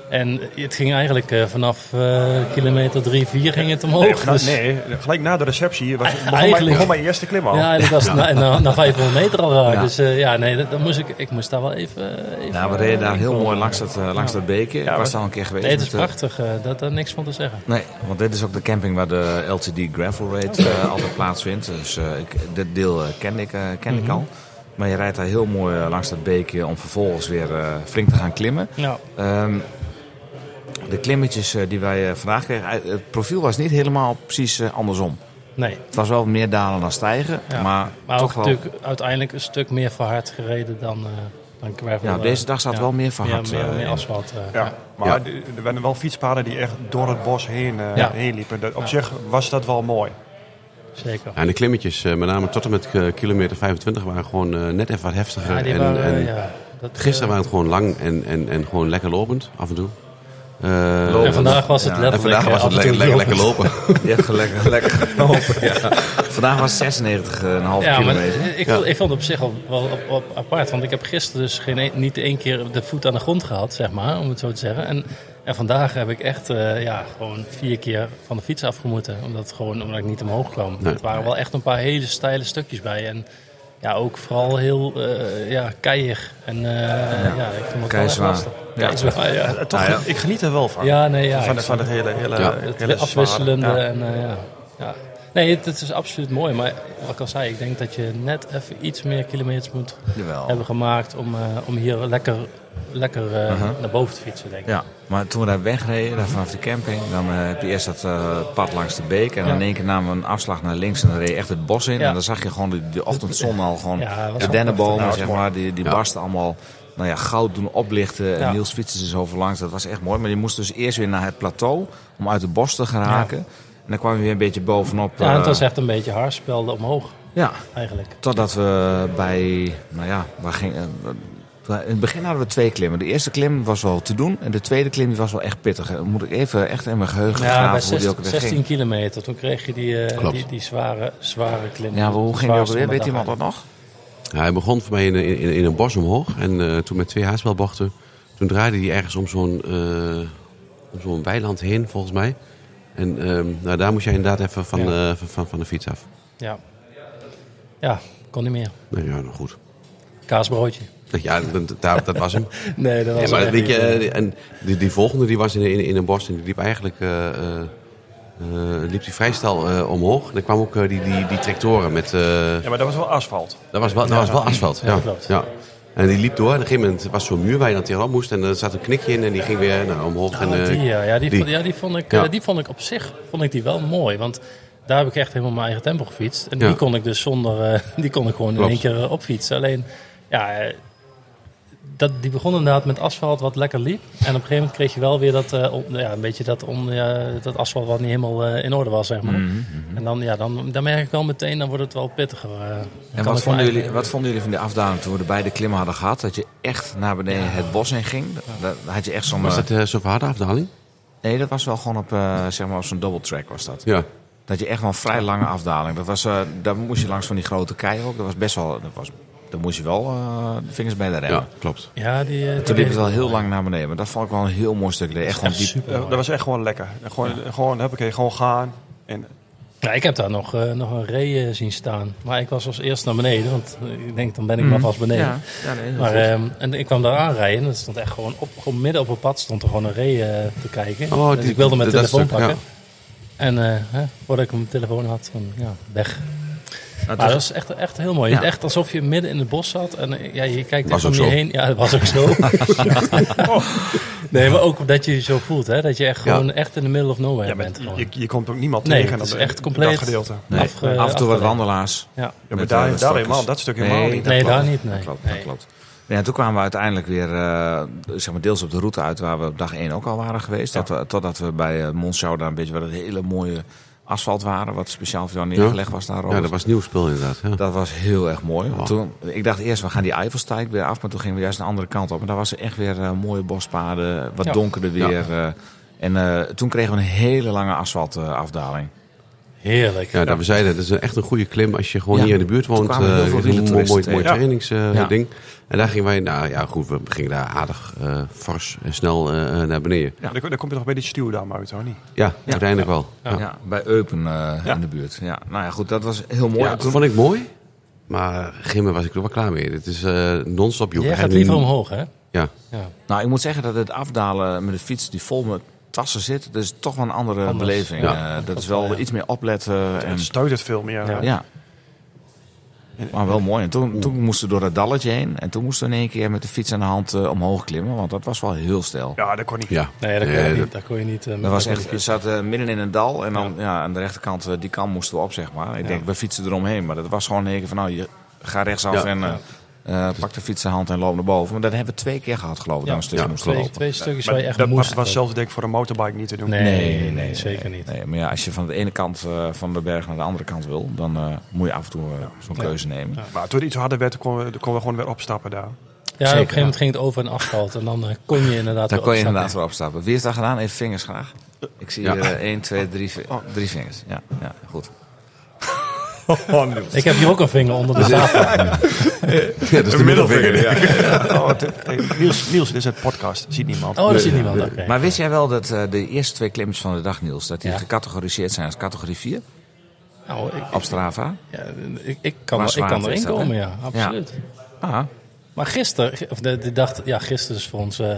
S1: En het ging eigenlijk eh, vanaf eh, kilometer 3, 4 ging het omhoog.
S4: nee, gelijk-
S1: Dus- E-
S4: nee, gelijk na de receptie was, begon,
S1: Eigenlijk-
S4: mijn, begon mijn eerste klim al.
S1: ja, dat
S2: [LAUGHS]
S1: was na, na, na 500 meter al raar.
S2: Oh. Ja.
S1: Dus eh, ja, nee, dat, dat moest ik, ik moest daar wel even... eh, even
S2: Ja, Nou, we reden daar
S1: eh,
S2: heel
S1: komen.
S2: mooi langs dat, eh, langs dat beekje. Ik was daar al een keer geweest.
S1: Nee, het is
S2: met, eh,
S1: prachtig. eh, dat daar niks van te zeggen.
S2: Nee, want dit is ook de camping waar de LTD Gravel
S1: [LAUGHS]
S2: Raid eh, altijd plaatsvindt. Dus eh, ik, dit deel eh, ken, ik, eh, ken
S1: Mhm.
S2: ik al. Maar je rijdt daar heel mooi eh, langs dat beekje om vervolgens weer eh, flink te gaan klimmen.
S1: Nou,
S2: Ehm, de klimmetjes eh, die wij eh, vandaag kregen, eh, het profiel was niet helemaal precies eh, andersom.
S1: Nee.
S2: Het was wel meer dalen dan stijgen,
S1: Ja.
S2: maar,
S1: Maar ook
S2: toch wel.
S1: natuurlijk uiteindelijk een stuk meer verhard gereden dan, eh dan Gravel.
S2: Ja,
S1: eh,
S2: deze dag zat wel meer verhard,
S1: Meer, meer,
S2: eh,
S1: meer
S2: in.
S1: asfalt. eh,
S4: Ja, maar
S3: Ja.
S4: de- er werden wel fietspaden die echt door het bos heen, eh,
S1: Ja.
S4: heen liepen. Dat- op zich was dat wel mooi.
S1: Zeker.
S3: Ja, en de klimmetjes, eh, met name tot en met eh, kilometer 25, waren gewoon eh, net even wat heftiger.
S1: Ja, die
S3: en,
S1: waren,
S3: en
S1: eh, ja, dat, eh,
S3: Gisteren waren het gewoon lang en, en, en gewoon lekker lopend, af en toe. Eh,
S1: En vandaag was het
S2: Ja.
S1: letterlijk
S3: en vandaag
S1: eh,
S3: was het
S1: af en toe
S3: lekker, lekker, lekker
S1: lopend.
S3: lopen.
S1: [LAUGHS]
S2: Je hebt lekker, lekker gelopen. ja. [LAUGHS] Vandaag was het 96,5
S1: Ja, maar eh,
S2: kilometer.
S1: ik, vond, ik vond het op zich al wel op, op- apart. Want ik heb gisteren dus geen, een- niet één keer de voet aan de grond gehad, zeg maar, om het zo te zeggen. En, en vandaag heb ik echt eh, ja, gewoon vier keer van de fiets afgemoeten. Omdat, gewoon, omdat ik niet omhoog kwam.
S3: Nee.
S1: Het waren wel echt een paar hele steile stukjes bij. En ja, ook vooral heel eh ja, keiig. En eh, ja. ik vond het wel echt
S2: Keizwaar.
S1: lastig.
S2: Ja.
S1: Keizwaar, ja.
S4: Eh, Toch,
S2: Ah, ja.
S4: Ik geniet er wel van.
S1: Ja, nee, ja.
S4: van,
S1: ik
S4: het- van het hele, hele,
S3: Ja.
S4: hele
S1: het
S4: zware.
S1: afwisselende.
S4: Ja.
S1: En, eh, ja. Ja. Nee, het, het is absoluut mooi. Maar wat ik al zei, ik denk dat je net even iets meer kilometers moet
S2: Jawel.
S1: hebben gemaakt om, eh, om hier lekker, lekker eh, naar boven te fietsen, denk ik.
S2: Ja, maar toen we daar wegreden, daar vanaf de camping, dan eh, heb je eerst dat eh, pad langs de beek. En
S1: Ja.
S2: in één keer namen we een afslag naar links en dan reed je echt het bos in.
S1: Ja.
S2: En dan zag je gewoon de, de ochtendzon al gewoon.
S1: Ja, dat was
S2: de
S1: wel
S2: dennenbomen,
S1: prachtig.
S2: zeg maar, die, die
S3: Ja.
S2: barsten allemaal nou ja, goud doen oplichten.
S1: Ja.
S2: En Niels fietsen ze over langs, dat was echt mooi. Maar je moest dus eerst weer naar het plateau om uit het bos te geraken. En dan kwam je weer een beetje bovenop.
S1: Ja, en het
S2: eh,
S1: was echt een beetje haarspel omhoog,
S2: ja,
S1: eigenlijk.
S2: Totdat we bij, nou ja, waar ging, eh, waar- in het begin hadden we twee klimmen. De eerste klim was wel te doen en de tweede klim die was wel echt pittig. Dan moet ik even echt in mijn geheugen
S1: Ja, bij
S2: graven hoe die
S1: 16,
S2: ook weer ging.
S1: kilometer, toen kreeg je die, eh,
S3: Klopt.
S1: die, die zware, zware klim.
S2: Ja, maar hoe ging die ook
S1: Zwaarste
S2: weer?
S1: van de
S2: Weet iemand
S1: dag.
S2: dat nog?
S3: Ja, hij begon voor mij in, in, in een bos omhoog. En eh, toen met twee haarspelbochten. Toen draaide hij ergens om zo'n eh, om zo'n weiland heen, volgens mij. En ehm, nou, daar moest jij inderdaad even van, eh, van, van, van de fiets af.
S1: Ja. ja, kon niet meer.
S3: Nou ja, nou goed.
S1: Kaasbroodje.
S3: Ja, dat, daar- dat was hem.
S1: [LAUGHS] Nee, dat was
S3: Ja,
S1: echt
S3: maar
S1: niet
S3: weet je,
S1: meer.
S3: eh, die- en die, die volgende die was in, in, in een bos en die liep eigenlijk eh, eh, eh, liep die vrij snel eh, omhoog. En er kwam ook eh, die, die, die tractoren met. eh,
S4: Ja, maar dat was wel asfalt.
S3: dat was wel, dat was wel asfalt.
S1: Ja,
S3: Ja,
S1: klopt.
S3: ja. En die liep door. En op een gegeven moment was zo'n muur waar je dan tegenop moest. En er zat een knikje in en die ging weer nou, omhoog. en,
S1: Ah,
S3: eh,
S1: die, ja, ja, die,
S3: die.
S1: Vond, ja, die vond ik,
S3: Ja.
S1: eh, die vond ik op zich vond ik die wel mooi. Want daar heb ik echt helemaal mijn eigen tempo gefietst. En die
S3: Ja.
S1: kon ik dus zonder, eh, [LAUGHS] die kon ik gewoon in
S3: Klopt.
S1: één keer eh, opfietsen. Alleen, ja, eh, dat, die begon inderdaad met asfalt wat lekker liep. En op een gegeven moment kreeg je wel weer dat, eh, on- ja, een beetje dat, on, ja, dat asfalt wat niet helemaal eh, in orde was, zeg maar.
S2: Mhm,
S1: En dan, ja, dan, dan merk ik wel meteen, dan wordt het wel pittiger. eh. Dan
S2: En
S1: kan
S2: wat
S1: ik
S2: vonden,
S1: wel-
S2: jullie, wat vonden jullie van de afdaling toen we de beide klimmen hadden gehad? Dat je echt naar beneden het bos in ging? Dat, dat had je echt zo'n...
S3: Was
S2: eh,
S3: dat eh, zo'n harde afdaling?
S2: Nee, dat was wel gewoon op, eh, zeg maar op zo'n double track was dat.
S3: Ja.
S2: Dat je echt wel een vrij lange afdaling. Dat was, eh, daar moest je langs van die grote kei ook. Dat was best wel... Dat was, daar moest je wel eh, de vingers bij de remmen.
S3: Ja, klopt.
S1: Ja, die, eh,
S2: Toen
S1: die-
S2: liep het wel heel lang naar beneden. Maar dat vond ik wel een heel mooi stuk. Echt gewoon
S1: Echt
S2: diep.
S1: super.
S4: Eh, dat was echt gewoon lekker. Gewoon, gewoon, heb ik gewoon gaan. En
S1: Ja, ik heb daar nog, eh, nog een ree eh, zien staan. Maar ik was als eerst naar beneden, want eh, ik denk dan ben ik
S3: Mhm.
S1: maar vast beneden. maar, ehm, en ik kwam daar aanrijden en er stond echt gewoon, op, gewoon midden op het pad stond er gewoon een ree eh, te kijken.
S3: Oh,
S1: dus
S3: die-
S1: ik wilde mijn
S3: dat
S1: telefoon
S3: stuk, ja.
S1: pakken. En eh, hè, voordat ik mijn telefoon had, van, ja, weg. Maar dat was echt, echt heel mooi.
S2: Ja.
S1: Het Echt alsof je midden in het bos zat en eh, ja, je kijkt
S3: Was
S1: echt om
S3: ook
S1: je
S3: zo.
S1: heen. Ja, dat was ook
S3: [LAUGHS]
S1: zo. nee, maar ook dat je je zo voelt, hè, dat je echt
S3: Ja.
S1: gewoon echt in de middle of nowhere
S4: ja,
S1: bent.
S4: met,
S1: Gewoon.
S4: je, je komt ook niemand
S1: Nee,
S4: tegen.
S1: het is
S4: op-
S1: echt
S4: op
S1: compleet-
S4: Dat gedeelte.
S2: Nee,
S1: Af- eh,
S2: af en toe wat
S1: afgeleid.
S2: wandelaars.
S1: Ja.
S4: Ja, maar
S2: Met, eh,
S4: daar,
S2: de
S4: daar
S2: stokkers.
S4: helemaal, dat stuk helemaal niet.
S1: Nee,
S2: klopt.
S1: daar niet, nee.
S2: Dat klopt, dat
S1: Nee.
S2: klopt. Ja, en toen kwamen we uiteindelijk weer eh, zeg maar deels op de route uit waar we op dag 1 ook al waren geweest. Dat we, totdat we bij eh Monschau daar een beetje wat het hele mooie asfalt waren. Wat speciaal voor jou neergelegd was daar.
S3: Ja,
S2: Robert.
S3: dat was nieuw spul inderdaad. Ja.
S2: Dat was heel erg mooi. Want
S3: Ja.
S2: Toen, ik dacht eerst, we gaan die Eifelsteig weer af. Maar toen gingen we juist de andere kant op. En daar was er echt weer eh, mooie bospaden. Wat
S1: Ja.
S2: donkerder
S3: Ja.
S2: weer. eh. en eh, toen kregen we een hele lange asfaltafdaling.
S1: Heerlijk.
S3: Ja, dat we zeiden, dat is een- echt een goede klim als je gewoon
S2: Ja.
S3: hier in de buurt
S2: Toen
S3: woont.
S2: kwamen
S3: eh,
S2: heel veel
S3: is een mooi,
S2: wielertoeristen
S3: mooi,
S2: tegen.
S4: Ja.
S3: trainingsding.
S2: Ja.
S3: En daar gingen wij, nou ja, goed, we gingen daar aardig eh, fors en snel eh, naar beneden.
S2: Ja.
S4: Dan, dan kom je toch bij die stuwdam uit, hoor niet?
S3: Ja, uiteindelijk wel.
S2: Ja. bij Eupen eh, in de buurt. Ja. Nou ja, goed, dat was heel mooi.
S3: Ja, dat
S2: Toen-
S3: vond ik mooi. Maar gimmen was ik er wel klaar mee. Het is eh, non-stop joh.
S1: Jij gaat
S3: En-
S1: liever omhoog, hè?
S3: Ja.
S1: Ja.
S2: Nou, ik moet zeggen dat het afdalen met de fiets die vol met tassen zit, dat is toch wel een andere
S1: Anders.
S2: beleving.
S3: Ja.
S2: Eh, dat is wel
S1: Ja.
S2: iets meer opletten. En,
S4: Het stuit het veel meer.
S1: Ja.
S4: eh.
S2: ja. Maar wel mooi. En toen, toen moesten we door dat dalletje heen. En toen moesten we in één keer met de fiets aan de hand eh, omhoog klimmen. Want dat was wel heel stijl.
S4: Ja, dat kon niet.
S3: Ja.
S1: Nee, daar kon je
S3: Eh,
S1: niet. Daar kon je niet eh,
S2: Dat was
S1: daar
S2: echt,
S1: kon je
S2: we
S1: niet.
S2: zaten eh, midden in een dal en dan ja. aan de rechterkant, eh, die kant moesten we op, zeg maar. Ik denk, we fietsen eromheen, maar dat was gewoon een keer van, nou, je ga rechtsaf
S3: Ja.
S2: en eh, eh, pak de fietsenhand en loop naar boven. Maar dat hebben we twee keer gehad, geloof ik, dat we een stukje
S3: Ja.
S2: moesten
S1: Twee,
S2: lopen.
S1: twee stukjes
S4: Maar
S1: waar je echt
S4: dat maar
S1: moest.
S4: het was zelfs denk ik voor een motorbike niet te doen.
S1: nee, nee, nee,
S2: nee,
S1: zeker niet.
S2: Nee, maar ja, als je van de ene kant eh, van de berg naar de andere kant wil, dan eh, moet je af en toe eh, zo'n keuze nemen.
S4: Maar toen het iets harder werd, konden we, kon we gewoon weer opstappen daar.
S1: Ja, op een
S2: Zeker,
S1: gegeven moment ging het over een asfalt en dan eh, kon je inderdaad
S2: Daar
S1: wel
S2: kon je
S1: opstappen.
S2: inderdaad wel opstappen. Wie heeft dat gedaan? Even vingers graag. Ik zie
S3: Ja.
S2: hier 1, 2, 3,
S1: Oh.
S2: drie vingers. Ja, ja goed.
S1: Ik heb hier ook een vinger onder
S2: [LAUGHS]
S1: de tafel.
S3: Ja, dat is de middelvinger. Ja.
S4: Oh, het- hey, [LAUGHS] Niels, Niels, dit is een podcast. Ziet niemand.
S1: Oh, daar zit niemand. Oké.
S2: Maar wist jij wel dat eh, de eerste twee klimmetjes van de dag, Niels, dat die
S1: Ja.
S2: gecategoriseerd zijn als categorie 4
S1: Nou, ik,
S2: op Strava?
S1: ja, ik, ik kan,
S2: Maar
S1: er- ik
S2: zwaar
S1: kan
S2: is
S1: erin
S2: dat, hè?
S1: komen, ja. Absoluut.
S2: Ah,
S1: Maar gisteren, of de, de dag, ja, gisteren is voor ons eh,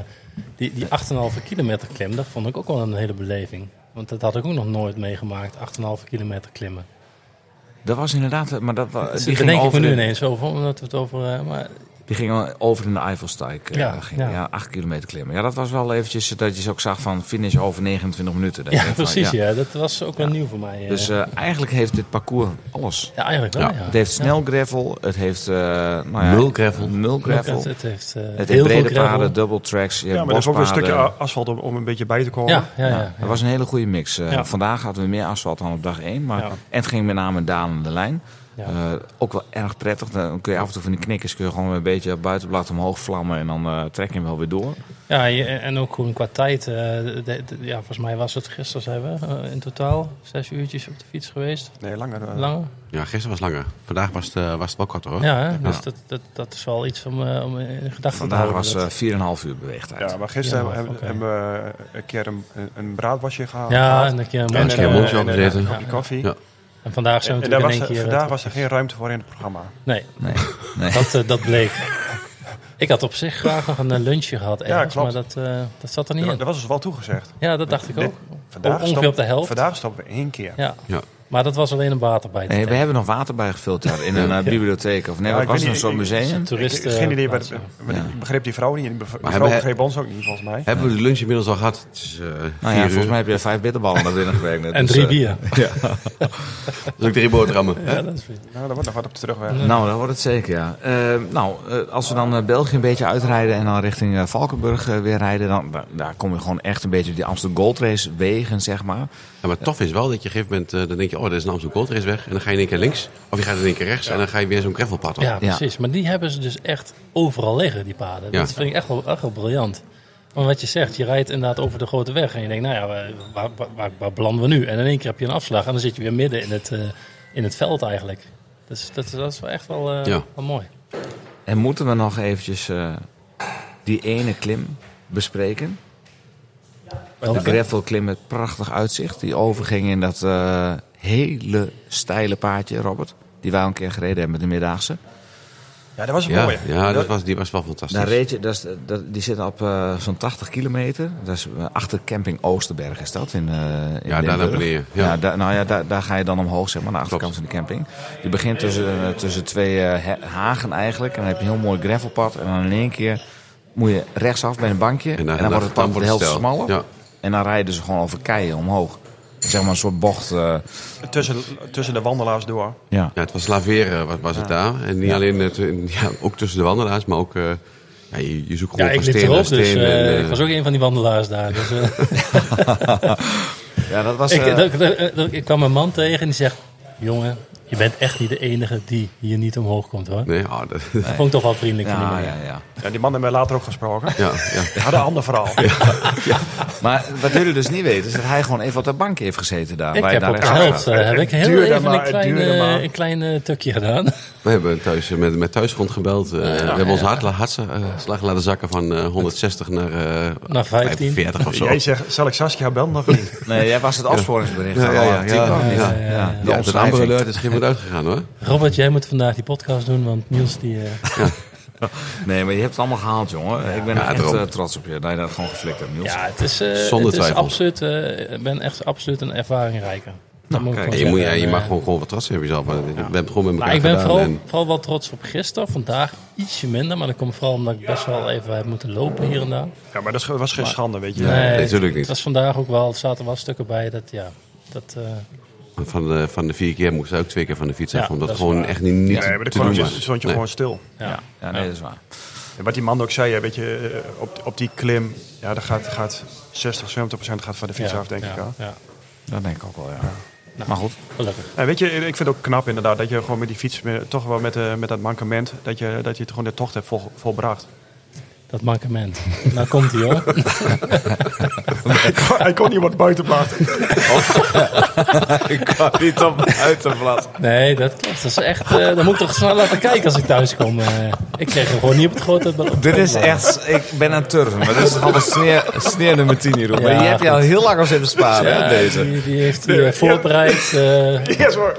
S1: die, die 8,5 kilometer klim, dat vond ik ook wel een hele beleving. Want dat had ik ook nog nooit meegemaakt, 8,5 kilometer klimmen.
S2: dat was inderdaad, eh, maar dat, wa-
S1: Dus
S2: die,
S1: daar
S2: ging
S1: denk ik me
S2: over
S1: nu
S2: de,
S1: ineens over, omdat we het over... eh, maar,
S2: die ging al over in de Eifelsteig. eh,
S1: Ja,
S2: ging,
S1: ja.
S2: ja. acht kilometer klimmen. Ja, dat was wel eventjes eh, dat je ook zag van finish over 29 minuten. Dat je
S1: ja,
S2: denkt van,
S1: precies, ja. Dat was ook wel nieuw voor mij. eh.
S2: Dus eh, eigenlijk heeft dit parcours alles.
S1: ja, eigenlijk wel, ja.
S2: Het heeft snel gravel, het heeft eh nou ja,
S3: Nul gravel.
S2: nul gravel.
S1: Het, het heeft, eh,
S2: Het
S1: heel
S2: heeft
S1: veel
S2: brede
S1: gravel.
S2: paden, double tracks, je hebt
S4: Ja, maar er is ook wel een stukje
S2: bospaden.
S4: asfalt om, om een beetje bij te komen.
S1: Ja, ja, ja.
S2: Ja, dat was een hele goede mix. Eh,
S1: Ja.
S2: Vandaag hadden we meer asfalt dan op dag 1. Maar,
S1: Ja.
S2: En het ging met name een dalende lijn.
S1: Ja.
S2: Eh, ook wel erg prettig. Dan kun je af en toe van die knikkers kun je gewoon een beetje buitenblad omhoog vlammen. En dan eh, trek je hem wel weer door.
S1: Ja, je- en ook gewoon qua tijd. eh, de- de- ja, volgens mij was het gisteren, zijn we eh, in totaal zes uurtjes op de fiets geweest.
S4: Nee, langer. eh,
S1: Langer.
S3: gisteren was langer. Vandaag was het, eh, was het wel korter hoor.
S1: Ja, hè? dus dat, dat, dat is wel iets om, eh, om in gedachten te
S2: Vandaag
S1: houden.
S2: was
S1: dat-
S2: eh 4,5 uur beweegtijd.
S4: Ja, maar gisteren
S1: Ja,
S4: hebben,
S1: oké.
S4: hebben we een keer een, een, een braadwasje gehaald.
S1: ja, en een keer een
S3: Ja, een
S1: mond-
S3: keer
S1: en,
S3: een
S1: eh,
S3: mondje opgezeten.
S1: ja.
S4: kopje koffie.
S3: Ja.
S1: En vandaag zijn we
S4: En daar
S1: natuurlijk
S4: was,
S1: in één keer... eh,
S4: vandaag
S1: te-
S4: was er geen ruimte voor in het programma.
S1: Nee,
S2: Nee. nee.
S1: dat, eh, dat bleek. Ik had op zich graag nog een eh, lunchje gehad ergens,
S4: klopt.
S1: maar dat, eh, dat zat er niet
S4: Dat
S1: in.
S4: was dus wel toegezegd.
S1: Ja, dat dacht ik ook.
S4: Vandaag
S1: Ongeveer
S4: stoppen-
S1: op de helft.
S4: Vandaag stoppen we één keer.
S1: Ja,
S3: Ja.
S1: maar dat was alleen een water bij te
S2: Nee, we
S1: tanken.
S2: hebben nog water bijgevuld daar in een eh, bibliotheek. Of nee,
S4: Ja,
S2: wat
S4: ik
S2: was
S4: weet
S2: het?
S4: niet,
S2: Zo'n
S4: ik-
S2: museum?
S1: Toeristen...
S4: ik, geen idee,
S1: eh, plaats,
S4: wat,
S1: ja.
S4: maar ik begreep die vrouw niet. en Die be- die
S3: hebben
S4: vrouw
S3: hij-
S4: begreep ons ook niet, volgens mij.
S3: Hebben we de lunch inmiddels al gehad? Het is, eh,
S2: Nou
S3: vier
S2: ja,
S3: uur.
S2: volgens mij heb je vijf bitterballen naar binnen gewerkt. net,
S1: En
S2: dus,
S1: drie
S2: eh,
S1: bier.
S3: Dat is ook drie boterhammen.
S1: Ja, dat is
S4: Nou, daar wordt nog wat op terug.
S2: Nou, dat wordt het zeker, ja. Eh, nou, eh, als we dan eh, België een beetje uitrijden en dan richting eh, Valkenburg eh, weer rijden, dan da- daar kom je gewoon echt een beetje op die Amsterdam Gold Race wegen, zeg maar.
S3: Ja, maar tof is wel dat je op een gegeven moment, eh, dan denk je, oh, er is een Amsterdam Gold Race weg. En dan ga je in één keer links, of je gaat in één keer rechts. En dan ga je weer zo'n gravelpad op.
S1: Ja, precies. Maar die hebben ze dus echt overal liggen, die paden.
S3: Ja.
S1: Dat vind ik echt wel, echt wel briljant. Want wat je zegt, je rijdt inderdaad over de grote weg. En je denkt, nou ja, waar, waar, waar, waar belanden we nu? En in één keer heb je een afslag. En dan zit je weer midden in het, eh, in het veld eigenlijk. Dus dat, is- dat is wel echt wel, eh,
S3: Ja.
S1: wel mooi.
S2: En moeten we nog eventjes eh, die ene klim bespreken? De gravelklim met prachtig uitzicht. Die overging in dat eh, hele steile paadje, Robert. Die wij al een keer gereden hebben met de Middagse.
S4: Ja, dat was
S3: ja,
S4: mooi.
S3: ja, dat was, die was wel fantastisch.
S2: Daar reed je, dat is, dat, die zit op eh, zo'n 80 kilometer. Dat is eh, achter camping Oosterberg is dat. In, eh, in
S3: Ja, daar naar
S2: Limburg.
S3: beneden, ja.
S2: Ja. daar- nou ja, daar, daar ga je dan omhoog, zeg maar, naar de achterkant van de camping. Je begint tussen, eh, tussen twee eh, he- hagen eigenlijk. En dan heb je een heel mooi gravelpad. En dan in één keer moet je rechtsaf bij een bankje. En dan, wordt het pad de helft
S3: stijl.
S2: smaller.
S3: Ja.
S2: En dan rijden ze gewoon over keien omhoog. Zeg maar een soort bocht. eh,
S4: Tussen, tussen de wandelaars door.
S2: ja.
S3: Ja, het was laveren was, was het daar. En niet alleen, het, [LAUGHS] ja, ook tussen de wandelaars, maar ook... eh, ja, je, je zoekt
S1: Ja,
S3: gewoon
S1: ik
S3: van
S1: liep
S3: steen
S1: erop,
S3: naar
S1: dus
S3: steen.
S1: eh,
S3: en, eh,
S1: ik was ook een van die wandelaars daar. Dus, eh,
S2: ja, dat
S1: [LAUGHS]
S2: was...
S1: ik,
S2: eh,
S1: dat- dat- dat- ik kwam een man tegen en die zegt... Jongen, je bent echt niet de enige die hier niet omhoog komt, hoor.
S3: Nee, ah, dat, [LAUGHS]
S1: Dat vond ik toch wel vriendelijk van die
S2: ja,
S1: man.
S2: ja, ja.
S4: Ja, die mannen hebben we later ook gesproken.
S3: ja, ja.
S4: Die hadden een ander verhaal.
S2: Maar wat jullie dus niet weten, is dat hij gewoon even op de bank heeft gezeten daar.
S1: Ik
S2: waar je
S1: heb
S2: daar
S1: op de helft
S2: rechts gaat.
S1: eh, heb ik
S4: Het
S1: heel
S4: duurde
S1: even
S4: maar,
S1: een
S4: het
S1: klein,
S4: duurde
S1: eh,
S4: maar.
S1: een klein eh, tukje gedaan. [LAUGHS]
S3: We hebben thuis eh, met, met thuisgrond gebeld. eh, we hebben ons hart, hartslag eh, slag laten zakken van eh, 160 naar, eh,
S1: Naar 15.
S3: 45 of zo.
S4: Jij zegt, zal ik Saskia bellen of niet?
S2: Nee, jij was het afsporingsbericht.
S3: Ja,
S2: al,
S3: ja,
S2: eh,
S3: ja,
S2: tien
S3: ja,
S2: kwam niet. Ja,
S3: ja,
S2: de
S3: Ja, de
S2: omschrijving.
S3: Amber Alert is geen goed uitgegaan hoor.
S1: Robert, jij moet vandaag die podcast doen, want Niels die... eh,
S3: [LAUGHS]
S2: Nee, maar je hebt het allemaal gehaald, jongen. ik ben
S3: Ja,
S2: echt
S3: daarom.
S2: eh, trots op je dat je dat gewoon geflikt hebt, Niels.
S1: ja, het is, eh,
S3: Zonder
S1: het is
S3: twijfel.
S1: absoluut, eh, ik ben echt absoluut een ervaringrijker. Dat moet ik
S3: Nou, Kijk,
S1: gewoon
S3: je, moet, ja,
S1: zeggen.
S3: je
S1: En,
S3: mag
S1: eh,
S3: gewoon, gewoon wat trots hebben op jezelf. We hebben het gewoon met elkaar
S1: Maar ik ben
S3: gedaan.
S1: vooral,
S3: en-
S1: vooral wel trots op gisteren. Vandaag ietsje minder, maar dat komt vooral omdat ik best wel even heb moeten lopen hier en daar.
S4: Ja, maar dat is ge- was geen schande, weet je.
S3: nee, natuurlijk niet.
S1: Het was vandaag ook wel, er zaten wel stukken bij dat, ja, dat... eh,
S3: Van de, van de vier keer moest hij ook twee keer van de fiets af.
S1: Ja, dat
S3: omdat het
S1: is
S3: gewoon
S1: waar.
S3: echt niet, niet te
S4: Nee, maar dan
S3: doen
S4: kwam je-
S3: was.
S4: stond je
S3: Nee.
S4: gewoon stil.
S1: ja.
S2: Ja, nee, dat is waar.
S4: En wat die man ook zei, hè, weet je, eh, op, op die klim, ja, daar gaat, gaat 60, 70 procent gaat van de fiets
S1: ja,
S4: af, denk
S1: ja,
S4: ik. Hè?
S1: Ja,
S2: Dat denk ik ook wel, ja. maar [LAUGHS] goed.
S1: gelukkig.
S4: En weet je, ik vind het ook knap inderdaad dat je gewoon met die fiets, met- toch wel met, eh, met dat mankement, dat je, dat je het gewoon de tocht hebt vol, volbracht.
S1: Dat mankement. Nou komt hij
S3: [LAUGHS]
S1: hoor.
S4: Hij kon iemand buiten laten.
S2: Ik kwam niet op uit te blad.
S1: Nee, dat klopt. Dat is echt, eh dan moet ik toch snel laten kijken als ik thuis kom. eh. ik kreeg hem gewoon niet op het grote... op het
S2: Dit is
S1: grote blad.
S2: echt, ik ben aan het turven, maar dit is allemaal sneer, sneer nummer 10 hierop.
S1: Ja,
S2: maar je hebt je al heel lang al zitten sparen,
S1: Ja,
S2: hè, deze.
S1: Die, die heeft hij eh, voorbereid, eh,
S4: Ja, zo.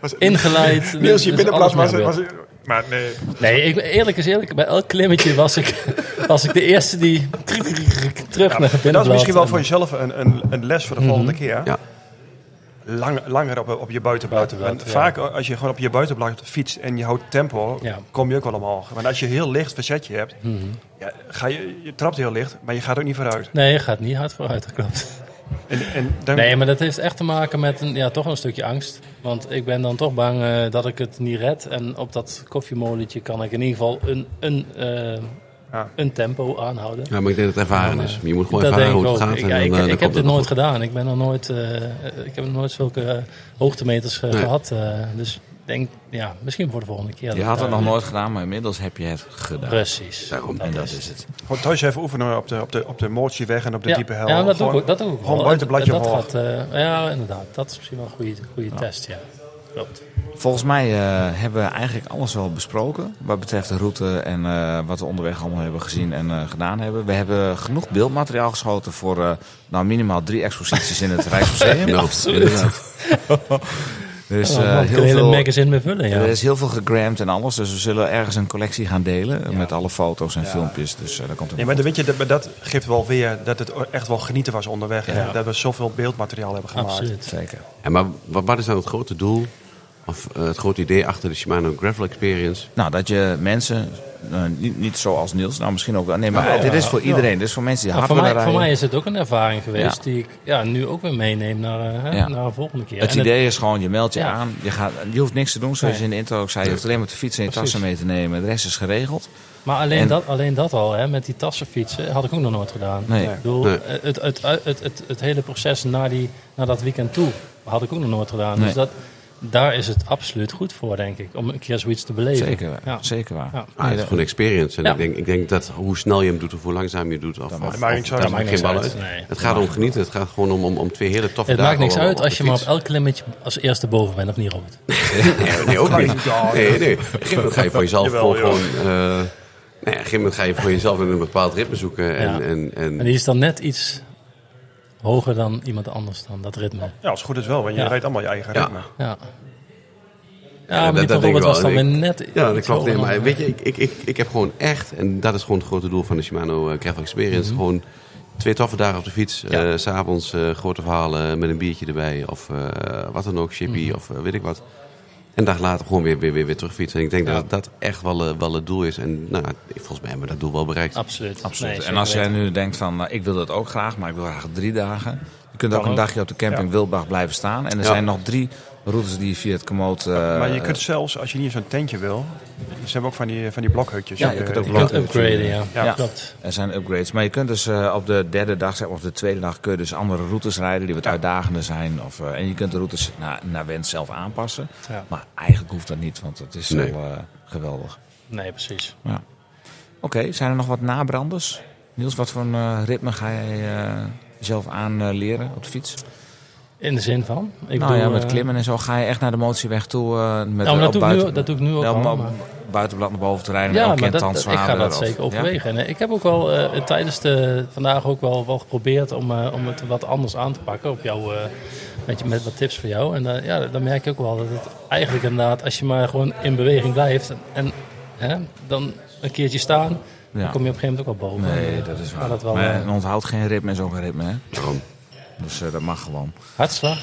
S4: Was,
S1: ingeleid.
S4: [LAUGHS] Niels, je
S1: Dus alles
S4: binnenblad was,
S1: mee
S4: was,
S1: gebeurd.
S4: Maar nee,
S1: Nee, ik, eerlijk is eerlijk. Bij elk klimmetje was ik, [LAUGHS] was ik de eerste die [LAUGHS] terug naar het binnenblad.
S4: dat is misschien wel
S1: En- Mhm.
S4: voor jezelf een, een, een les voor de volgende keer.
S3: Ja.
S4: Lang, langer op, op je buitenblad.
S1: Buitenblad,
S4: Want Vaak eh, als je gewoon op je buitenblad fietst en je houdt tempo,
S1: Ja. Mhm.
S4: kom je ook wel omhoog. Want als je heel licht verzetje hebt, ja, ga je, je trapt heel licht, maar je gaat ook niet vooruit.
S1: Nee, je gaat niet hard vooruit, dat klopt.
S4: En, en dan,
S1: Nee, maar dat heeft echt te maken met een, ja, toch een stukje angst. Want ik ben dan toch bang eh, dat ik het niet red. En op dat koffiemolentje kan ik in ieder geval een, een, eh,
S4: Ja.
S1: een tempo aanhouden.
S3: Ja, maar ik denk dat het ervaren is. Je moet gewoon
S1: dat
S3: ervaren
S1: denk ik
S3: hoe het
S1: ook.
S3: gaat.
S1: Ik,
S3: en
S1: ja,
S3: dan,
S1: ik,
S3: eh, dan
S1: ik
S3: komt
S1: heb
S3: het
S1: dit nooit
S3: goed.
S1: gedaan. Ik ben nog nooit, eh, eh, ik heb nog nooit zulke eh, hoogtemeters eh,
S3: Nee.
S1: gehad. eh, dus ik denk, ja, misschien voor de volgende keer.
S2: Je
S1: dat
S2: had
S1: ik
S2: het nog
S1: daar-
S2: nooit gedaan, maar inmiddels heb je het gedaan.
S1: Precies.
S3: Daarom.
S2: En dat is het.
S4: Gewoon thuis even oefenen op de, op de, op de motieweg en op de
S1: ja,
S4: diepe hel.
S1: ja, dat doe
S4: Gewoon-
S1: ik ook. Dat doe ik
S4: Gewoon
S1: wel.
S4: buitenbladje
S1: dat, dat
S4: omhoog.
S1: gaat, eh, Ja, inderdaad. Dat is misschien wel een goede, goede test, ja. Klopt.
S2: Volgens mij eh, hebben we eigenlijk alles wel besproken. Wat betreft de route en eh, wat we onderweg allemaal hebben gezien en eh, gedaan hebben. We hebben genoeg beeldmateriaal geschoten voor eh, nou, minimaal drie exposities in het Rijksmuseum.
S3: Nou, inderdaad.
S2: Er is,
S1: Dus,
S2: eh,
S1: ik een
S2: heel
S1: hele
S2: veel,
S1: magazine mee vullen, ja.
S2: er is heel veel gegramd en alles. Dus we zullen ergens een collectie gaan delen eh, met alle foto's en filmpjes. Dus eh, daar komt
S4: Nee,
S2: helemaal
S4: maar dan weet je, dat, dat geeft wel weer dat het echt wel genieten was onderweg. hè.
S1: Ja.
S4: Dat we zoveel beeldmateriaal hebben gemaakt.
S1: Absoluut.
S2: goed. Zeker.
S3: En maar wat, wat is dan het grote doel? Of eh, het grote idee achter de Shimano Gravel Experience? Ah,
S2: Nou, dat je mensen, eh, niet, niet zoals Niels, nou misschien ook wel. Nee, maar eh, dit is voor iedereen. Dit is voor mensen die
S1: Nou,
S2: hard
S1: voor,
S2: willen
S1: mij,
S2: rijden.
S1: voor mij is het ook een ervaring geweest
S2: Ja.
S1: die ik ja, nu ook weer meeneem naar, eh, hè,
S2: Ja.
S1: naar de volgende keer.
S2: Het
S1: En
S2: idee is gewoon, je meldt je
S1: Ja.
S2: aan. Je, gaat, je hoeft niks te doen, zoals
S1: Nee.
S2: je in de intro ook zei. Je hoeft alleen maar te fietsen en je
S1: Precies.
S2: tassen mee te nemen. De rest is geregeld.
S1: maar alleen,
S2: en-
S1: dat, alleen dat al, hè, met die tassen fietsen, had ik ook nog nooit gedaan.
S2: Nee.
S1: Ik bedoel,
S3: Nee.
S1: eh, het, het, het, het, het, hele proces naar, die, naar dat weekend toe had ik ook nog nooit gedaan.
S2: Nee.
S1: Dus dat, daar is het absoluut goed voor, denk ik, om een keer zoiets te beleven.
S2: Zeker waar.
S1: Ja.
S2: Zeker waar.
S1: Ja.
S3: Ah, het is gewoon een experience. En
S1: Ja.
S3: ik, denk, ik denk dat hoe snel je hem doet of hoe langzaam je het doet. Of, of,
S4: maakt niks uit.
S3: dat
S4: Dat
S1: maakt
S3: geen
S1: niks
S3: bal
S1: uit.
S3: uit.
S1: Nee.
S3: Het gaat om genieten. Het gaat gewoon om, om, om twee hele toffe
S1: Het maakt
S3: dagen.
S1: niks
S3: op- op
S1: uit
S3: de
S1: als je maar op
S3: fiets.
S1: elk klimmetje als eerste boven bent, of niet, Robert?
S3: Nee, nee, ook niet. Nee, nee. Op een gegeven moment ga je voor jezelf
S4: Jawel,
S3: gewoon... gewoon, eh, nee, op een gegeven moment ga je voor jezelf een bepaald ritme zoeken. En,
S1: Ja.
S3: en, en,
S1: En die is dan net iets hoger dan iemand anders, dan dat ritme.
S4: Ja, als het goed is wel, want je
S1: Ja.
S4: rijdt allemaal je eigen
S3: Ja.
S4: ritme.
S1: Ja. Ja,
S3: dat-
S1: maar die
S3: dat
S1: van
S3: denk ik
S1: Robert was
S3: wel.
S1: dan weer
S3: Ik-
S1: net
S3: Ja, dat
S1: iets
S3: klopt.
S1: hoger
S3: Nee,
S1: dan-
S3: maar weet je, ik, ik, ik, ik heb gewoon echt, en dat is gewoon het grote doel van de Shimano eh, Gravel Experience, gewoon twee toffe dagen op de fiets. eh S'avonds eh, grote verhalen met een biertje erbij of eh, wat dan ook, chippy of eh, weet ik wat. En een dag later gewoon weer, weer, weer, weer terug fietsen. En ik denk dat dat echt wel, eh, wel het doel is. En nou, volgens mij hebben we dat doel wel bereikt.
S1: Absoluut.
S2: Absoluut.
S1: Nee,
S2: en als jij
S1: zeker
S2: nu denkt van, nou, ik wil dat ook graag, maar ik wil graag drie dagen. Je kunt ook
S1: Kan
S2: een
S1: ook.
S2: dagje op de camping Wildbach blijven staan. En er
S3: Ja.
S2: zijn nog drie routes die je via het Komoot... eh,
S4: Maar je kunt zelfs, als je niet in zo'n tentje wil, ze hebben ook van die, van die blokhutjes.
S2: Ja,
S4: Eh,
S2: je kunt ook
S4: die-
S1: weten. Je
S2: blokhutjes.
S1: kunt upgraden, ja.
S4: Ja.
S1: ja. Klopt.
S2: Er zijn upgrades. Maar je kunt dus eh, op de derde dag zeg maar, of de tweede dag kun je dus andere routes rijden die wat uitdagender zijn. Of, eh, en je kunt de routes naar, naar wens zelf aanpassen.
S1: Ja.
S2: Maar eigenlijk hoeft dat niet, want het is
S3: Nee.
S2: wel eh, geweldig.
S1: Nee, precies.
S2: Ja. Oké, zijn er nog wat nabranders? Niels, wat voor een eh, ritme ga jij eh, zelf aan eh, leren op de fiets?
S1: In de zin van? Ik
S2: nou
S1: bedoel,
S2: ja, met
S1: eh,
S2: klimmen en zo ga je echt naar de motieweg toe. eh, met
S1: Nou,
S2: eh,
S1: maar dat
S2: op
S1: doe, ik nu, dat doe ik nu ook
S2: Ja, om
S1: al.
S2: op
S1: maar-
S2: buitenblad naar boven te rijden.
S1: eh, Ja,
S2: en elke
S1: maar
S2: keer
S1: dat, ik ga
S2: zwaarder
S1: dat
S2: of-
S1: zeker
S2: ja?
S1: overwegen. En eh, ik heb ook wel eh, tijdens de, vandaag ook wel, wel geprobeerd om, eh, om het wat anders aan te pakken. Op jou, eh, met, je- met wat tips voor jou. En eh, ja, dan merk je ook wel dat het eigenlijk inderdaad, als je maar gewoon in beweging blijft. En, en, hè, dan een keertje staan, dan
S2: Ja.
S1: kom je op een gegeven moment ook wel boven. En,
S2: Nee,
S1: eh,
S2: dat is
S1: gaat
S2: waar.
S1: Dat wel,
S2: maar
S1: eh,
S2: en onthoud geen ritme en zo'n ritme, hè?
S3: Daarom.
S2: Dus eh, dat mag gewoon.
S1: hartslag.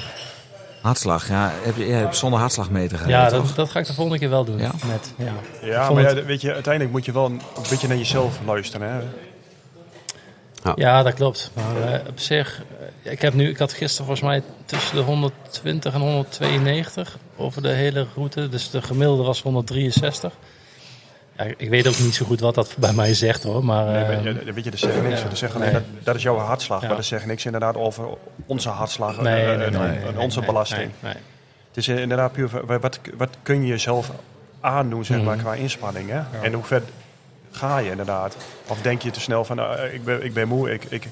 S2: Hartslag, ja. Heb je, ja, je hebt zonder hartslagmeter gereden,
S1: Ja,
S2: toch?
S1: dat, dat ga ik de volgende keer wel doen.
S2: Ja?
S1: Net, ja.
S4: Ja,
S1: vond
S4: maar ja,
S1: het-
S4: weet je, uiteindelijk moet je wel een een beetje naar jezelf luisteren. Hè?
S1: ja, dat klopt. Maar eh, op zich, eh, ik, heb nu, ik had gisteren volgens mij tussen de 120 en 192 over de hele route. Dus de gemiddelde was 163. Ja, ik weet ook niet zo goed wat dat [LAUGHS] bij mij zegt hoor. Maar,
S4: Nee,
S1: eh,
S4: weet je, weet je, dat zegt niks.
S1: ja.
S4: Dat, zegt alleen,
S1: Nee.
S4: dat, dat is jouw hartslag,
S1: Ja.
S4: maar dat zegt niks inderdaad over onze hartslag
S1: nee,
S4: eh,
S1: nee,
S4: en,
S1: nee,
S4: en-
S1: nee,
S4: en
S1: nee,
S4: onze
S1: nee,
S4: belasting.
S1: nee, nee.
S4: Het is eh, inderdaad puur van, wa- wat, wat kun je jezelf aandoen zeg maar, qua inspanning. Hè? En hoe ver ga je inderdaad? Of denk je te snel van, nou, eh, ik, ben, ik ben moe, ik, ik,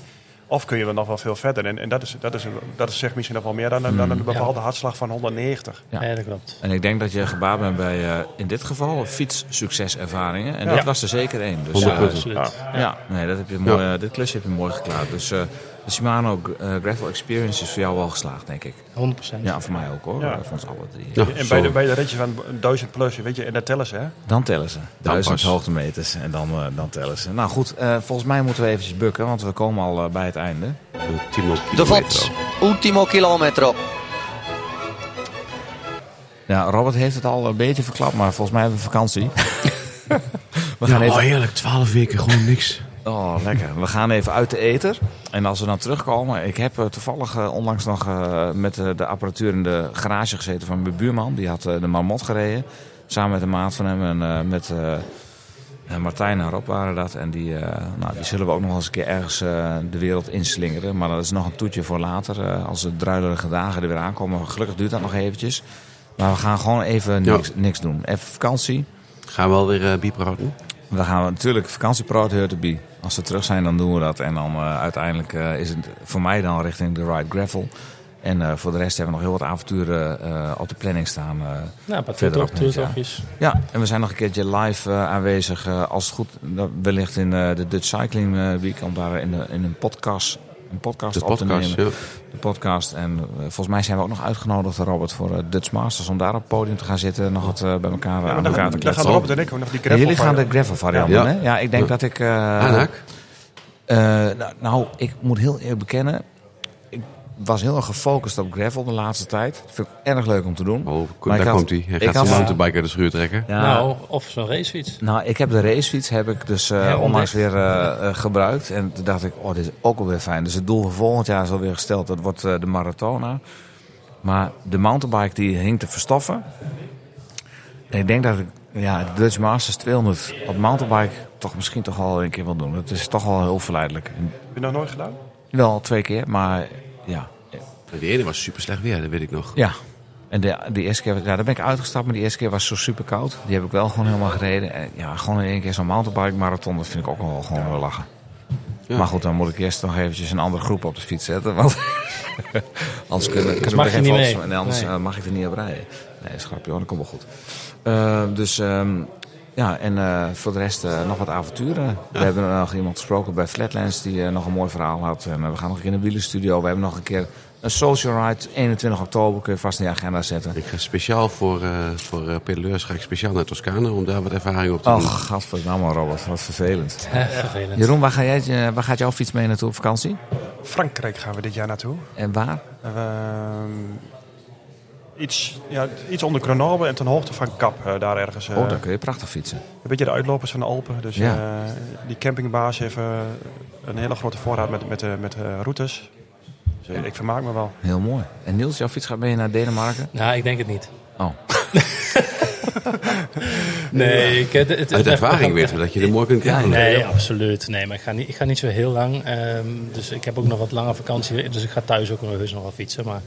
S4: of kun je wel nog wel veel verder? En, en dat, is, dat, is, dat is zeg misschien nog wel meer dan, dan een bepaalde hartslag van 190.
S2: Ja.
S1: Nee, dat klopt.
S2: En ik denk dat je gebaat bent bij, eh, in dit geval, fietssucceservaringen. En
S4: Ja.
S2: dat was er zeker één. Dus,
S3: Honderd
S2: eh,
S3: punten.
S1: Absoluut.
S2: Ja, nee, dat heb je mooi, eh, dit klusje heb je mooi geklaard. Dus eh, de Shimano G- eh, Gravel Experience is voor jou wel geslaagd, denk ik.
S1: 100%.
S2: Ja, voor mij ook hoor.
S4: Ja.
S2: Eh, Voor ons alle drie.
S3: Ja,
S4: En
S3: zo.
S4: bij de, bij de ritjes van 1000 plus, weet je, en dat tellen ze, hè?
S2: Dan tellen ze. Duizend
S3: pas.
S2: hoogtemeters en dan, eh, dan tellen ze. Nou goed, eh, volgens mij moeten we eventjes bukken, want we komen al eh, bij het einde.
S3: Ultimo
S7: De
S3: kilometro.
S7: VOTS, ultimo kilometro.
S2: Ja, Robert heeft het al een beetje verklapt, maar volgens mij hebben we vakantie. [LAUGHS] we gaan
S3: Oh,
S2: even...
S3: heerlijk. Twaalf weken, gewoon niks.
S2: Oh, lekker. We gaan even uit de eter. En als we dan terugkomen... Ik heb eh, toevallig eh, onlangs nog eh, met eh, de apparatuur in de garage gezeten van mijn buurman. Die had eh, de marmot gereden. Samen met een maat van hem en eh, met eh, en Martijn en Rob waren dat. En die, eh, nou, die zullen we ook nog wel eens een keer ergens eh, de wereld inslingeren. Maar dat is nog een toetje voor later. eh, als de druilerige dagen er weer aankomen. Gelukkig duurt dat nog eventjes. Maar we gaan gewoon even
S3: Ja.
S2: niks, niks doen. Even vakantie.
S3: Gaan we alweer eh biepraten?
S2: Dan gaan we natuurlijk vakantieproot Hurteby. Als ze terug zijn, dan doen we dat. En dan eh, uiteindelijk eh, is het voor mij dan richting de Ride Gravel. En eh, voor de rest hebben we nog heel wat avonturen eh, op de planning staan. eh.
S1: Nou, een paar
S2: Verder ook niet, ja.
S1: toertochtjes.
S2: Ja, en we zijn nog een keertje live eh, aanwezig. eh, als het goed, eh, wellicht in eh, de Dutch Cycling eh, Week. Om daar in, de- in een podcast, een podcast
S3: De
S2: op te
S3: podcast,
S2: nemen.
S3: ja.
S2: De podcast. En eh, volgens mij zijn we ook nog uitgenodigd, Robert, voor eh, Dutch Masters. Om daar op het podium te gaan zitten. Nog wat eh, bij elkaar,
S4: Ja, maar
S2: aan elkaar
S4: dan, gaan-
S2: te
S4: dan gaan
S2: kletsen.
S4: Rob en ik ook nog die
S2: Ja,
S4: gravel
S2: jullie gaan de
S4: van-
S2: gravel variant
S3: Ja.
S2: doen, hè? Ja, ik denk
S3: Ja.
S2: dat ik... eh,
S3: Aanhaak?
S2: eh, nou, nou, ik moet heel eerlijk bekennen. Ik was heel erg gefocust op gravel de laatste tijd. Dat vind ik erg leuk om te doen.
S3: Oh,
S2: Maar ik
S3: daar
S2: had-
S3: komt hij. Hij
S2: ik
S3: gaat zijn
S2: had-
S3: mountainbike uit de schuur trekken.
S2: Ja, nou.
S1: Nou, of zo'n racefiets.
S2: ik heb de racefiets heb ik dus eh,
S1: Herontdekt.
S2: onlangs weer eh, eh, gebruikt. En toen dacht ik, oh, dit is ook alweer fijn. Dus het doel voor volgend jaar is alweer gesteld. Dat wordt eh, de Maratona. Maar de mountainbike die hing te verstoffen. En ik denk dat ik ja, de Dutch Masters 200 op mountainbike toch misschien toch al een keer wil doen. Het is toch wel heel verleidelijk. En
S4: Heb je nog nooit gedaan?
S2: Wel twee keer, maar ja.
S3: Die ene was super slecht weer, dat weet ik nog.
S2: Ja. En de, de eerste keer, ja, daar ben ik uitgestapt, maar die eerste keer was zo super koud. Die heb ik wel gewoon helemaal gereden. En ja, gewoon in één keer zo'n mountainbike marathon, dat vind ik ook wel gewoon wel lachen.
S3: Ja.
S2: Maar goed, dan moet ik eerst nog eventjes een andere groep op de fiets zetten. Want [LAUGHS] anders kunnen, kunnen
S1: mag
S2: we
S1: je
S2: geen
S1: niet
S2: foto's
S1: mee.
S2: En anders
S1: Nee.
S2: eh, mag ik er niet op rijden. Nee, schrapje hoor, dat komt wel goed. Eh, dus ehm, ja, en eh, voor de rest eh, nog wat avonturen. We hebben nog iemand gesproken bij Flatlands die eh, nog een mooi verhaal had. En eh, we gaan nog een keer in de wielenstudio. We hebben nog een keer een social ride. 21 oktober kun je vast in je agenda zetten.
S3: Ik ga speciaal voor, eh, voor eh, pedaleurs ga ik speciaal naar Toscane om daar wat ervaring op te doen.
S2: Och, gadverdamme Robert, wat vervelend.
S1: Eh, [LAUGHS] vervelend.
S2: Jeroen, waar, ga jij, eh, waar gaat jouw fiets mee naartoe op vakantie?
S4: Frankrijk gaan we dit jaar naartoe.
S2: En waar?
S4: Ehm, iets, ja, iets onder Grenoble en ten hoogte van Kap, eh, daar ergens. eh,
S2: Oh, daar kun je prachtig fietsen.
S4: Een beetje de uitlopers van de Alpen. Dus
S2: Ja.
S4: eh, die campingbaas heeft eh, een hele grote voorraad met, met, eh, met eh, routes. Dus, eh, ik vermaak me wel.
S2: Heel mooi. En Niels, jouw fiets gaat mee naar Denemarken?
S1: Nou, ik denk het niet.
S2: Oh,
S1: [LAUGHS] Nee, ik, het, het,
S3: Uit ervaring weten we dat je er mooi kunt krijgen.
S1: Nee, absoluut. Nee, maar ik ga niet, ik ga niet zo heel lang. Ehm, dus ik heb ook nog wat lange vakantie. Dus ik ga thuis ook nog heus nog wel fietsen. Maar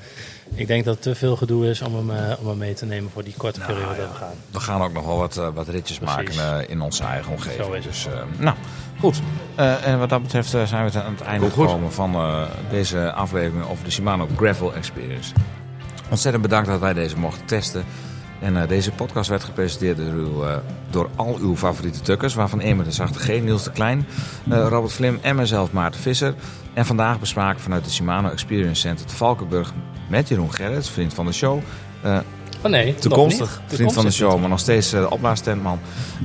S1: ik denk dat het te veel gedoe is om hem, eh, om hem mee te nemen voor die korte periode dat we gaan.
S2: we gaan ook nog wel wat, eh, wat ritjes
S1: Precies.
S2: maken eh, in onze eigen omgeving.
S1: Zo is het.
S2: Dus, eh, nou, goed. Eh, en wat dat betreft eh, zijn we aan het einde
S3: Komt goed.
S2: gekomen van eh, deze aflevering over de Shimano Gravel Experience. Ontzettend bedankt dat wij deze mochten testen. En eh, deze podcast werd gepresenteerd door, uw, eh, door al uw favoriete tukkers, waarvan Emer de Zachte G, Niels de Klein, eh, Robert Vlim en mezelf Maarten Visser. En vandaag bespraken vanuit het Shimano Experience Center te Valkenburg met Jeroen Gerrits, vriend van de show, eh,
S1: Oh nee, nog
S2: Toekomstig,
S1: niet.
S2: vriend van de
S1: Toekomstig
S2: show, maar nog steeds eh, de opblaastent, man.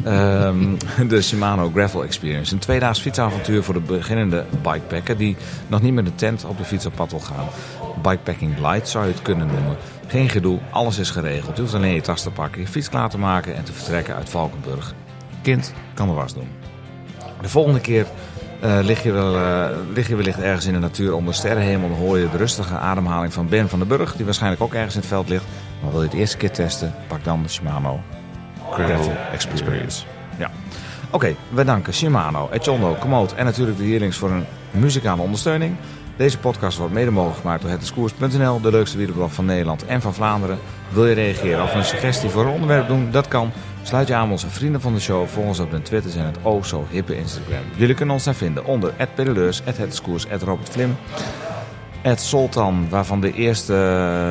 S2: Ehm, [LAUGHS] de Shimano Gravel Experience. Een tweedaags fietsavontuur voor de beginnende bikepacker... die nog niet met de tent op de fiets op pad wil gaan. Bikepacking light zou je het kunnen noemen. Geen gedoe, alles is geregeld. Je hoeft alleen je tas te pakken, je fiets klaar te maken... en te vertrekken uit Valkenburg. Kind kan de was doen. De volgende keer eh, lig, je wel, eh, lig je wellicht ergens in de natuur onder sterrenhemel. Dan hoor je de rustige ademhaling van Ben van den Burg, die waarschijnlijk ook ergens in het veld ligt. Maar wil je het eerste keer testen, pak dan de Shimano Gravel Experience. Ja. Oké, we danken Shimano, Echondo, Komoot en natuurlijk de Heerlings voor hun muzikale ondersteuning. Deze podcast wordt mede mogelijk gemaakt door hetdiscours.nl, de leukste wielerblog van Nederland en van Vlaanderen. Wil je reageren of een suggestie voor een onderwerp doen? Dat kan. Sluit je aan bij onze vrienden van de show, volg ons op hun Twitters en het oh zo hippe Instagram. Jullie kunnen ons daar vinden onder @pedaleurs, @hetdiscours, @robertvlim. Ed Soltan, waarvan de eerste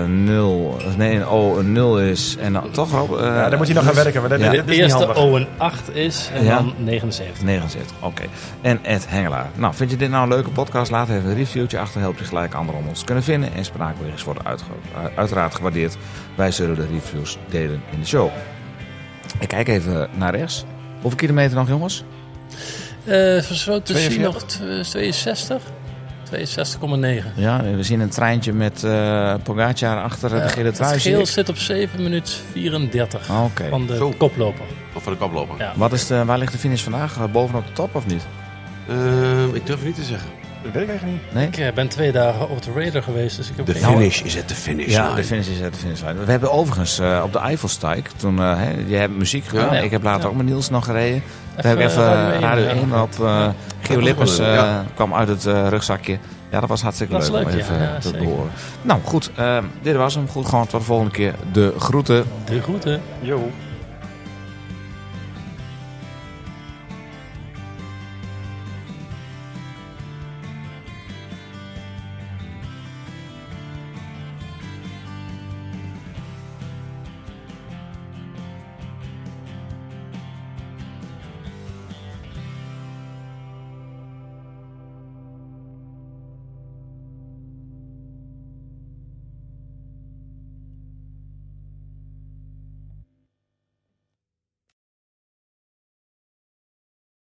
S2: nul, of nee, een O een nul is. En dan- toch Rob? Eh,
S4: Ja, daar moet hij nog gaan werken, want dat,
S2: Ja.
S4: dit
S1: De
S4: is niet
S1: eerste
S4: handig.
S1: O een 8 is en
S2: Ja.
S1: dan 79.
S2: 79, oké. En Ed Hengelaar. Nou, vind je dit nou een leuke podcast? Laat even een reviewtje achter. Help je gelijk anderen om ons te kunnen vinden. En spraakberichtjes worden uitge- eh, uiteraard gewaardeerd. Wij zullen de reviews delen in de show. Ik kijk even naar rechts. Hoeveel kilometer nog, jongens?
S1: Eh zo te zien
S2: 42.
S1: nog tw- 62? 62,9.
S2: Ja, we zien een treintje met eh Pogacar achter de gele
S1: Het
S2: trui. zie
S1: geel
S2: ik.
S1: zit op 7 minuten 34
S2: Oké.
S1: van de
S3: Zo.
S1: koploper.
S3: Of van de koploper.
S1: Ja.
S2: Wat is de, waar ligt de finish vandaag? Eh, Bovenop de top of niet?
S3: Ehm, ik durf het niet te zeggen.
S4: Dat weet ik eigenlijk niet.
S2: Nee?
S1: Ik eh, ben twee dagen op de radar geweest, dus ik heb
S3: De
S1: geen-
S3: finish is het de finish.
S2: Nou, Ja,
S3: line.
S2: de finish is het, de finishlijn. We hebben overigens eh, op de Eiffelsteig, toen eh, hè, jij hebt muziek gedaan.
S1: Ja.
S2: Ik heb later
S1: Ja.
S2: ook met Niels nog gereden. We hebben
S1: eh,
S2: even
S1: Radio
S2: eh,
S1: 1,
S2: Radio
S1: ja.
S2: 1 op. eh Gio
S3: was
S2: Lippens
S3: wel leuk,
S2: eh,
S3: ja.
S2: kwam uit het eh, rugzakje. Ja, dat was hartstikke
S1: Dat
S2: leuk,
S1: is
S2: om
S1: leuk, ja,
S2: even
S1: ja,
S2: te
S1: zeker.
S2: horen. Nou, goed. eh, dit was hem. Goed, gewoon tot de volgende keer. De groeten.
S1: De groeten.
S4: Yo.